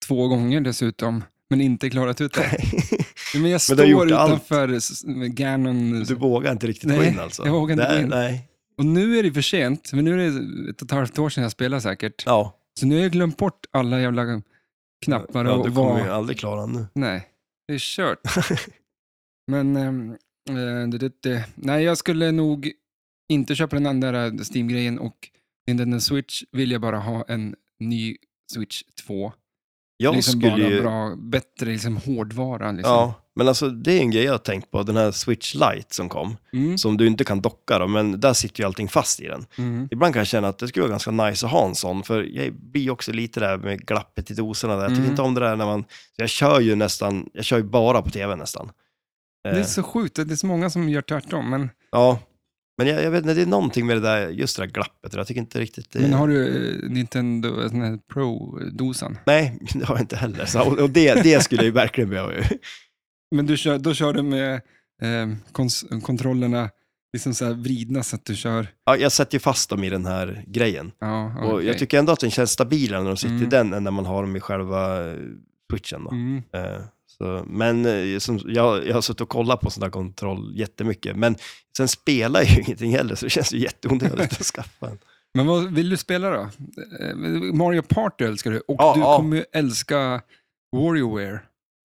[SPEAKER 1] två gånger dessutom. men inte klarat ut det. Men jag
[SPEAKER 2] Men du har
[SPEAKER 1] står
[SPEAKER 2] gjort allt.
[SPEAKER 1] utanför s- Gannon
[SPEAKER 2] Du vågar inte riktigt gå
[SPEAKER 1] Nej,
[SPEAKER 2] in alltså?
[SPEAKER 1] jag vågar inte
[SPEAKER 2] nej,
[SPEAKER 1] gå in.
[SPEAKER 2] Nej.
[SPEAKER 1] och nu är det för sent, men nu är det ett och ett halvt år sedan jag spelade säkert.
[SPEAKER 2] Ja,
[SPEAKER 1] Så nu har jag glömt bort alla jävla knappar
[SPEAKER 2] ja,
[SPEAKER 1] och
[SPEAKER 2] du
[SPEAKER 1] vad-
[SPEAKER 2] kommer ju aldrig klara den nu.
[SPEAKER 1] Nej, det är kört. Men, ehm, eh, det, det, det. nej jag skulle nog inte köpa den andra Steam-grejen och Nintendo Switch vill jag bara ha en ny Switch 2.
[SPEAKER 2] Jag
[SPEAKER 1] liksom
[SPEAKER 2] skulle
[SPEAKER 1] bara
[SPEAKER 2] ju...
[SPEAKER 1] bra, bättre liksom hårdvara. Liksom.
[SPEAKER 2] Ja, men alltså det är en grej jag har tänkt på, den här Switch Lite som kom,
[SPEAKER 1] Mm,
[SPEAKER 2] som du inte kan docka då, men där sitter ju allting fast i den.
[SPEAKER 1] mm,
[SPEAKER 2] Ibland kan jag känna att det skulle vara ganska nice att ha en sån, för jag blir ju också lite där med glappet i dosorna där. Jag tycker
[SPEAKER 1] Mm.
[SPEAKER 2] inte om det där när man... Så jag kör ju nästan, jag kör ju bara på tv nästan. Eh,
[SPEAKER 1] Det är så sjukt, det är så många som gör tvärtom. Men,
[SPEAKER 2] Ja, men jag, jag vet inte, det är någonting med det där, just det där glappet, jag tycker inte riktigt... det-
[SPEAKER 1] men har du eh, Nintendo eh, sån här Pro-dosan?
[SPEAKER 2] Nej, det har jag inte heller. Så, och och det, det skulle jag ju verkligen behöva ju.
[SPEAKER 1] Men du kör, då kör du med eh, kons- kontrollerna liksom så här vridna så att du kör...
[SPEAKER 2] Ja, jag sätter ju fast dem i den här grejen.
[SPEAKER 1] Ja,
[SPEAKER 2] Och
[SPEAKER 1] okej.
[SPEAKER 2] jag tycker ändå att den känns stabilare när de sitter i
[SPEAKER 1] Mm.
[SPEAKER 2] den än när man har dem i själva eh, switchen. Då.
[SPEAKER 1] Mm.
[SPEAKER 2] Eh, Så, men eh, som, jag, jag har suttit och kollat på sån där kontroll jättemycket, men sen spelar jag ju ingenting heller, så det känns ju jätteonödigt att skaffa en.
[SPEAKER 1] Men vad vill du spela då? Eh, Mario Party älskar du och
[SPEAKER 2] Ja,
[SPEAKER 1] du
[SPEAKER 2] ja.
[SPEAKER 1] kommer ju älska Warriorware.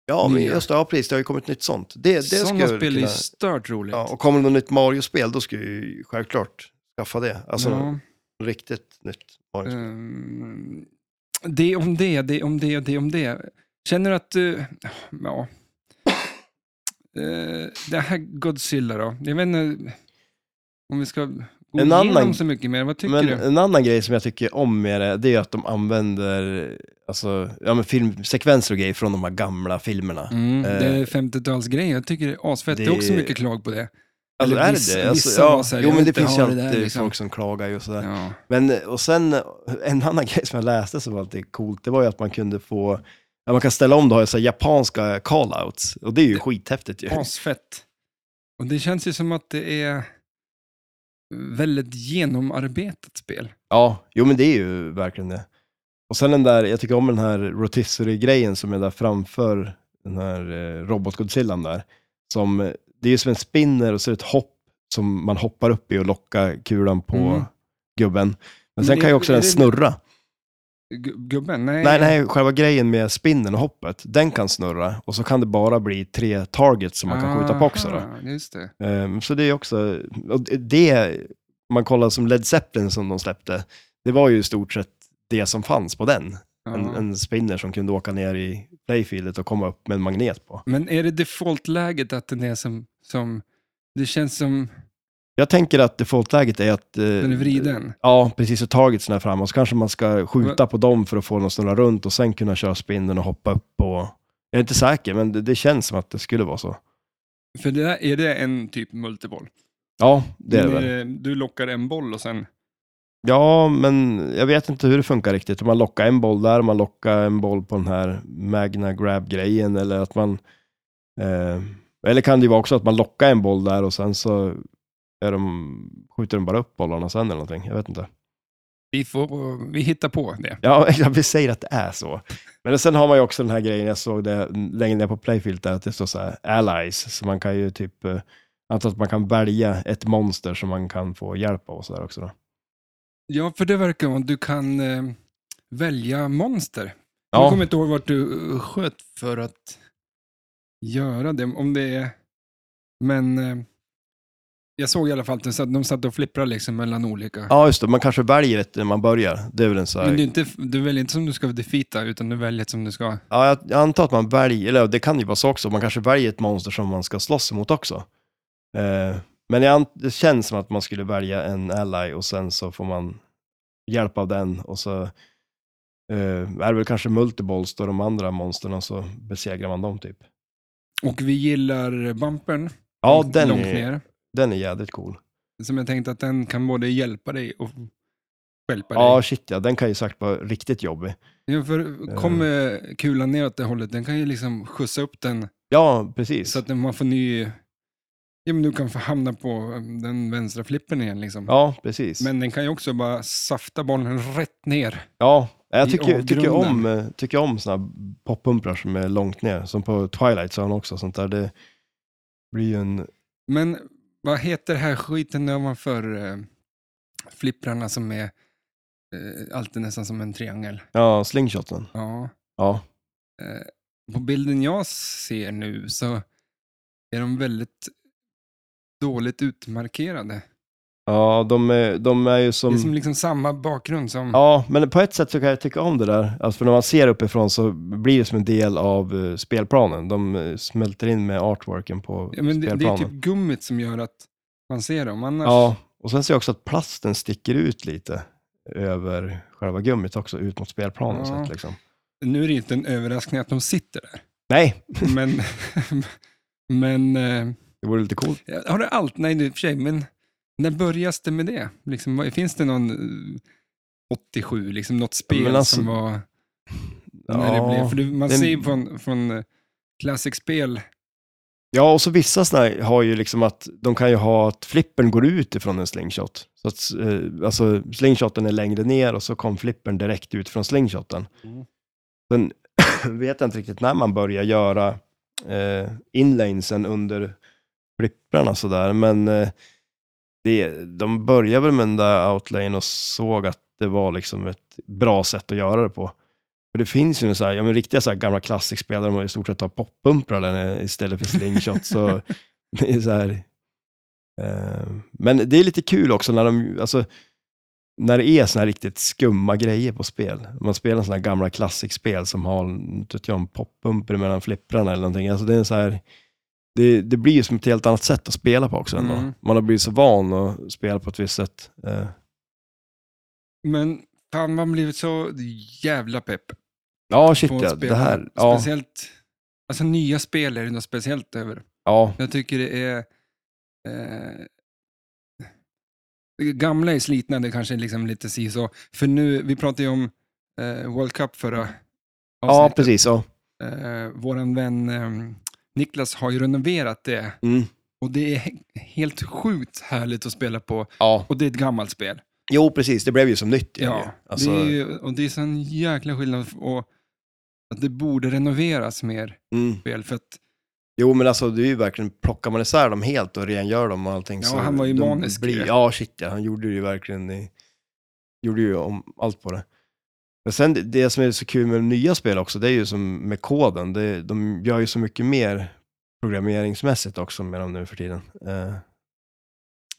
[SPEAKER 2] Ja, men
[SPEAKER 1] Nya.
[SPEAKER 2] just det, ja, precis, det har ju kommit nytt sånt. Det, det ska
[SPEAKER 1] Sådana
[SPEAKER 2] jag
[SPEAKER 1] spel är ju
[SPEAKER 2] kunna,
[SPEAKER 1] stört roligt.
[SPEAKER 2] ja, Och kommer det något nytt Mario-spel, då ska jag ju självklart skaffa det. Alltså,
[SPEAKER 1] Ja,
[SPEAKER 2] riktigt nytt Mario.
[SPEAKER 1] ehm, det om det, det om det, det om det. Känner du att du... Ja. Eh, det här Godzilla då? Jag vet inte om vi ska gå
[SPEAKER 2] En
[SPEAKER 1] igenom
[SPEAKER 2] annan-
[SPEAKER 1] så mycket mer. Vad tycker
[SPEAKER 2] Men eh,
[SPEAKER 1] du?
[SPEAKER 2] en annan grej som jag tycker om med det, det är att de använder alltså, ja, men filmsekvenser och grejer från de här gamla filmerna.
[SPEAKER 1] Mm, det är
[SPEAKER 2] eh,
[SPEAKER 1] 50-talsgrejen. Jag tycker det är asfett. Det, är
[SPEAKER 2] det-
[SPEAKER 1] också mycket klag på det.
[SPEAKER 2] Alltså,
[SPEAKER 1] Eller
[SPEAKER 2] är
[SPEAKER 1] vissa-
[SPEAKER 2] det det? Alltså,
[SPEAKER 1] vissa var
[SPEAKER 2] ja,
[SPEAKER 1] så här,
[SPEAKER 2] jo,
[SPEAKER 1] jag
[SPEAKER 2] men
[SPEAKER 1] vill inte
[SPEAKER 2] det finns ju
[SPEAKER 1] ha det där,
[SPEAKER 2] alltid
[SPEAKER 1] liksom.
[SPEAKER 2] folk som klagar ju och sådär.
[SPEAKER 1] Ja.
[SPEAKER 2] Men, och sen, eh, en annan grej som jag läste som var alltid coolt, det var ju att man kunde få, ja, man kan ställa om det och ha så här japanska call-outs. Och det är ju skithäftigt ju.
[SPEAKER 1] asfett. Och det känns ju som att det är väldigt genomarbetat spel.
[SPEAKER 2] Ja, jo men det är ju verkligen det. Och sen den där, jag tycker om den här rotisserie-grejen som är där framför den här eh, robotgodzillan där. Som, eh, det är ju som en spinner och så är det ett hopp som man hoppar upp i och lockar kulan på
[SPEAKER 1] Mm.
[SPEAKER 2] gubben.
[SPEAKER 1] Men
[SPEAKER 2] Men sen
[SPEAKER 1] det-
[SPEAKER 2] kan ju också
[SPEAKER 1] är
[SPEAKER 2] den
[SPEAKER 1] det-
[SPEAKER 2] snurra.
[SPEAKER 1] Gu- Gubben? Nej.
[SPEAKER 2] Nej, nej, själva grejen med spinnen och hoppet, den kan snurra och så kan det bara bli tre targets som man kan skjuta på också. Då.
[SPEAKER 1] Aha, Ah, Just det.
[SPEAKER 2] Ehm, så det är också, och det, om man kollar som Led Zeppelin som de släppte, det var ju i stort sett det som fanns på den.
[SPEAKER 1] Ja.
[SPEAKER 2] En, en spinner som kunde åka ner i playfieldet och komma upp med en magnet på.
[SPEAKER 1] Men är det defaultläget att den är som, som... Det känns som
[SPEAKER 2] Jag tänker att defaultläget är att... eh,
[SPEAKER 1] den är vriden.
[SPEAKER 2] Ja, precis. Och tagit sådana här fram och så kanske man ska skjuta på dem för att få dem att snurra runt och sen kunna köra spindeln och hoppa upp och... Jag är inte säker, men det, det känns som att det skulle vara så.
[SPEAKER 1] För det där, är det en typ multiboll?
[SPEAKER 2] Ja, det är det
[SPEAKER 1] Men
[SPEAKER 2] väl.
[SPEAKER 1] det- Du lockar en boll och sen...
[SPEAKER 2] Ja, men jag vet inte hur det funkar riktigt. Om man lockar en boll där, om man lockar en boll på den här Magna Grab-grejen eller att man... Eh, eller kan det ju vara också att man lockar en boll där och sen så är de, skjuter de bara upp bollarna sen eller någonting. Jag vet inte.
[SPEAKER 1] Vi, får, vi hittar på det.
[SPEAKER 2] Ja, vi säger att det är så. Men sen har man ju också den här grejen, jag såg det längre ner på Playfield, där, att det står så här allies, så man kan ju typ, eh, antar att man kan välja ett monster som man kan få hjälp av och så där också. Då.
[SPEAKER 1] Ja, för det verkar vara att du kan eh, välja monster. Jag
[SPEAKER 2] Ja,
[SPEAKER 1] kommer inte ihåg vart du eh, sköt för att göra det, om det är... Men eh, jag såg i alla fall att de satt, de satt och flipprade liksom mellan olika.
[SPEAKER 2] ja, just det, man kanske väljer ett när man börjar. Det är väl en så
[SPEAKER 1] Men
[SPEAKER 2] här,
[SPEAKER 1] det är inte, du väljer inte som du ska defeata, utan du väljer som du ska...
[SPEAKER 2] ja, jag- jag antar att man väljer, eller det kan ju vara så också, man kanske väljer ett monster som man ska slåss emot också. Eh, men jag, ant- det känns som att man skulle välja en ally och sen så får man hjälp av den och så eh, är det väl kanske multiballs då de andra monstren och så besegrar man dem typ.
[SPEAKER 1] Och vi gillar bumpern
[SPEAKER 2] Ja,
[SPEAKER 1] långt-
[SPEAKER 2] den
[SPEAKER 1] långt
[SPEAKER 2] är,
[SPEAKER 1] ner.
[SPEAKER 2] den är jädrigt cool.
[SPEAKER 1] Som jag tänkte att den kan både hjälpa dig och hjälpa
[SPEAKER 2] Ja,
[SPEAKER 1] dig.
[SPEAKER 2] shit ja, den kan ju sagt vara riktigt jobbig.
[SPEAKER 1] Ja, för
[SPEAKER 2] Eh.
[SPEAKER 1] kommer kulan ner åt det hållet, den kan ju liksom skjutsa upp den
[SPEAKER 2] Ja, precis.
[SPEAKER 1] så att den- man får ny... Ja, men du kan få hamna på eh, den vänstra flippen igen liksom.
[SPEAKER 2] Ja, precis.
[SPEAKER 1] Men den kan ju också bara safta bollen rätt ner.
[SPEAKER 2] Ja, Jag
[SPEAKER 1] I
[SPEAKER 2] tycker, tycker om,
[SPEAKER 1] avgrunden.
[SPEAKER 2] eh, tycker om såna här poppumprar som är långt ner, som på Twilight Zone också, sånt där. Det blir ju en...
[SPEAKER 1] Men vad heter den här skiten ovanför eh, flipprarna som är eh, alltid nästan som en triangel?
[SPEAKER 2] Ja, slingshoten.
[SPEAKER 1] Ja. eh,
[SPEAKER 2] Ja.
[SPEAKER 1] På bilden jag ser nu så är de väldigt dåligt utmarkerade.
[SPEAKER 2] Ja, de är, de är ju
[SPEAKER 1] Det
[SPEAKER 2] som...
[SPEAKER 1] är som liksom samma bakgrund som...
[SPEAKER 2] Ja, men på ett sätt så kan jag tycka om det där. Alltså för när man ser uppifrån så blir det som en del av eh, spelplanen. De eh, smälter in med artworken på
[SPEAKER 1] Ja, men det, det är
[SPEAKER 2] spelplanen.
[SPEAKER 1] typ gummit som gör att man ser dem. Annars,
[SPEAKER 2] Ja, och sen ser jag också att plasten sticker ut lite över själva gummit också, ut mot spelplanen.
[SPEAKER 1] Ja.
[SPEAKER 2] Så att liksom.
[SPEAKER 1] Nu är det inte en överraskning att de sitter där.
[SPEAKER 2] Nej,
[SPEAKER 1] Men, men eh,
[SPEAKER 2] det vore lite coolt.
[SPEAKER 1] har du allt? Nej, nu, i och för sig, men när börjas det med det? Liksom, vad- finns det någon eh, 87, liksom, något spel
[SPEAKER 2] men alltså-
[SPEAKER 1] som var... När det blev,
[SPEAKER 2] Ja.
[SPEAKER 1] för du, man
[SPEAKER 2] det-
[SPEAKER 1] ser ju från, från eh, classic-spel,
[SPEAKER 2] ja, och så vissa sådana här har ju liksom att de kan ju ha att flippern går ut ifrån en slingshot. Så att, eh, alltså slingshoten är längre ner och så kom flippern direkt ut från slingshoten. Sen vet jag inte riktigt när man börjar göra eh, inlanesen under flipprarna sådär, men eh, det, de började väl med den där outlane och såg att det var liksom ett bra sätt att göra det på. För det finns ju så här, ja, men riktiga så här gamla klassikspel där de i stort sett har poppumprar där istället för slingshot. så det är så här, eh, men det är lite kul också när de, alltså, när det är såna här riktigt skumma grejer på spel. Om Man spelar såna här gamla klassikspel som har inte vet jag, en poppumper mellan flipprarna eller någonting. Alltså det, är så här, det, det blir ju som ett helt annat sätt att spela på också. Ändå.
[SPEAKER 1] Mm.
[SPEAKER 2] Man har blivit så van att spela på ett visst sätt. Eh,
[SPEAKER 1] men fan man blivit så jävla pepp.
[SPEAKER 2] Ja, shit
[SPEAKER 1] på
[SPEAKER 2] ja.
[SPEAKER 1] spel.
[SPEAKER 2] Det här, ja,
[SPEAKER 1] Speciellt, alltså nya spel är det något speciellt över.
[SPEAKER 2] ja,
[SPEAKER 1] Jag tycker det är... Eh, det gamla är slitna, det kanske är liksom lite si så. För nu, vi pratade ju om eh, World Cup förra
[SPEAKER 2] Mm. ja,
[SPEAKER 1] avsnittet.
[SPEAKER 2] precis. Ja.
[SPEAKER 1] Eh, våran vän eh, Niklas har ju renoverat det.
[SPEAKER 2] Mm.
[SPEAKER 1] Och det är he- helt sjukt härligt att spela på.
[SPEAKER 2] ja,
[SPEAKER 1] Och det är ett gammalt spel.
[SPEAKER 2] jo precis. Det blev ju som nytt. igen ju.
[SPEAKER 1] Ja,
[SPEAKER 2] alltså,
[SPEAKER 1] det är ju, och det är sån jäkla skillnad. Och att det borde renoveras mer
[SPEAKER 2] mm.
[SPEAKER 1] spel. För att,
[SPEAKER 2] Jo, men alltså det är ju verkligen, plockar man isär dem helt och rengör dem och allting.
[SPEAKER 1] Ja,
[SPEAKER 2] så
[SPEAKER 1] han var ju
[SPEAKER 2] de
[SPEAKER 1] manisk
[SPEAKER 2] blir-
[SPEAKER 1] ju.
[SPEAKER 2] ja, shit ja, han gjorde ju verkligen, i- gjorde ju om allt på det. Men sen det- det som är så kul med de nya spel också, det är ju som med koden, det, de gör ju så mycket mer programmeringsmässigt också med dem nu för tiden. Eh,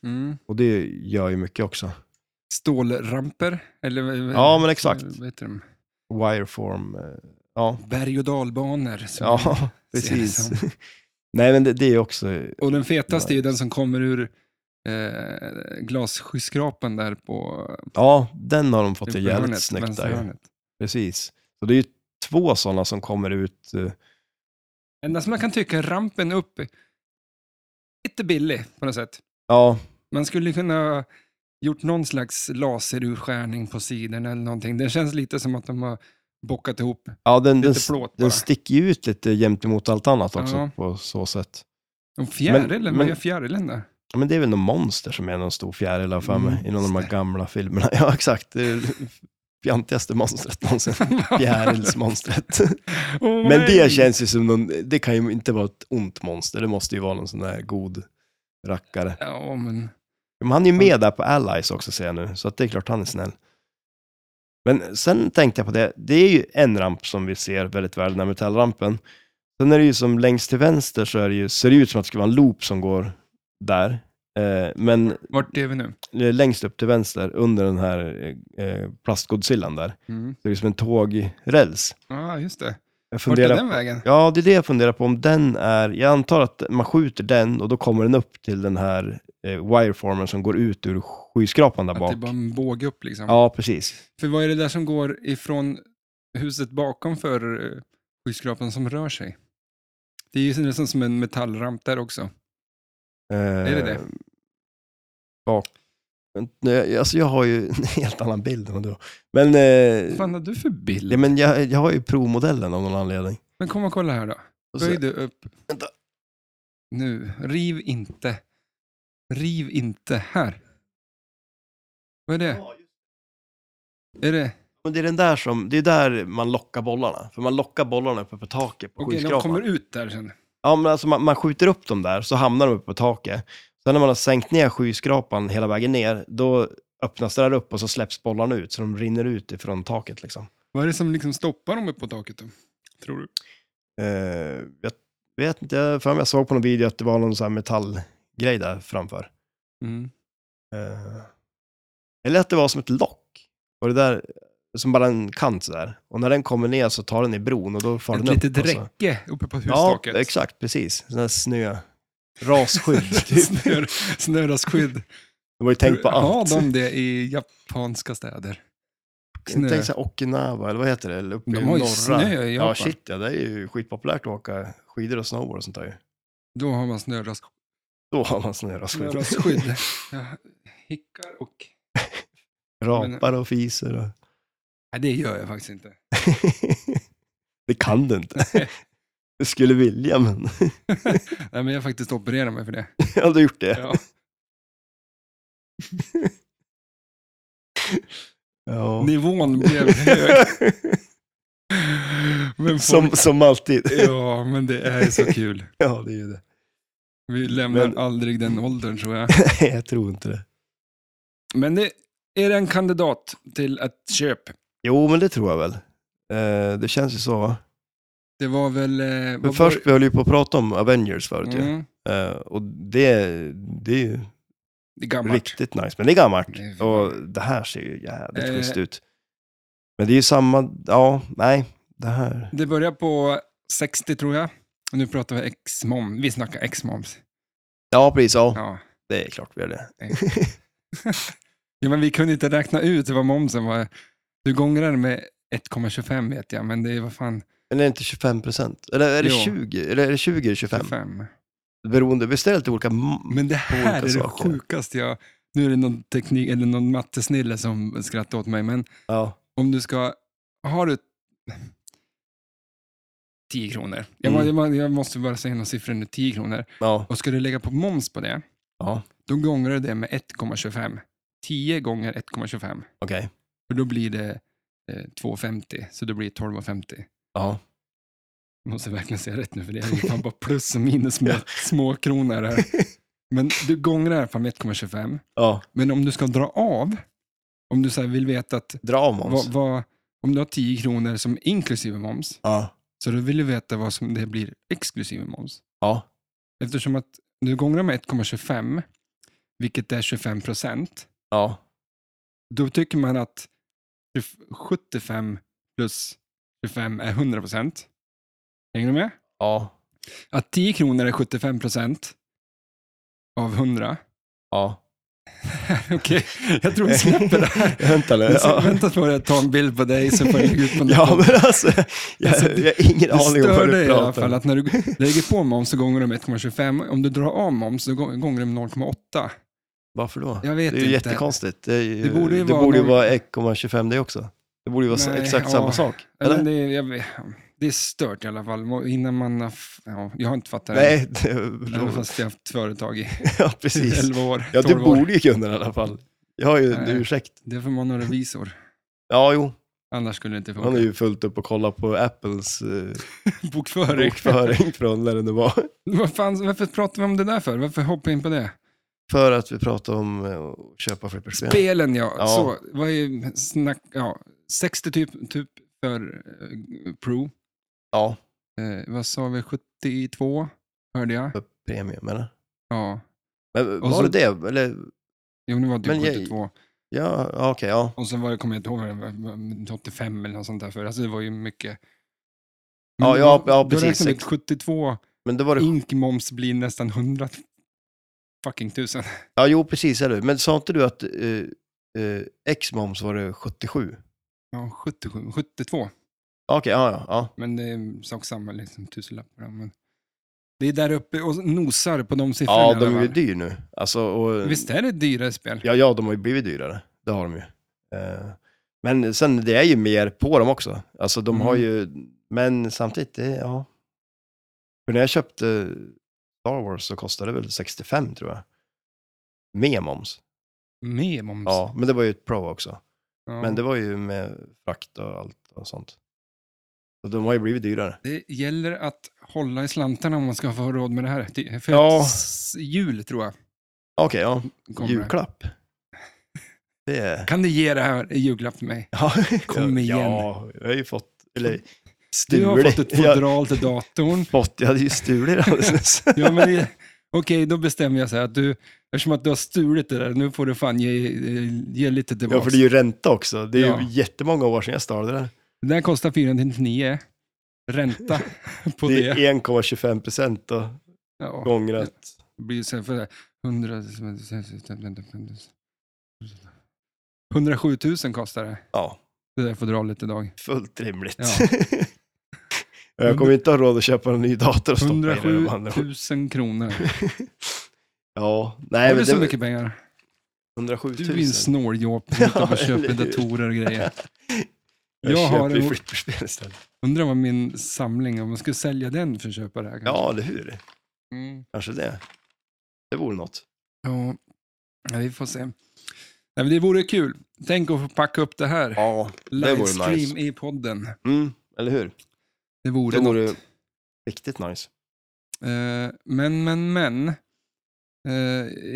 [SPEAKER 1] mm,
[SPEAKER 2] och det gör ju mycket också.
[SPEAKER 1] stålramper, eller vad-
[SPEAKER 2] Ja, men exakt.
[SPEAKER 1] vad heter de?
[SPEAKER 2] Wireform, eh, ja.
[SPEAKER 1] Berg och dalbanor. som-
[SPEAKER 2] Ja,
[SPEAKER 1] det
[SPEAKER 2] precis.
[SPEAKER 1] som.
[SPEAKER 2] Nej, men det, det är ju också,
[SPEAKER 1] Och den fetaste är ju den som kommer ur eh, glasskyskrapan där på
[SPEAKER 2] ja, den har de fått till
[SPEAKER 1] upphörnet,
[SPEAKER 2] jävligt snyggt där. ju.
[SPEAKER 1] vänsterhörnet.
[SPEAKER 2] Precis. Så det är ju två sådana som kommer ut. eh,
[SPEAKER 1] Enda som jag kan tycka är rampen upp lite billig på något sätt.
[SPEAKER 2] Ja,
[SPEAKER 1] Man skulle kunna gjort någon slags laserurskärning på sidorna eller någonting. Det känns lite som att de har bockat ihop.
[SPEAKER 2] ja den, den,
[SPEAKER 1] Lite plåt bara.
[SPEAKER 2] den sticker ju ut lite jämt emot allt annat också
[SPEAKER 1] Ja.
[SPEAKER 2] på så sätt.
[SPEAKER 1] Och fjärilen,
[SPEAKER 2] Men-
[SPEAKER 1] vad
[SPEAKER 2] men-
[SPEAKER 1] gör fjärilen där?
[SPEAKER 2] Ja, men det är väl någon monster som är någon stor fjäril har jag för mig i någon av de här
[SPEAKER 1] Monster.
[SPEAKER 2] gamla filmerna. Ja, exakt. Det är det fjantigaste monstret någonsin. Fjärilsmonstret.
[SPEAKER 1] Åh,
[SPEAKER 2] Men
[SPEAKER 1] Oh nej!
[SPEAKER 2] det känns ju som någon, det kan ju inte vara ett ont monster, det måste ju vara någon sån där god rackare.
[SPEAKER 1] Ja, men...
[SPEAKER 2] Men han är ju med där på Allies också ser jag nu, så att det är klart han är snäll. Men sen tänkte jag på det, det är ju en ramp som vi ser väldigt väl, den här metallrampen. Sen är det ju som längst till vänster så är det ju, ser det ut som att det skulle vara en loop som går där. Eh, men
[SPEAKER 1] Vart är vi nu?
[SPEAKER 2] eh, längst upp till vänster under den här eh, eh, plastgodzillan där,
[SPEAKER 1] Mm.
[SPEAKER 2] så är det som en tågräls.
[SPEAKER 1] Ja, just det.
[SPEAKER 2] Jag
[SPEAKER 1] Vart är
[SPEAKER 2] funderar
[SPEAKER 1] den vägen?
[SPEAKER 2] Ja, det är det jag funderar på om den är, jag antar att man skjuter den och då kommer den upp till den här eh, wireformen som går ut ur skyskrapan där
[SPEAKER 1] Att det
[SPEAKER 2] bak.
[SPEAKER 1] är bara en båge upp liksom.
[SPEAKER 2] Ja, precis.
[SPEAKER 1] För vad är det där som går ifrån huset bakom för eh, skyskrapan som rör sig? Det är ju nästan som en metallramp där också.
[SPEAKER 2] är
[SPEAKER 1] det det?
[SPEAKER 2] Eh, Bak. Men, nej, Alltså jag har ju en helt annan bild än vad du har. Men, eh,
[SPEAKER 1] Vad fan har du för bild?
[SPEAKER 2] ja, men jag, jag har ju provmodellen av någon anledning.
[SPEAKER 1] Men kom och kolla här då.
[SPEAKER 2] Och så-
[SPEAKER 1] Böj du upp.
[SPEAKER 2] Vänta.
[SPEAKER 1] Nu, riv inte. Riv inte här. Vad är det? Är det?
[SPEAKER 2] Men det är den där som, det är där man lockar bollarna. För man lockar bollarna uppe på taket på
[SPEAKER 1] Okej, de
[SPEAKER 2] skyskrapan.
[SPEAKER 1] kommer ut där sen.
[SPEAKER 2] Ja, men alltså man, man skjuter upp dem där, så hamnar de uppe på taket. Sen när man har sänkt ner skyskrapan hela vägen ner, då öppnas det där upp och så släpps bollarna ut, så de rinner ut ifrån taket liksom.
[SPEAKER 1] Vad är det som liksom stoppar dem uppe på taket då? Tror du?
[SPEAKER 2] Eh, jag vet inte, jag, för mig jag såg på någon video att det var någon sån här metallgrej där framför.
[SPEAKER 1] Mm.
[SPEAKER 2] Eh, eller att det var som ett lock. Och det där, som bara en kant sådär. Och när den kommer ner så tar den i bron och då far
[SPEAKER 1] Ett
[SPEAKER 2] den upp.
[SPEAKER 1] litet
[SPEAKER 2] och så-
[SPEAKER 1] räcke uppe på
[SPEAKER 2] Ja,
[SPEAKER 1] hustaket.
[SPEAKER 2] exakt, precis. Sån här snö, rasskydd typ.
[SPEAKER 1] Snör, snöraskydd.
[SPEAKER 2] De har ju tänkt på
[SPEAKER 1] Har
[SPEAKER 2] allt.
[SPEAKER 1] de det i japanska städer? Snö.
[SPEAKER 2] Tänk så här Okinawa, eller vad heter det? Eller uppe
[SPEAKER 1] De
[SPEAKER 2] i
[SPEAKER 1] har ju
[SPEAKER 2] norra.
[SPEAKER 1] snö i
[SPEAKER 2] Ja,
[SPEAKER 1] Japan.
[SPEAKER 2] shit ja, det är ju skitpopulärt att åka skidor och snowboard och sånt där ju.
[SPEAKER 1] Då har man snörask-
[SPEAKER 2] Då har man snörasskydd.
[SPEAKER 1] snörasskydd. Jag hickar och...
[SPEAKER 2] Rapar och fiser och...
[SPEAKER 1] Nej, det gör jag faktiskt inte.
[SPEAKER 2] det kan du inte. Jag skulle vilja, men...
[SPEAKER 1] Nej, men jag har faktiskt opererat mig för det.
[SPEAKER 2] Jag hade gjort det.
[SPEAKER 1] Ja.
[SPEAKER 2] Ja.
[SPEAKER 1] Nivån blev hög. Men folk...
[SPEAKER 2] Som, som alltid.
[SPEAKER 1] Ja, men det är så kul.
[SPEAKER 2] Ja, det är ju det.
[SPEAKER 1] Vi lämnar
[SPEAKER 2] Men-
[SPEAKER 1] aldrig den åldern tror jag.
[SPEAKER 2] Nej, jag tror inte det.
[SPEAKER 1] Men det är det en kandidat till ett köp.
[SPEAKER 2] Jo, men det tror jag väl. Eh, det känns ju så. va?
[SPEAKER 1] Det var väl... eh, vad
[SPEAKER 2] Men
[SPEAKER 1] var
[SPEAKER 2] först, vi höll ju på att prata om Avengers förut
[SPEAKER 1] det?
[SPEAKER 2] ju.
[SPEAKER 1] Mm,
[SPEAKER 2] Eh, och det, det är ju
[SPEAKER 1] det är gammalt.
[SPEAKER 2] riktigt nice. Men det är gammalt.
[SPEAKER 1] Det är-
[SPEAKER 2] Och det här ser ju jävligt
[SPEAKER 1] Eh.
[SPEAKER 2] schysst ut. Men det är ju samma, ja, nej, det här.
[SPEAKER 1] Det börjar på 60 tror jag. Och nu pratar vi ex-mom. Vi snackar ex-moms.
[SPEAKER 2] Ja, precis, ja.
[SPEAKER 1] Ja.
[SPEAKER 2] Det är klart vi gör det.
[SPEAKER 1] ja, men vi kunde inte räkna ut vad momsen var. Du gångrar med 1,25 vet jag, men det är vad fan,
[SPEAKER 2] Men är det inte 25 procent? Eller är det
[SPEAKER 1] Jo.
[SPEAKER 2] 20? Eller är det 20 eller 25?
[SPEAKER 1] 25.
[SPEAKER 2] Beroende, beställt olika... m-
[SPEAKER 1] Men det här är
[SPEAKER 2] Mm. olika
[SPEAKER 1] det
[SPEAKER 2] saker.
[SPEAKER 1] sjukaste jag... Nu är det någon teknik eller någon mattesnille som skrattar åt mig, men
[SPEAKER 2] Ja,
[SPEAKER 1] om du ska... Har du... 10 kronor. Jag,
[SPEAKER 2] Mm.
[SPEAKER 1] må- jag, må- jag måste bara säga några siffror nu. 10 kronor.
[SPEAKER 2] ja,
[SPEAKER 1] Och ska du lägga på moms på det,
[SPEAKER 2] ja,
[SPEAKER 1] då gånger du det med 1,25. 10 gånger 1,25.
[SPEAKER 2] okej.
[SPEAKER 1] För då blir det eh, 2,50. Så då blir det 12,50.
[SPEAKER 2] Ja.
[SPEAKER 1] Jag måste verkligen säga rätt nu, för det är ju fan bara plus och minus små, små kronor här. Men du gångrar fan med 1,25.
[SPEAKER 2] ja,
[SPEAKER 1] Men om du ska dra av, om du så här vill veta att
[SPEAKER 2] dra av moms.
[SPEAKER 1] vad, vad, om du har 10 kronor som inklusive moms,
[SPEAKER 2] Ja,
[SPEAKER 1] så då vill du veta vad som det blir exklusive moms.
[SPEAKER 2] ja,
[SPEAKER 1] Eftersom att du gångrar med 1,25, vilket är 25 procent,
[SPEAKER 2] ja,
[SPEAKER 1] då tycker man att 75 plus 25 är 100 procent. Hänger du med?
[SPEAKER 2] ja,
[SPEAKER 1] Att 10 kronor är 75 procent av 100.
[SPEAKER 2] ja.
[SPEAKER 1] Okej, jag tror vi släpper det här.
[SPEAKER 2] Vänta nu.
[SPEAKER 1] Jag ska
[SPEAKER 2] Ja.
[SPEAKER 1] vänta på att jag tar en bild på dig så får jag lägga ut på
[SPEAKER 2] Ja, men alltså,
[SPEAKER 1] Alltså,
[SPEAKER 2] jag, jag har ingen
[SPEAKER 1] Det
[SPEAKER 2] aning om
[SPEAKER 1] stör
[SPEAKER 2] vad
[SPEAKER 1] dig
[SPEAKER 2] du
[SPEAKER 1] i alla
[SPEAKER 2] pratar
[SPEAKER 1] fall
[SPEAKER 2] om.
[SPEAKER 1] att när du lägger på moms så gånger du med 1,25. Om du drar av moms så gång- gånger du med 0,8.
[SPEAKER 2] Varför då?
[SPEAKER 1] Jag vet
[SPEAKER 2] det är ju
[SPEAKER 1] inte.
[SPEAKER 2] jättekonstigt. Det, är ju,
[SPEAKER 1] Det
[SPEAKER 2] det
[SPEAKER 1] borde
[SPEAKER 2] borde
[SPEAKER 1] ju
[SPEAKER 2] ju det
[SPEAKER 1] vara
[SPEAKER 2] borde ju
[SPEAKER 1] någon-
[SPEAKER 2] vara 1,25 det också. Det borde ju vara
[SPEAKER 1] Nej,
[SPEAKER 2] exakt
[SPEAKER 1] ja.
[SPEAKER 2] samma sak.
[SPEAKER 1] Eller?
[SPEAKER 2] Eller?
[SPEAKER 1] det, är- jag, vet- det är stört i alla fall. Må- Innan man har, f- ja, jag har inte fattat det.
[SPEAKER 2] Nej, det,
[SPEAKER 1] Även fast jag har haft företag i
[SPEAKER 2] ja, precis.
[SPEAKER 1] 11 år,
[SPEAKER 2] Ja,
[SPEAKER 1] 12
[SPEAKER 2] du
[SPEAKER 1] år.
[SPEAKER 2] borde ju kunna det i alla fall. Jag har ju en
[SPEAKER 1] Nej.
[SPEAKER 2] ursäkt.
[SPEAKER 1] Det är för man har revisor.
[SPEAKER 2] Ja, jo.
[SPEAKER 1] Annars skulle det inte
[SPEAKER 2] Han är
[SPEAKER 1] funka.
[SPEAKER 2] ju fullt upp och kollar på Apples eh,
[SPEAKER 1] Bokföring.
[SPEAKER 2] bokföring från när det nu var.
[SPEAKER 1] Vad fan, varför pratar vi om det där för? Varför hoppar vi in på det?
[SPEAKER 2] För att vi pratade om eh, att köpa flipperspel.
[SPEAKER 1] Spelen ja.
[SPEAKER 2] Ja.
[SPEAKER 1] Så, vad är snack, ja 60 typ, typ för eh, Pro.
[SPEAKER 2] Ja,
[SPEAKER 1] Eh, vad sa vi, 72 hörde jag.
[SPEAKER 2] för premium eller?
[SPEAKER 1] Ja,
[SPEAKER 2] Men
[SPEAKER 1] Och
[SPEAKER 2] var
[SPEAKER 1] så-
[SPEAKER 2] det det? Eller,
[SPEAKER 1] jo, nu var det
[SPEAKER 2] Men
[SPEAKER 1] typ
[SPEAKER 2] jag-
[SPEAKER 1] 72.
[SPEAKER 2] ja, ja, okej, ja.
[SPEAKER 1] Och sen var det, kommer jag inte ihåg, vad det var, 85 eller något sånt där för. Alltså det var ju mycket.
[SPEAKER 2] Ja, ja, ja,
[SPEAKER 1] då
[SPEAKER 2] precis.
[SPEAKER 1] räknar vi att
[SPEAKER 2] Sex-
[SPEAKER 1] 72
[SPEAKER 2] Men då var det...
[SPEAKER 1] inkmoms blir nästan 100 fucking tusen.
[SPEAKER 2] Ja, jo, precis, eller hur? Men sa inte du att eh, eh, ex-moms var det 77?
[SPEAKER 1] Ja, 77, 72.
[SPEAKER 2] Ja, Okej, ja, ja, ja.
[SPEAKER 1] Men det är sak samma, liksom tusenlappar. Men det är där uppe och nosar på de siffrorna.
[SPEAKER 2] Ja,
[SPEAKER 1] i
[SPEAKER 2] de
[SPEAKER 1] alla
[SPEAKER 2] är ju
[SPEAKER 1] fall.
[SPEAKER 2] dyr nu. Alltså, och,
[SPEAKER 1] Visst är det dyrare spel?
[SPEAKER 2] Ja, ja, de har ju blivit dyrare. Det har de ju. Eh, Men sen, det är ju mer på dem också. Alltså de har
[SPEAKER 1] Mm.
[SPEAKER 2] ju, men samtidigt, det, ja. För när jag köpte Star Wars så kostade det väl 65 tror jag. Med moms.
[SPEAKER 1] Med moms.
[SPEAKER 2] Ja, men det var ju ett pro också.
[SPEAKER 1] Ja.
[SPEAKER 2] Men det var ju med frakt och allt och sånt. Så de har ju blivit dyrare.
[SPEAKER 1] Det gäller att hålla i slantarna om man ska få råd med det här. Det- För
[SPEAKER 2] Ja.
[SPEAKER 1] s- jul tror jag.
[SPEAKER 2] Okej, ja.
[SPEAKER 1] Kommer.
[SPEAKER 2] Julklapp. Det är...
[SPEAKER 1] Kan du ge det här i julklapp till mig?
[SPEAKER 2] Ja,
[SPEAKER 1] Kom igen.
[SPEAKER 2] Ja, jag har ju fått... Eller
[SPEAKER 1] Du
[SPEAKER 2] stulit.
[SPEAKER 1] har fått ett
[SPEAKER 2] jag,
[SPEAKER 1] fodral till datorn.
[SPEAKER 2] fått, jag hade ju stulit det alldeles nyss.
[SPEAKER 1] Ja, men det, okej, då bestämmer jag så här att du, eftersom att du har stulit det där, nu får du fan ge, ge lite tillbaka.
[SPEAKER 2] Ja, för det är ju ränta också. Det är
[SPEAKER 1] Ja.
[SPEAKER 2] ju jättemånga år sedan jag startade det här.
[SPEAKER 1] Den här kostar 499. Ränta på det.
[SPEAKER 2] det är 1,25 procent och
[SPEAKER 1] Ja,
[SPEAKER 2] gånger att...
[SPEAKER 1] det blir ju sen för det. 100... 107 000 kostar det.
[SPEAKER 2] Ja,
[SPEAKER 1] Det där fodralet idag.
[SPEAKER 2] fullt rimligt.
[SPEAKER 1] Ja.
[SPEAKER 2] Och jag kommer inte ha råd att köpa en ny dator och stoppa i den.
[SPEAKER 1] 107
[SPEAKER 2] med andra ord.
[SPEAKER 1] 000 kronor.
[SPEAKER 2] Ja,
[SPEAKER 1] Har
[SPEAKER 2] nej
[SPEAKER 1] du
[SPEAKER 2] men det
[SPEAKER 1] så
[SPEAKER 2] var
[SPEAKER 1] mycket pengar?
[SPEAKER 2] 107 000.
[SPEAKER 1] Du är en snåljåp som
[SPEAKER 2] Ja,
[SPEAKER 1] inte köper
[SPEAKER 2] eller hur?
[SPEAKER 1] datorer och grejer.
[SPEAKER 2] Jag,
[SPEAKER 1] Jag har
[SPEAKER 2] köper ju
[SPEAKER 1] en-
[SPEAKER 2] flipperspel istället.
[SPEAKER 1] Undrar vad min samling, om man skulle sälja den för att köpa det här. kanske.
[SPEAKER 2] Ja, eller hur?
[SPEAKER 1] Mm.
[SPEAKER 2] Kanske det. Det vore något.
[SPEAKER 1] ja. Ja, vi får se. Nej, men det vore kul. Tänk att få packa upp det här.
[SPEAKER 2] Ja, det vore
[SPEAKER 1] Livestream
[SPEAKER 2] nice.
[SPEAKER 1] i podden.
[SPEAKER 2] Mm, eller hur?
[SPEAKER 1] Det vore,
[SPEAKER 2] Det vore
[SPEAKER 1] något.
[SPEAKER 2] riktigt nice.
[SPEAKER 1] Eh, men, men, men. Eh,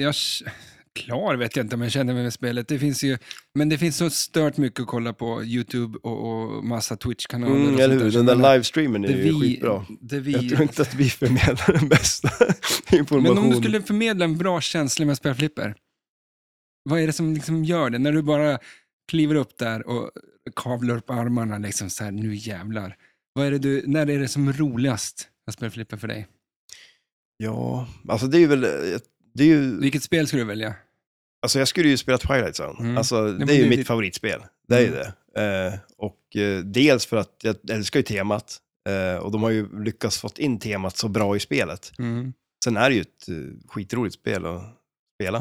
[SPEAKER 1] jag... k- Klar vet jag inte om jag känner mig med spelet. Det finns ju... Men det finns så stört mycket att kolla på YouTube och, och massa Twitch-kanaler. och
[SPEAKER 2] Mm,
[SPEAKER 1] sånt
[SPEAKER 2] eller hur?
[SPEAKER 1] Så
[SPEAKER 2] Den där
[SPEAKER 1] jag menar,
[SPEAKER 2] livestreamen är
[SPEAKER 1] det
[SPEAKER 2] ju
[SPEAKER 1] vi-
[SPEAKER 2] skitbra.
[SPEAKER 1] Det vi...
[SPEAKER 2] Jag tror inte att vi förmedlar den bästa informationen.
[SPEAKER 1] Men om du skulle förmedla en bra känsla med att spela flipper, vad är det som liksom gör det? När du bara kliver upp där och kavlar upp armarna, liksom så här, nu jävlar. Vad är det du, när är det som roligast att spela flipper för dig?
[SPEAKER 2] Ja, alltså det är ju väl... Det är ju,
[SPEAKER 1] Vilket spel skulle du välja?
[SPEAKER 2] alltså jag skulle ju spela Twilight Zone.
[SPEAKER 1] Mm.
[SPEAKER 2] Alltså,
[SPEAKER 1] men
[SPEAKER 2] det är ju
[SPEAKER 1] det-
[SPEAKER 2] mitt
[SPEAKER 1] det-
[SPEAKER 2] favoritspel. Det är ju
[SPEAKER 1] Mm.
[SPEAKER 2] det. Eh, och eh, dels för att jag älskar ju temat. Eh, och de har ju lyckats fått in temat så bra i spelet.
[SPEAKER 1] Mm.
[SPEAKER 2] Sen är det ju ett eh, skitroligt spel att spela.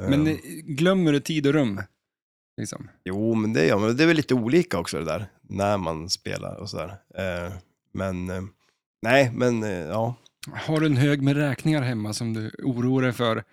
[SPEAKER 2] Eh,
[SPEAKER 1] Men eh, glömmer du tid och rum? Liksom.
[SPEAKER 2] Jo, men det, ja, men det är väl lite olika också det där, när man spelar och sådär. Eh, men, eh, nej, men eh, ja.
[SPEAKER 1] Har du en hög med räkningar hemma som du oroar dig för,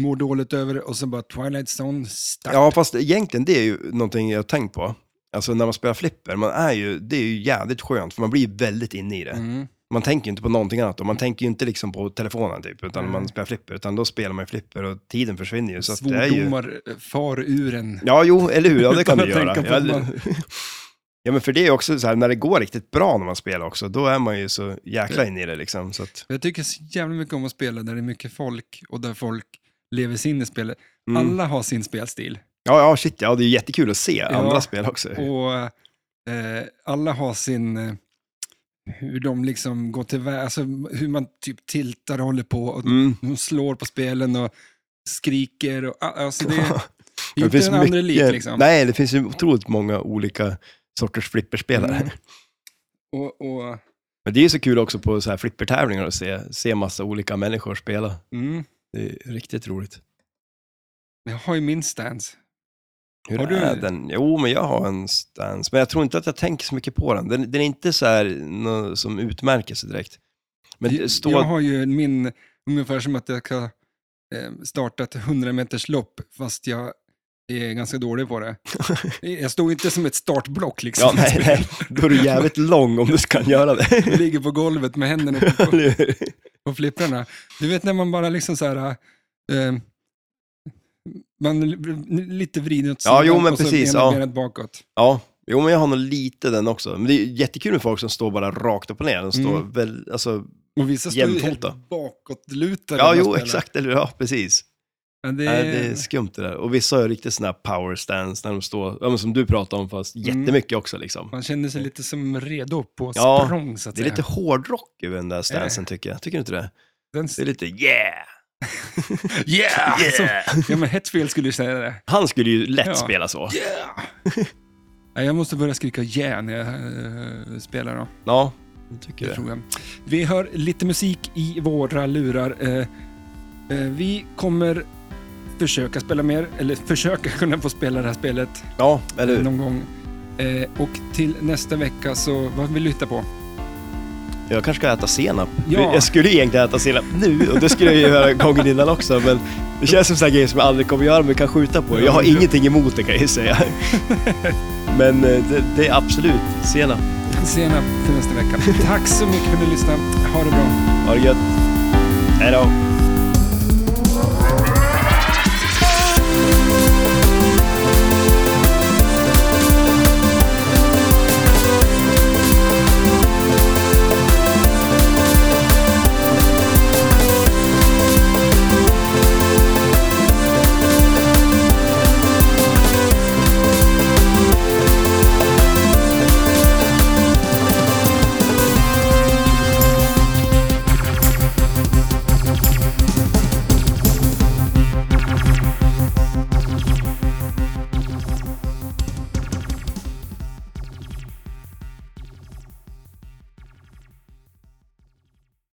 [SPEAKER 1] mår dåligt över och så bara Twilight Zone, start.
[SPEAKER 2] Ja, fast egentligen det är ju någonting jag har tänkt på. Alltså när man spelar flipper, man är ju, det är ju jävligt skönt, för man blir ju väldigt inne i det.
[SPEAKER 1] Mm.
[SPEAKER 2] Man tänker ju inte på någonting annat, och man tänker ju inte liksom på telefonen typ, utan
[SPEAKER 1] Nej.
[SPEAKER 2] man spelar flipper, utan då spelar man ju flipper och tiden försvinner ju. Så att det är ju...
[SPEAKER 1] Svordomar eh, far ur en.
[SPEAKER 2] Ja, jo, eller hur, ja det
[SPEAKER 1] Utan
[SPEAKER 2] kan du
[SPEAKER 1] att
[SPEAKER 2] göra.
[SPEAKER 1] tänka på att
[SPEAKER 2] Ja,
[SPEAKER 1] man-
[SPEAKER 2] Ja, men för det är ju också så här, när det går riktigt bra när man spelar också, då är man ju så jäkla inne i det liksom. Så att,
[SPEAKER 1] Jag tycker så jävla mycket om att spela där det är mycket folk och där folk lever sig in i spelet.
[SPEAKER 2] mm.
[SPEAKER 1] Alla har sin spelstil
[SPEAKER 2] Ja, ja, shit, ja, det är ju jättekul att se andra spel också.
[SPEAKER 1] och eh, alla har sin, eh, hur de liksom går tillväga, alltså hur man typ tiltar och håller på och
[SPEAKER 2] Mm.
[SPEAKER 1] de slår på spelen och skriker och a- alltså det,
[SPEAKER 2] Ja,
[SPEAKER 1] det är inte den andra lik liksom.
[SPEAKER 2] Nej, det finns ju otroligt många olika sorters flipperspelare.
[SPEAKER 1] Mm. Och, och,
[SPEAKER 2] Men det är ju så kul också på så här flippertävlingar att se, se massa olika människor spela.
[SPEAKER 1] mm.
[SPEAKER 2] Det är riktigt roligt.
[SPEAKER 1] Jag har ju min stance.
[SPEAKER 2] Hur
[SPEAKER 1] Har du-
[SPEAKER 2] är den? Jo, men jag har en stance, men jag tror inte att jag tänker så mycket på den. Den, den är inte så här nå- som utmärker sig direkt. Men det står...
[SPEAKER 1] Jag har ju min, ungefär som att jag kan eh, starta ett 100 meters lopp fast jag är ganska dålig på det. Jag står inte som ett startblock liksom.
[SPEAKER 2] Ja, nej, nej. Då är du jävligt lång om du kan göra det.
[SPEAKER 1] Jag ligger på golvet med händerna på, på,
[SPEAKER 2] Eller hur?
[SPEAKER 1] på flipprarna. Du vet när man bara liksom så här, eh, man l- l- lite vrider åt
[SPEAKER 2] Ja, jo, men
[SPEAKER 1] och så
[SPEAKER 2] precis,
[SPEAKER 1] ena
[SPEAKER 2] ja.
[SPEAKER 1] benet bakåt.
[SPEAKER 2] Ja, jo men jag har nog lite den också. Men det är ju jättekul med folk som står bara rakt upp och ner. De står
[SPEAKER 1] Mm.
[SPEAKER 2] väl, alltså,
[SPEAKER 1] Och vissa står ju helt
[SPEAKER 2] Jämfota.
[SPEAKER 1] bakåtlutade.
[SPEAKER 2] ja
[SPEAKER 1] när man
[SPEAKER 2] jo
[SPEAKER 1] spelar.
[SPEAKER 2] exakt, eller ja precis.
[SPEAKER 1] Men det,
[SPEAKER 2] Nej, det är skumt det där. Och vissa har ju riktigt sån här power stance när de står, ja, men som du pratade om fast
[SPEAKER 1] Mm.
[SPEAKER 2] jättemycket också liksom.
[SPEAKER 1] Man känner sig lite som redo på
[SPEAKER 2] Ja,
[SPEAKER 1] språng så att
[SPEAKER 2] Det är
[SPEAKER 1] säga.
[SPEAKER 2] lite hårdrock över den där stansen tycker jag. Tycker du inte det?
[SPEAKER 1] Den
[SPEAKER 2] Det är lite yeah!
[SPEAKER 1] Yeah! Som,
[SPEAKER 2] yeah.
[SPEAKER 1] ja, men Hetfield skulle ju säga det.
[SPEAKER 2] Han skulle ju lätt
[SPEAKER 1] Ja.
[SPEAKER 2] spela så.
[SPEAKER 1] Yeah! Nej, jag måste börja skrika yeah när jag eh, spelar då.
[SPEAKER 2] Ja, jag tycker
[SPEAKER 1] Det
[SPEAKER 2] det.
[SPEAKER 1] tror jag. Vi hör lite musik i våra lurar. Eh, eh, vi kommer försöka spela mer, eller försöka kunna få spela det här spelet
[SPEAKER 2] Ja, eller
[SPEAKER 1] Mm.
[SPEAKER 2] hur?
[SPEAKER 1] någon gång. Eh, och till nästa vecka så, vad vill du hitta på?
[SPEAKER 2] Jag kanske ska äta senap.
[SPEAKER 1] Ja.
[SPEAKER 2] Jag skulle egentligen äta senap nu och det skulle jag ju göra gången innan också. Men det känns som sådana grejer som jag aldrig kommer göra men kan skjuta på. Jag har ingenting emot det kan jag ju säga. Men eh, det, det är absolut senap.
[SPEAKER 1] Senap till nästa vecka. Tack så mycket för att ni lyssnade. Ha det bra.
[SPEAKER 2] Ha det gött. Hej då.